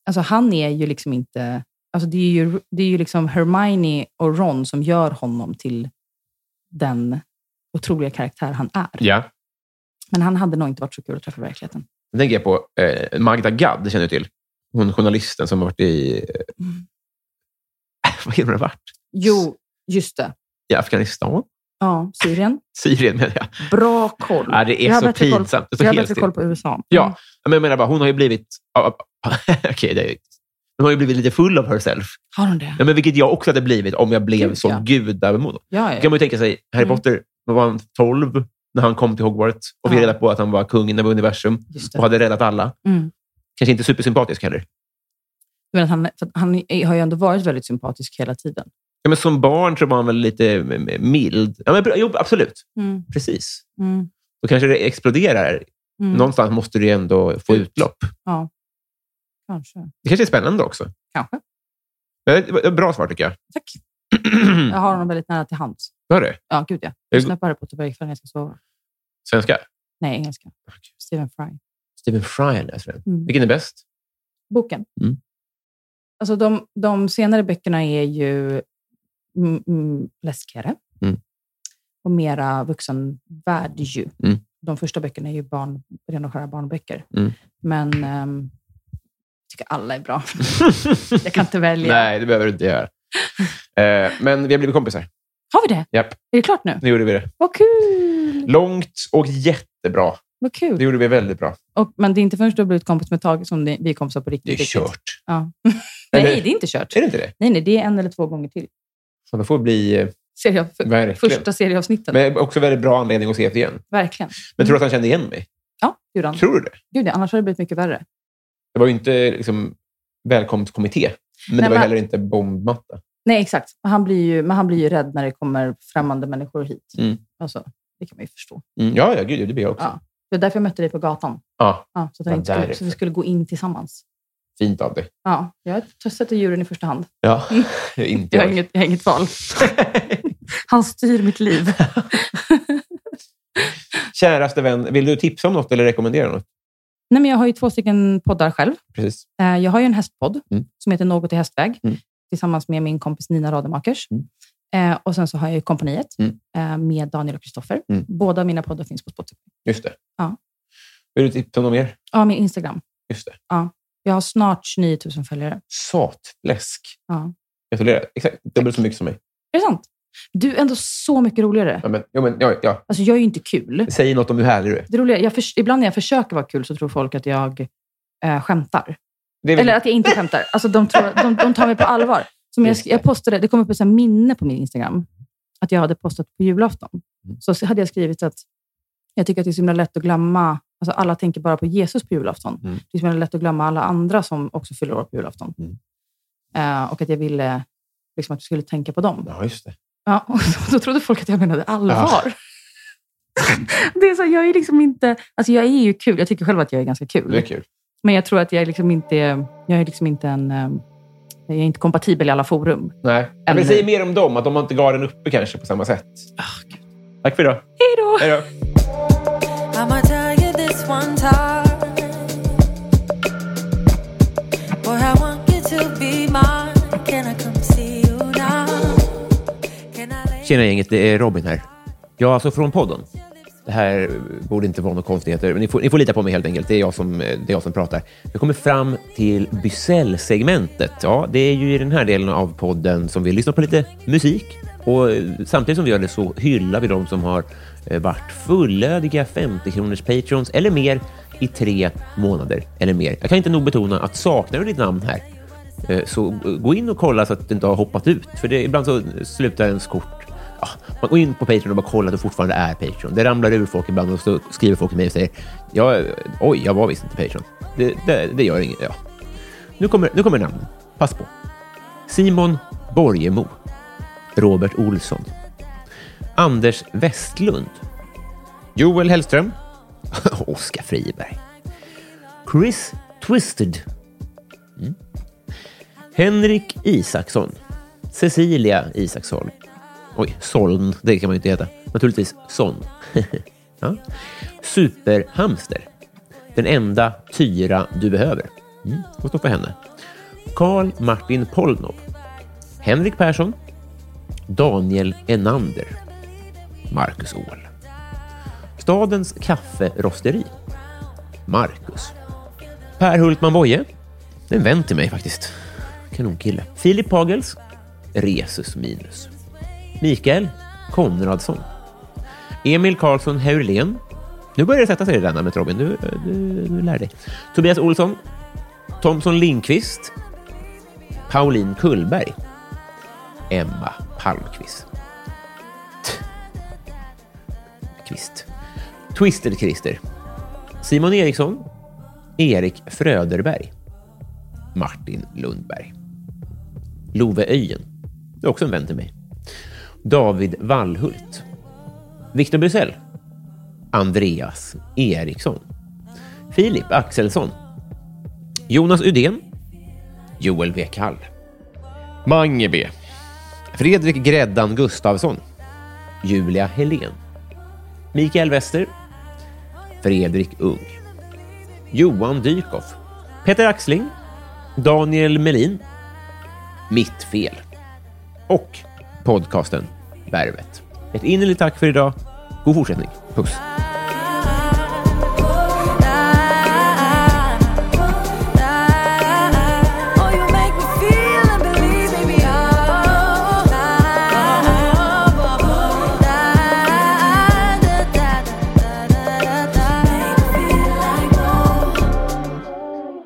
Speaker 3: Alltså, han är ju liksom inte... Alltså, det är ju, det är ju liksom Hermione och Ron som gör honom till den otroliga karaktär han är.
Speaker 2: Ja.
Speaker 3: Men han hade nog inte varit så kul att träffa i verkligheten.
Speaker 2: Sen tänker jag på eh, Magda Gad, känner du till? Hon journalisten som har varit i... Eh, vad har hon varit?
Speaker 3: Jo, just det.
Speaker 2: I Afghanistan?
Speaker 3: Ja, Syrien.
Speaker 2: Syrien, menar jag.
Speaker 3: Bra koll.
Speaker 2: Ja, det är
Speaker 3: jag har
Speaker 2: så
Speaker 3: bättre koll
Speaker 2: pinsamt. Det
Speaker 3: på,
Speaker 2: står
Speaker 3: jag har
Speaker 2: helt
Speaker 3: bättre
Speaker 2: still.
Speaker 3: koll på USA. Mm.
Speaker 2: Ja, men jag menar bara, hon har ju blivit... ja, ja, Okej, det är hon har ju blivit lite full of herself.
Speaker 3: Har hon det?
Speaker 2: Ja, men vilket jag också hade blivit om jag blev
Speaker 3: Gud,
Speaker 2: så
Speaker 3: ja.
Speaker 2: gudabemodd.
Speaker 3: Ja,
Speaker 2: Då
Speaker 3: ja.
Speaker 2: kan man ju tänka sig, Harry
Speaker 3: Mm.
Speaker 2: Potter, då var han 12 när han kom till Hogwarts och fick
Speaker 3: Ja.
Speaker 2: reda på att han var kungen av universum
Speaker 3: Just det.
Speaker 2: och hade räddat alla.
Speaker 3: Mm.
Speaker 2: Kanske inte supersympatisk heller.
Speaker 3: Men att han, för att han är- har ju ändå varit väldigt sympatisk hela tiden.
Speaker 2: Ja, men som barn så var han väl lite mm, mild. Ja, men, jo, absolut.
Speaker 3: Mm.
Speaker 2: Precis.
Speaker 3: Mm.
Speaker 2: Då kanske det exploderar.
Speaker 3: Mm.
Speaker 2: Någonstans måste du ju ändå få
Speaker 3: Ut.
Speaker 2: utlopp.
Speaker 3: Kanske.
Speaker 2: Det kanske är spännande också.
Speaker 3: Kanske.
Speaker 2: Ja, det var ett Bra svar, tycker jag.
Speaker 3: Tack. Jag har honom väldigt nära till hands.
Speaker 2: Hör du?
Speaker 3: Ja, gud ja.
Speaker 2: Jag-
Speaker 3: Jag lyssnar på Harry Potter varje kväll när jag ska sova.
Speaker 2: Svenska?
Speaker 3: Nej, engelska. Stephen Fry.
Speaker 2: Stephen Fry läser den.
Speaker 3: Mm.
Speaker 2: Vilken är bäst?
Speaker 3: Boken.
Speaker 2: Mm.
Speaker 3: Alltså, de, de senare böckerna är ju mm, mm, läskigare
Speaker 2: Mm.
Speaker 3: och mera vuxenvärld. Ju.
Speaker 2: Mm.
Speaker 3: De första böckerna är ju barn, rena och skära barnböcker.
Speaker 2: Mm.
Speaker 3: Men ehm, jag tycker alla är bra. Jag kan inte välja.
Speaker 2: Nej, det behöver du inte göra. Eh, men vi har blivit kompisar.
Speaker 3: Har vi det?
Speaker 2: Japp,
Speaker 3: Är det klart nu?
Speaker 2: nu gjorde vi det.
Speaker 3: Vad kul!
Speaker 2: Långt och jättebra.
Speaker 3: Vad kul.
Speaker 2: Det gjorde vi väldigt bra.
Speaker 3: Och, men det är inte förrän du har blivit kompis med Tage som ni- vi är kompisar på
Speaker 2: Det
Speaker 3: riktigt.
Speaker 2: är
Speaker 3: riktigt.
Speaker 2: kört.
Speaker 3: Ja. Nej,
Speaker 2: Eller-
Speaker 3: det är inte kört.
Speaker 2: Är det inte det?
Speaker 3: Nej, nej, det är en eller två gånger till.
Speaker 2: Så man får bli... eh,
Speaker 3: Serie, för,
Speaker 2: Verkligen.
Speaker 3: första serieavsnitten.
Speaker 2: Men också väldigt bra anledning att se efter igen.
Speaker 3: Verkligen.
Speaker 2: Men tror du att han kände igen mig?
Speaker 3: Ja, det gjorde han.
Speaker 2: Tror du det?
Speaker 3: Gud, ja, annars hade det blivit mycket värre.
Speaker 2: Det var ju inte liksom, välkomstkommitté, men
Speaker 3: Nej,
Speaker 2: det var
Speaker 3: men-
Speaker 2: heller inte bombmatta.
Speaker 3: Nej, exakt. Men han blir ju, men han blir ju rädd när det kommer främmande människor hit.
Speaker 2: Mm.
Speaker 3: Alltså, det kan man ju förstå.
Speaker 2: Mm, ja, ja, gud, det blir jag också.
Speaker 3: Ja. Det var därför jag mötte dig på gatan.
Speaker 2: Ja,
Speaker 3: Ja, så, att
Speaker 2: Ja,
Speaker 3: jag inte skulle,
Speaker 2: därför.
Speaker 3: så vi skulle gå in tillsammans.
Speaker 2: fint av dig.
Speaker 3: Ja, jag sätter djuren i första hand.
Speaker 2: Ja, inte
Speaker 3: Mm. Jag har
Speaker 2: jag.
Speaker 3: inget, jag har inget val. Han styr mitt liv.
Speaker 2: Käraste vän, vill du tipsa om något eller rekommendera något?
Speaker 3: Nej, men jag har ju två stycken poddar själv.
Speaker 2: Precis.
Speaker 3: Eh, Jag har ju en hästpodd
Speaker 2: Mm.
Speaker 3: som heter Något i hästväg
Speaker 2: Mm.
Speaker 3: tillsammans med min kompis Nina Rademakers.
Speaker 2: Mm.
Speaker 3: Eh, Och sen så har jag ju Kompaniet
Speaker 2: Mm.
Speaker 3: eh, med Daniel och Kristoffer.
Speaker 2: Mm.
Speaker 3: Båda mina poddar finns på Spotify.
Speaker 2: Just det.
Speaker 3: Ja.
Speaker 2: Vill du tipsa om något mer?
Speaker 3: Ja, min Instagram.
Speaker 2: Just det.
Speaker 3: Jag har snart 9000 följare.
Speaker 2: Satläsk.
Speaker 3: Ja.
Speaker 2: Gratulerar. Exakt. Dubbelt så mycket som mig.
Speaker 3: Är det sant? Du är ändå så mycket roligare.
Speaker 2: Ja, men, ja, men, ja, ja.
Speaker 3: Alltså, jag är ju inte kul.
Speaker 2: Säg något om hur härlig du är.
Speaker 3: Det roliga, jag förs- ibland när jag försöker vara kul så tror folk att jag eh, skämtar.
Speaker 2: Det är väl-
Speaker 3: Eller att jag inte skämtar. Alltså, de, tror, de, de tar mig på allvar. Som jag,
Speaker 2: Just det.
Speaker 3: jag postade, det kom upp ett så här minne på min Instagram, att jag hade postat på julafton.
Speaker 2: Mm.
Speaker 3: Så hade jag skrivit att jag tycker att det är så himla lätt att glömma, alltså alla tänker bara på Jesus på julafton.
Speaker 2: Mm.
Speaker 3: Det är så himla lätt att glömma alla andra som också fyller år på julafton.
Speaker 2: Mm.
Speaker 3: Eh, och att jag ville liksom, att du skulle tänka på dem.
Speaker 2: Ja, just det.
Speaker 3: Ja, och då trodde folk att jag menade allvar. Det är så, jag är liksom inte... Alltså jag är ju kul. Jag tycker själv att jag är ganska
Speaker 2: Det är
Speaker 3: kul.
Speaker 2: kul.
Speaker 3: Men jag tror att jag är liksom inte... Jag är liksom inte en... eh, Jag är inte kompatibel i alla forum.
Speaker 2: Nej.
Speaker 3: Ännu.
Speaker 2: Men säg mer om dem, att de har inte garden uppe kanske på samma sätt.
Speaker 3: Ah,
Speaker 2: Tack för idag.
Speaker 3: Hej då!
Speaker 2: Hej då.
Speaker 4: I'ma tell you this one time. Boy, I want you to be mine. Can I come see you now? Can I lay
Speaker 2: Tjena gänget, det är Robin här. Ja, alltså från podden. Det här eh, borde inte vara några konstigheter. Men ni, får, ni får lita på mig helt enkelt. Det är jag som, eh, det är jag som pratar. Vi kommer fram till Bysell-segmentet. Ja, det är ju i den här delen av podden som vi lyssnar på lite musik. Och eh, samtidigt som vi gör det så hyllar vi de som har eh, varit fullödiga 50-kronors patrons eller mer i tre månader eller mer. Jag kan inte nog betona att saknar du ditt namn här Eh, Så eh, gå in och kolla så att du inte har hoppat ut. För det, ibland så slutar ens kort. Ja, man går in på Patreon och bara kollar att du fortfarande är Patreon. Det ramlar ur folk ibland och så skriver folk till mig och säger ja, eh, oj, jag var visst inte Patreon. Det, det, det gör inget. Ja. Nu, kommer, nu kommer namnen. Pass på. Simon Borgemo. Robert Olsson. Anders Westlund. Joel Hellström. Oskar Friberg. Chris Twisted. Henrik Isaksson. Cecilia Isaksson. Oj, Soln, det kan man ju inte heta. Naturligtvis Son. ja. Superhamster. Den enda tyra du behöver. Mm, vad står för henne? Karl Martin Polnov. Henrik Persson. Daniel Enander. Marcus Åhl. Stadens kafferosteri. Marcus. Per Hultman Boye. Det är en vän till mig faktiskt. Kanonkille. Filip Pagels. Resus Minus. Mikael Konradsson. Emil Karlsson Heurlen. Nu börjar det sätta sig i det där namnet Robin. Du, eh, du, du lär dig. Tobias Olsson. Thomson Lindqvist. Pauline Kullberg. Emma Palmqvist. T- Kvist. Twisted Christer. Simon Eriksson. Erik Fröderberg. Martin Lundberg. Love Öjen. Det är också en vän till mig. David Wallhult. Victor Busell. Andreas Eriksson. Filip Axelsson. Jonas Udén. Joel W. Kall. Mange B. Fredrik Gräddan Gustafsson. Julia Helén. Mikael Wester. Fredrik Ung. Johan Dykhoff. Peter Axling. Daniel Melin. Mitt fel. Och podcasten Värvet. Ett innerligt tack för idag. God fortsättning. Puss.
Speaker 4: Oh, you make me feel and believe me beyond. Make me feel like gold.